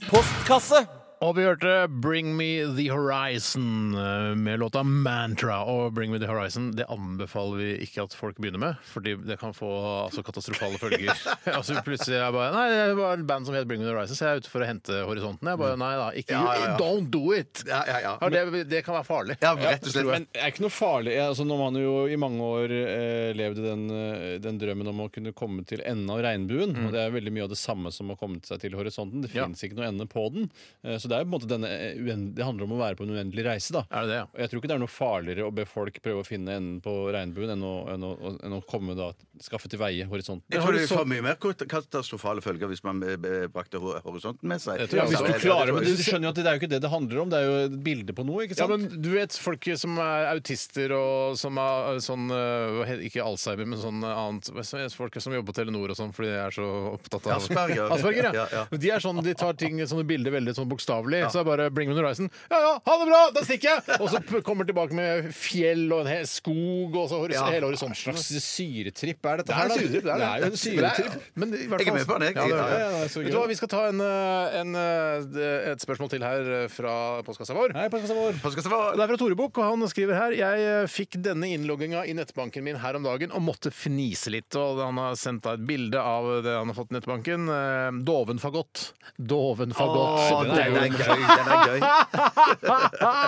A: Postkasse.
E: Og vi hørte Bring Me The Horizon eh, med låta Mantra. Og Bring Me The Horizon det anbefaler vi ikke at folk begynner med, fordi det kan få altså, katastrofale følger. altså Plutselig er jeg bare Nei, det var et band som het Bring Me The Horizon, så jeg er ute for å hente horisonten. Jeg bare Nei da, ikke
F: Mm. Ja, ja, ja.
E: Don't do it!
F: Ja, ja, ja.
E: Ja, det, det kan være farlig.
F: Ja, rett og slett.
J: Men det er ikke noe farlig. Jeg, altså, når man jo i mange år eh, levde den, eh, den drømmen om å kunne komme til enden av regnbuen, og det er veldig mye av det samme som å komme seg til horisonten. Det
E: Mm. Ja.
J: finnes ikke noe ende på den. Eh, så det er jo på en måte denne eh, uend- Det handler om å være på en uendelig reise, da.
E: Er det det, ja?
J: Og Jeg tror ikke det er noe farligere å be folk prøve å finne enden på regnbuen enn å, enn å, enn å komme da, skaffe til veie horisonten.
F: Jeg tror det får mye mer katastrofale følger hvis man eh, brakte hor- horisonten med seg.
E: tror jeg
J: hvis
E: også.
J: du
E: Ja, det-
J: klarer,
F: det
J: men
F: tror
J: du
F: jeg.
J: skjønner jo at det er jo ikke det det handler om. Det er jo et bilde på noe, ikke
E: Ja,
J: sant?
E: men du vet folk som er autister og som er sånn eh, hva heter- Ikke Alzheimer, men sånn annet hva heter det, Folk som jobber på Telenor og sånn fordi de er så opptatt av
F: Asperger.
E: Asperger, ja.
F: Ja, ja.
E: Men De er sånn, de tar ting, sånne bilder veldig sånn bokstavelig. Så er det bare 'Bring me the horizon'. Ja ja, ha det bra! Da stikker jeg! Og så p- kommer tilbake med fjell og en hel skog og så horis
F: Ja.
E: hele
J: Hva
E: horisonten.
J: slags syretripp er dette
E: Det er
J: her, da?
E: syretripp, det er det.
J: jo en syretripp.
E: Men i hvert
F: Jeg er
E: fall-
F: med på den, jeg.
E: Ja, det er
F: Ja, ja,
E: det.
J: ja, det er så
E: Vet du
J: gøy.
E: hva, vi skal ta en, eh, en, eh, et spørsmål til her eh, fra postkassa vår.
J: Nei, postkassa vår.
F: Postkassa var-
E: Det er fra Tore Bukk, og han skriver her Jeg eh, fikk denne innlogginga i nettbanken min her om dagen og måtte fnise litt. Og han har sendt da et bilde av det han har fått i nettbanken. Eh, Doven fagott. Doven fagott.
F: Å,
E: Den
F: den
E: er jo-
F: er gøy. Den er gøy.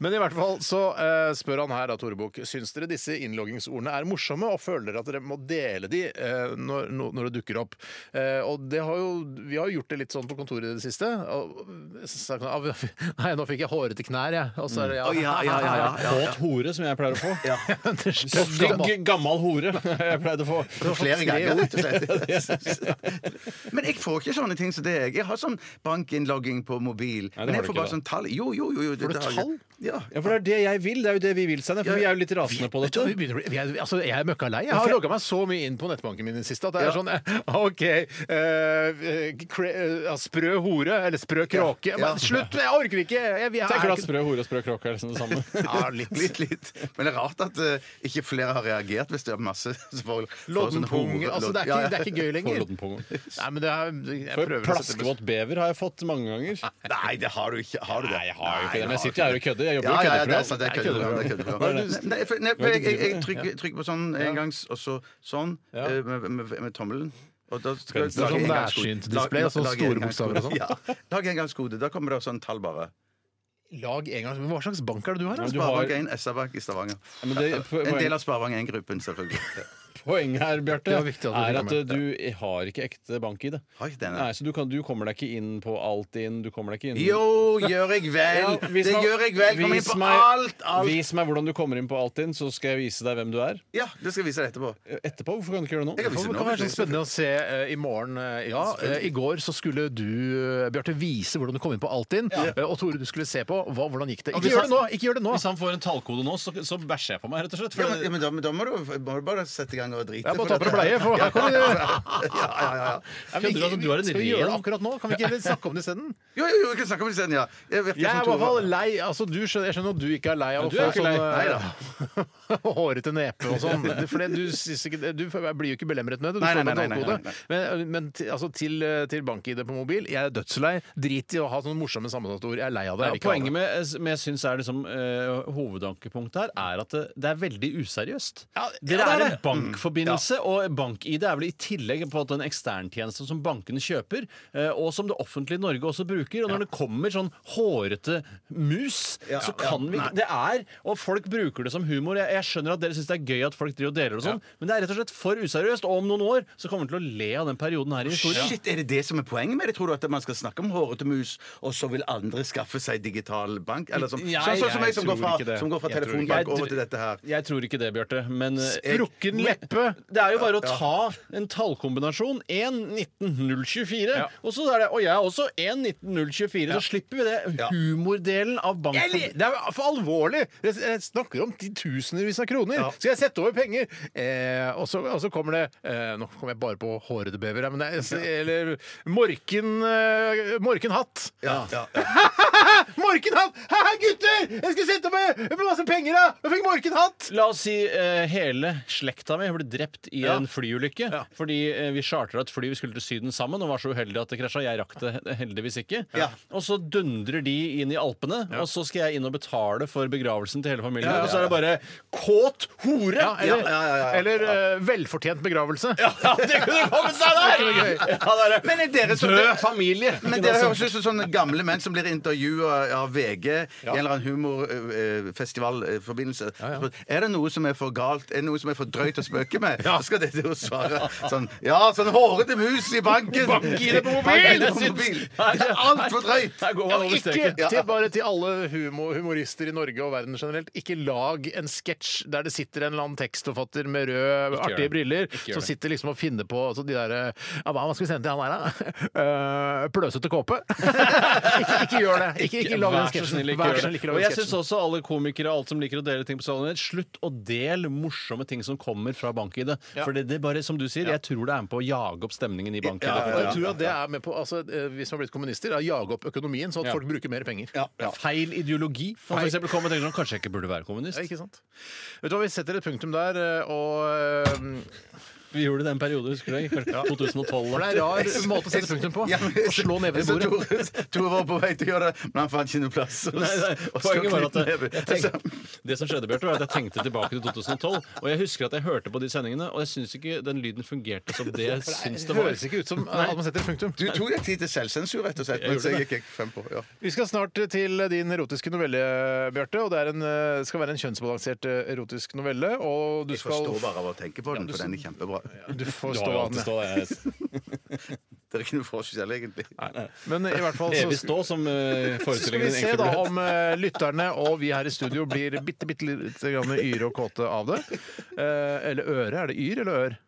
E: Men i hvert fall så eh, spør han her da, Tore Bukk, syns dere disse innloggingsordene er morsomme, og føler dere at dere må dele de eh, når, no- når det dukker opp? Eh, og det har jo, vi har jo gjort det litt sånn på kontoret i det siste. Og, så sa han, «Ah, nei, nå fikk jeg hårete knær, jeg. Og så er det ja.
F: Mm. Å, ja, ja, ja, ja, ja.
J: Kåt hore, som jeg pleier å få.
E: det er
J: Så
E: stygg-
J: Stygg, gammal hore jeg pleide å få.
F: Flere ganger, rett og slett. Men jeg får ikke sånne ting som det. Jeg Jeg har sånn bankinnlogging på mobil.
J: har
F: Men jeg
J: du
F: får
J: ikke,
F: bare
J: da.
F: sånn tall. Jo, jo, jo. jo det,
E: Får du
F: det har jeg.
E: tall?
F: Ja.
J: Ja, for det er det jeg vil. Det er jo det vi vil, Steinar. For vi er jo litt rasende på
E: Vet du hva,
J: dette.
E: vi begynner å bli- vi er- altså, jeg er møkka lei. Jeg har logga meg så mye inn på nettbanken min i det siste at det er sånn eh, OK eh, kre, eh, Sprø hore, eller sprø kråke. Men slutt! Jeg orker ikke! Jeg, jeg,
J: Tenker
E: er
J: du at
E: ikke-
J: sprø hore og sprø kråke er liksom det samme?
E: ja, litt.
F: Litt, litt. Men det er rart at eh, ikke flere har reagert hvis det er masse som får- får
E: Lodden
F: sånne
E: pung.
F: hore-
E: Altså, det, er
F: Ja,
E: ikke,
F: ja.
E: det er ikke gøy lenger.
J: Forlodden på gang.
E: Nei, men det er, jeg
J: For
E: prøver å sette meg-
J: Plaskevåt bever har jeg fått mange ganger.
F: Nei, det har du ikke. Har du det?
J: Nei, jeg har jo ikke det. Men
F: Nei,
J: jeg sitter jo her og kødder. Jeg jobber
F: Ja,
J: jo
F: ja, ja, det er
J: køddeprogram.
F: sant. Det er
E: Jeg kødder.
F: køddeprogram. det er køddeprogram.
J: Hva er det?
F: Nei, for- nei, for Jeg, jeg, jeg trykker, trykker på sånn en gang, og så sånn
J: Ja.
F: eh, med, med, med tommelen. Og da skal
E: Venstre, sånn nærsynt display, sånn store bokstaver og sånn.
F: sånn. Lag engangskode. Da kommer det sånn tall, bare.
E: Lag en gang. Men Hva slags bank er det du har?
J: Ja,
E: Altså?
J: du har-
F: Sparebank1 SR-Bank i Stavanger.
J: Men det-
F: En del av Sparebank1-gruppen, selvfølgelig.
J: poenget her, Bjarte,
E: Det var viktig at du fikk
J: er at
E: det med.
J: du har ikke ekte bank-ID.
F: Har ikke det, nei.
J: Nei, så du, kan, du kommer deg ikke inn på Altinn. Du kommer deg ikke inn
F: Jo, gjør jeg vel!
J: Ja, vis
F: det
J: meg-
F: gjør jeg vel! Kom inn
J: vis
F: på
J: meg-
F: alt! alt.
J: Vis meg hvordan du kommer inn på Altinn, så skal jeg vise deg hvem du er.
F: Ja, det skal jeg vise deg etterpå.
J: Etterpå? Hvorfor kan du ikke gjøre
F: Jeg
J: det
F: kan
J: nå?
F: vise
E: Det
F: det
E: kan
F: nå.
E: være så
F: hvis jeg-
E: spennende å se eh, i morgen. eh, Ja, eh, I går så skulle du, eh, Bjarte, vise hvordan du kom inn på Altinn. eh, Og Tore, du skulle se på hva, hvordan gikk det.
J: Ja,
E: Ikke
J: hvis
E: gjør
J: han-
E: det nå! ikke gjør det nå
J: Hvis han får en tallkode nå, så, så bæsjer jeg på meg, rett og slett. For
F: Ja, men, ja, men, da, men da må du, må du bare sette i gang og drite.
E: Jeg må
F: for
E: ta på deg
F: dette
E: bleie,
F: her.
E: for her kommer det
F: Ja, ja, ja, ja.
J: Skjønner du at du er en
E: Skal vi gjøre det
J: ren-
E: akkurat nå? Kan vi ikke heller snakke om det isteden?
F: Jo, jo, jo, vi kan snakke om det senere. Ja. Jeg virker
E: Jeg
F: som
E: er i hvert fall
F: Tore.
E: lei altså, du skjønner, Jeg skjønner at du ikke er lei av å
J: du er
E: få
J: ikke
E: sånn
J: lei.
E: eh, hårete nepe og sånn. Det- For det, du, syns ikke, du blir jo ikke belemret med det. Du får
F: Nei, nei,
E: en
F: nei, nei,
E: tallkode.
F: nei,
E: Men, men til- altså, til, eh, til bank-ID på mobil, jeg er dødslei. Drit i å ha sånne morsomme sammensatte ord. Jeg er lei av det.
J: Ja,
E: Jeg vil ikke ha
J: poenget
E: det.
J: med, eh, med jeg syns er liksom eh, hovedankepunktet her, er at det, det er veldig useriøst.
E: Ja, ja,
J: Dere
E: det er
J: er en
E: det. Mm,
J: bankforbindelse, og bank-ID er vel i tillegg på at en eksterntjeneste som bankene kjøper, eh, og som det offentlige Norge også bruker. Og når det kommer sånn hårete mus, så kan vi ikke Det er Og folk bruker det som humor. Jeg, jeg skjønner at dere syns det er gøy at folk driver og deler og sånn, men det er rett og slett for useriøst. Og om noen år så kommer vi til å le av den perioden her i historien.
F: Shit, Er det det som er poenget med det? Tror du at man skal snakke om hårete mus, og så vil andre skaffe seg digital bank? Eller som,
J: Nei,
F: sånn, sånn
J: jeg
F: som jeg som går
J: tror ikke
F: fra,
J: det.
F: som går fra
J: Jeg tror ikke-
F: telefonbank
J: Jeg
F: over
J: tr-
F: til dette her.
J: Jeg tror ikke det, Bjarte. Men
E: Sprukken
J: Men-
E: leppe.
J: Det er jo bare å ta en tallkombinasjon. 1 19024.
E: Ja.
J: Og så er det Og jeg er også 1 19024. Så slipper vi det humordelen av
E: Eller,
J: banken.
E: det er for alvorlig! Jeg jeg snakker om titusenvis av kroner. Skal jeg sette over penger? Eh, og, så, og så kommer det eh, Nå kommer jeg bare på hårete bever. her, Men det, er- eller Morken eh, Morkenhatt.
F: Ja, ja, ja.
E: Morkenhatt! Haha, gutter! Jeg skulle sette over masse penger, da! Jeg fikk morkenhatt!
J: La oss si eh, hele slekta mi ble drept i
E: Ja.
J: en flyulykke. Fordi eh, vi chartra et fly, vi skulle til Syden sammen, og var så uheldige at det krasja. Jeg rakk det he- heldigvis ikke.
F: Ja.
J: Og så dundrer de inn i Alpene, og så skal jeg inn og betale for begravelsen til hele familien.
E: Ja, ja,
J: Og så er det bare kåt hore!
E: Ja, eller
F: ja, ja, ja.
E: eller eh, velfortjent begravelse.
J: Ja, det kunne komme seg der! Ja, det er det.
F: Men er dere som
J: Død familie.
F: Men det høres ut som sånne gamle menn som blir intervjua av VG i en eller annen humorfestivalforbindelse. Er det noe som er for galt? Er det noe som er for drøyt å spøke med? Så skal dere jo svare sånn Ja, sånn hårete mus i banken!
E: Bank-ID på mobil!
F: Bank-ID på
J: Jeg syns-
F: mobil.
J: Nei,
F: Det er altfor drøyt!
J: Her går
E: Ja,
J: man over
E: ikke
J: streken.
E: til, bare til alle humo, humorister i Norge og verden generelt. Ikke lag en sketsj der det sitter en eller annen tekstforfatter med røde,
J: gjør
E: artige
J: det.
E: briller
J: Ikke gjør
E: som
J: det.
E: sitter liksom og finner på altså, de derre ja, Hva hva skal vi sende til han her, da? Eh, pløsete kåpe? ikke, ikke gjør det. Ikke, ikke lag den
J: Vær så
E: sketsjen.
J: snill, ikke
E: Vær så
J: gjør
E: snill,
J: det.
E: ikke lag
J: Og
E: den
J: jeg syns
E: sketsjen.
J: også alle komikere og alt som liker å dele ting på salen din, slutt å dele morsomme ting som kommer fra bank-ID. For det, det er bare, som du sier, jeg tror det er med på å jage opp stemningen i bank-ID.
E: Og Jeg tror at det er med på, altså, eh, Vi som har blitt kommunister, er å jage opp økonomien sånn at
J: Ja.
E: folk bruker mer penger.
J: Feil ideologi. Man for eksempel kommer og tenker sånn, Kanskje jeg ikke burde være kommunist?
E: Ja, ikke sant? Vet du hva, Vi setter et punktum der, eh, og eh,
J: Vi gjorde det en periode, husker du? det? 2012.
E: For det er en rar måte å sette punktum på.
F: Ja, men-
E: Å slå neven i
F: Så
E: bordet.
F: Tore, Tore var på vei til å gjøre det, men han fant ikke noe plass.
J: Nei, nei,
F: Og så
J: Poenget var at
F: knytte
J: jeg,
F: neven.
J: jeg tenkte, Det som skjedde, Bjørte, var at jeg tenkte tilbake til 2012. Og jeg husker at jeg hørte på de sendingene, og jeg syns ikke den lyden fungerte som det jeg syns det var.
E: høres ikke ut som eh, at man setter et punktum.
F: Du tok deg tid til selvsensur, rett og slett. Mens jeg gikk frem på. Ja.
E: Vi skal snart til din erotiske novelle, Bjarte. Og det er en, eh, skal være en kjønnsbalansert eh, erotisk novelle. Og du
F: Jeg forstår
E: skal
F: bare av å tenke på den, for den er kjempebra.
E: du får
J: Du
E: stå
J: har jo
E: av
J: alltid
E: den.
J: stå, jeg.
F: Det er ikke noe forskjell, egentlig.
E: Men i hvert fall
J: Evig
E: så
J: stå, som eh,
E: så skal vi
J: forestillingen
E: se
J: egentlig
E: da
J: ble.
E: om eh, lytterne og vi her i studio blir bitte, bitte lite grann yre og kåte av det. Eh, eller øre. Er det yr eller ør?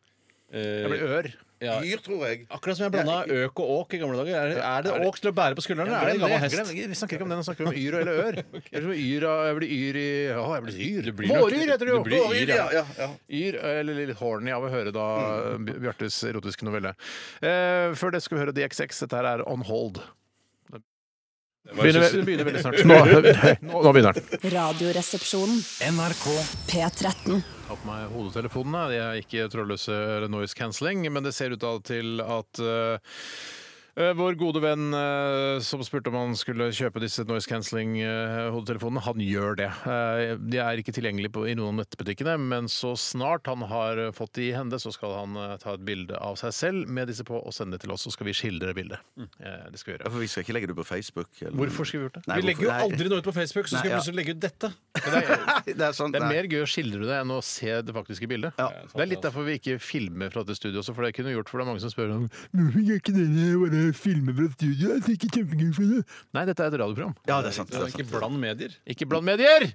E: Det blir
J: Eh,
E: ør.
J: ja.
F: Yr, tror jeg.
J: Akkurat som jeg blanda øk og åk i gamle dager. Er, det- er det åk til å bære på skuldrene, eller er det en
E: Glem
J: gammel
E: glem
J: hest?
E: Vi snakker ikke om den, vi snakker om yr eller ør. Eller som yr, av- jeg blir yr i Å, jeg blir yr.
J: Du blir nok-
E: Våryr heter det jo!
J: du blir yr, ja.
F: Ja,
J: Mm.
F: ja, ja.
E: Yr, eh, eller litt horny av å høre da Bj- Bjartes erotiske novelle. Eh, før det skal vi høre DXX. Dette her er On Hold. Begynner, det begynner veldig snart. Nå, nå, nå begynner den.
D: Radioresepsjonen.
K: NRK
D: P13.
E: Jeg har på meg hodetelefonene. De er ikke trådløse eller noise cancelling, men det ser ut da til at eh, Eh, Vår gode venn eh, som spurte om han skulle kjøpe disse noise cancelling-hodetelefonene, han gjør det. Eh, De er ikke tilgjengelige på, i noen av nettbutikkene, men så snart han har eh, fått de i hende, så skal han eh, ta et bilde av seg selv med disse på og sende det til oss, så skal vi skildre bildet. Eh, Det skal vi
F: Ja,
E: gjøre.
F: for Vi skal ikke legge det ut på Facebook. Eller...
E: Hvorfor skal vi gjort det?
F: Nei,
J: Vi legger jo
F: hvorfor-
J: aldri noe ut på Facebook, så
F: Nei,
J: skal vi
F: ja.
J: plutselig legge ut dette.
F: Nei, det er sant.
E: Det er
F: nei.
E: mer gøy å skildre det enn å se det faktiske bildet. Det er litt derfor vi ikke filmer fra dette studioet også, for det kunne vi gjort, for det er mange som spør om Hvorfor gjør ikke dere bare filmer fra studioet? Det er ikke kjempegøy for det. Nei, dette er et radioprogram.
F: Ja, det er sant. Det er
J: Ikke
F: sant.
J: bland medier.
E: Ikke bland medier!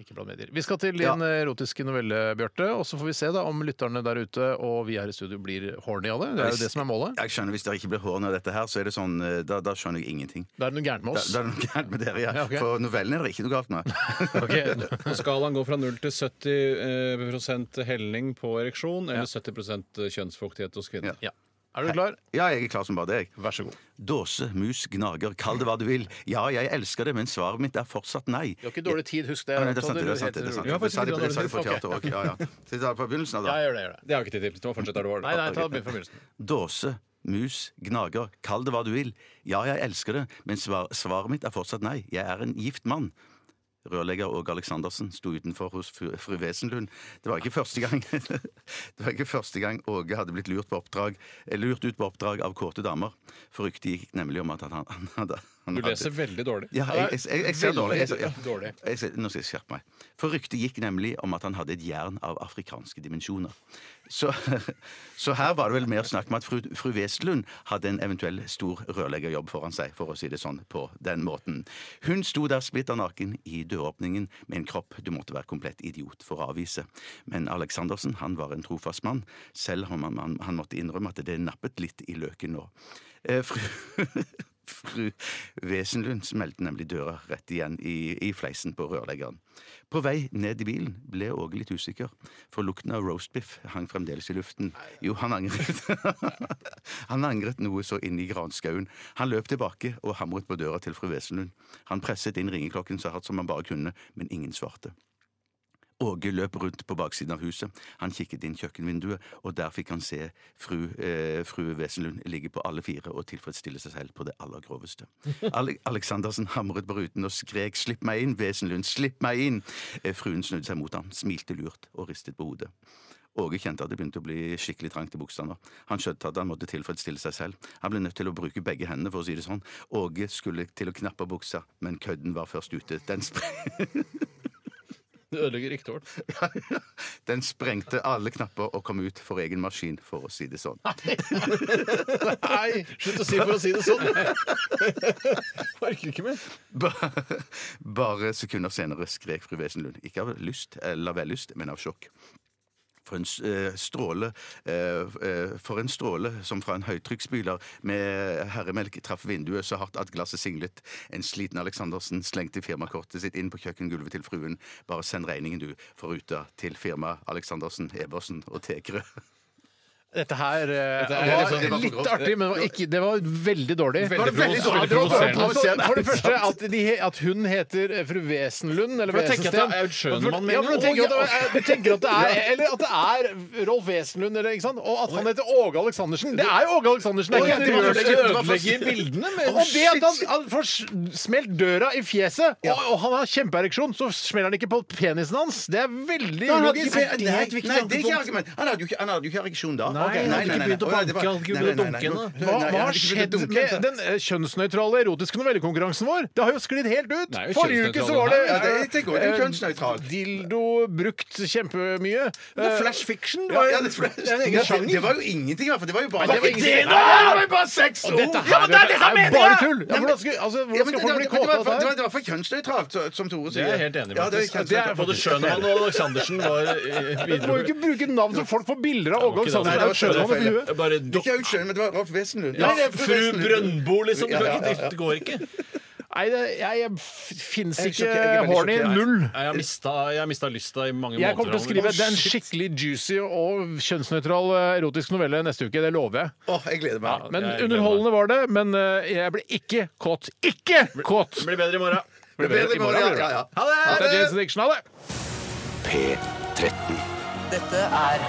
E: Ikke bland medier. Vi skal til
F: Ja.
E: din eh, erotiske novelle, Bjarte, og så får vi se da om lytterne der ute og vi her i studio blir horny av det. Det er jo det som er målet.
F: Jeg skjønner, Hvis dere ikke blir hårene av dette her, så er det sånn, eh, da, da skjønner jeg ingenting.
E: Da er det noe gærent med
F: Da,
E: oss.
F: da er det noe gærent med dere, ja.
E: Ja, ok.
F: For novellen er det ikke noe galt med.
E: Ok.
J: Og skalaen går fra 0 til 70 eh, helning på ereksjon, eller 70 kjønnsfuktighet hos kvinner.
E: Ja. Er du klar?
F: Ja, jeg er klar som bare det. jeg.
E: Vær så god.
F: Dåse, mus, gnager, kall det hva du vil. Ja, jeg elsker det, men svaret mitt er fortsatt nei.
E: Du har ikke dårlig tid, husk det.
F: Ja, nei, det er
E: Anton.
F: sant, det
E: Du
F: er sant. Det
E: helt
F: er sant.
E: rolig.
J: Ja,
F: Det sa de på-
J: faktisk
F: det sa de på
J: ikke
F: teater også. Ja, ja. Så vi tar det på begynnelsen av,
E: Ja,
F: da.
E: gjør det. gjør det.
J: Det har jeg ikke tid til. Du må fortsette der du var.
E: Nei, nei, ta det begynn fra begynnelsen.
F: Dåse, mus, gnager, kall det hva du vil. Ja, jeg elsker det, men svar, svaret mitt er fortsatt nei. Jeg er en gift mann. Rørlegger Åge Aleksandersen sto utenfor hos fru fru Wesenlund. Det var ikke første gang Det var ikke første gang Åge hadde blitt lurt, på oppdrag, eh, lurt ut på oppdrag av kåte damer. For ryktet gikk nemlig om at han, han hadde han
J: Du
F: hadde-
J: leser veldig dårlig.
F: ja, jeg, jeg, jeg, jeg ser dårlig. Jeg, ser- ja.
J: Dårlig.
F: Jeg ser, nå skal jeg skjerpe meg. For ryktet gikk nemlig om at han hadde et jern av afrikanske dimensjoner. Så, så her var det vel mer snakk om at fru, fru Westlund hadde en eventuell stor rørleggerjobb foran seg, for å si det sånn på den måten. Hun sto der splitter naken i døråpningen med en kropp du måtte være komplett idiot for å avvise. Men Aleksandersen han var en trofast mann, selv om han, han, han måtte innrømme at det nappet litt i løken nå. Eh, fru... Fru Wesenlund smelte nemlig døra rett igjen i, i fleisen på rørleggeren. På vei ned i bilen ble Åge litt usikker, for lukten av roastbiff hang fremdeles i luften. Jo, han angret. han angret noe så inn i granskauen. Han løp tilbake og hamret på døra til fru Wesenlund. Han presset inn ringeklokken så hardt som han bare kunne, men ingen svarte. Åge løp rundt på baksiden av huset. Han kikket inn kjøkkenvinduet, og der fikk han se fru, eh, fru Wesenlund ligge på alle fire og tilfredsstille seg selv på det aller groveste. Ale Aleksandersen hamret på ruten og skrek 'Slipp meg inn, Wesenlund! Slipp meg inn!' Eh, fruen snudde seg mot ham, smilte lurt og ristet på hodet. Åge kjente at det begynte å bli skikkelig trangt i buksa nå. Han skjønte at han måtte tilfredsstille seg selv. Han ble nødt til å bruke begge hendene, for å si det sånn. Åge skulle til å knappe buksa, men kødden var først ute. Den spre
J: Du ødelegger riktig ord.
F: Den sprengte alle knapper og kom ut for egen maskin, for å si det sånn.
J: Nei! Slutt å si for å si det sånn! Orker ikke mer.
F: Ba- Bare sekunder senere skrek fru Wesenlund, ikke av lyst eller vellyst, men av sjokk. For en s- eh, stråle eh, f- eh, For en stråle som fra en høytrykksspyler med herremelk traff vinduet så hardt at glasset singlet. En sliten Aleksandersen slengte firmakortet sitt inn på kjøkkengulvet til fruen. Bare send regningen, du, for ruta til firma Aleksandersen, Ebersen og Tekerø.
E: Dette her eh,
J: Dette
E: var
J: er- det var for
E: litt
J: grovt.
E: artig, men det var, ikke, det var veldig dårlig.
J: Veldig Var det veldig
E: Ja,
J: provoserende. dårlig?
E: det var bare
J: Provoserende.
E: provoserende. For det første at, de, he- at hun heter eh, fru Wesenlund, eller
J: For da tenker jeg at
E: Wesensten.
J: det er en skjønnemann med
E: Ja,
J: en-
E: men du tenker at det er- du tenker at det er Eller at det er Rolf Wesenlund, eller ikke sant? Og at han heter Åge Aleksandersen. Det er jo Åge Aleksandersen! Det
F: Å,
E: er
F: ja,
E: ikke
F: det var
E: det
F: det.
E: ødelegger bildene. men- Og det at han, han får s- smelt døra i fjeset, og, og han har kjempeereksjon, så smeller han ikke på penisen hans. Det er veldig logisk.
F: Nei, det er ikke argument. Han hadde jo ikke, han hadde jo ikke ereksjon da. Ok,
J: Nei, han hadde ikke begynt å
F: Å, nei, det var-
J: banke, han hadde ikke
F: nei,
J: begynt å
F: nei, nei, nei.
J: dunke henne.
E: Hva,
F: Nei, nei, han
E: hva
F: hadde
E: har
F: ikke
E: skjedd
F: begynt å dunke
E: med
F: henne.
E: den eh, kjønnsnøytrale erotiske novellekonkurransen vår? Det har jo sklidd helt ut!
J: Nei, jo,
E: Forrige uke så var det,
J: kjønnsnøytral.
F: Ja, det- jeg tenker også det er
E: eh,
F: kjønnsnøytral.
E: Dildo brukt kjempemye.
F: er
E: Eh,
F: flash
E: fiction
F: Ja, ja, det, det,
E: en egen
F: det,
E: sjanger.
F: det var jo ingenting, i hvert fall. Det var jo bare
E: Nei, det var
F: var
E: ingenting.
F: Nei, det var jo bare sex!
E: Og dette
F: ord.
E: her
F: men det er det som
E: er
F: mener
E: bare
F: jeg!
E: tull! Ja,
F: Nei, men-
E: hvordan skal, altså,
F: Ja,
E: hvordan skal
F: men det-
E: folk bli
F: det- det
E: kåte
F: var-
E: av det
F: Det var-
E: her?
F: det var for kjønnsnøytralt, så- som Tore sier.
J: Det er jeg helt enig med.
F: Ja, det er
J: faktisk. Det
F: kjønnsnøytralt.
J: er Både Schønemann og Aleksandersen var
E: Du må jo
J: eh, bidro
E: ikke bruke navn som folk får bilder av Åge
J: Nei,
E: Aleksandersen.
F: det var
E: Skjønner han det
F: feil.
E: i huet?
J: Bare dok-
F: Ikke Audskjøn, men det var Rolf Wesenlund.
J: ja,
F: Nei, det er
J: Fru Brøndbo, liksom.
F: Ja, ja, ja, ja.
J: Det går ikke.
E: Nei, det, jeg, jeg fins
F: Jeg er
E: ikke
F: sjokkert, jeg er veldig
E: horny.
F: sjokkert.
E: Null.
J: Nei, Jeg har mista, jeg har mista lysta i mange
E: Jeg kommer
J: måneder.
E: til å skrive en skikkelig juicy og kjønnsnøytral eh, erotisk novelle neste uke. Det lover jeg.
F: Åh, jeg gleder meg.
E: Men
J: Jeg gleder
E: underholdende var det, men eh, jeg ble ikke kåt. Ikke kåt!
J: Blir bedre i morgen.
F: Det blir bedre i morgen, ja, ja, ja.
J: Ha det!
E: Dette er Jason Dixon, ha det!
B: P13.
C: Dette er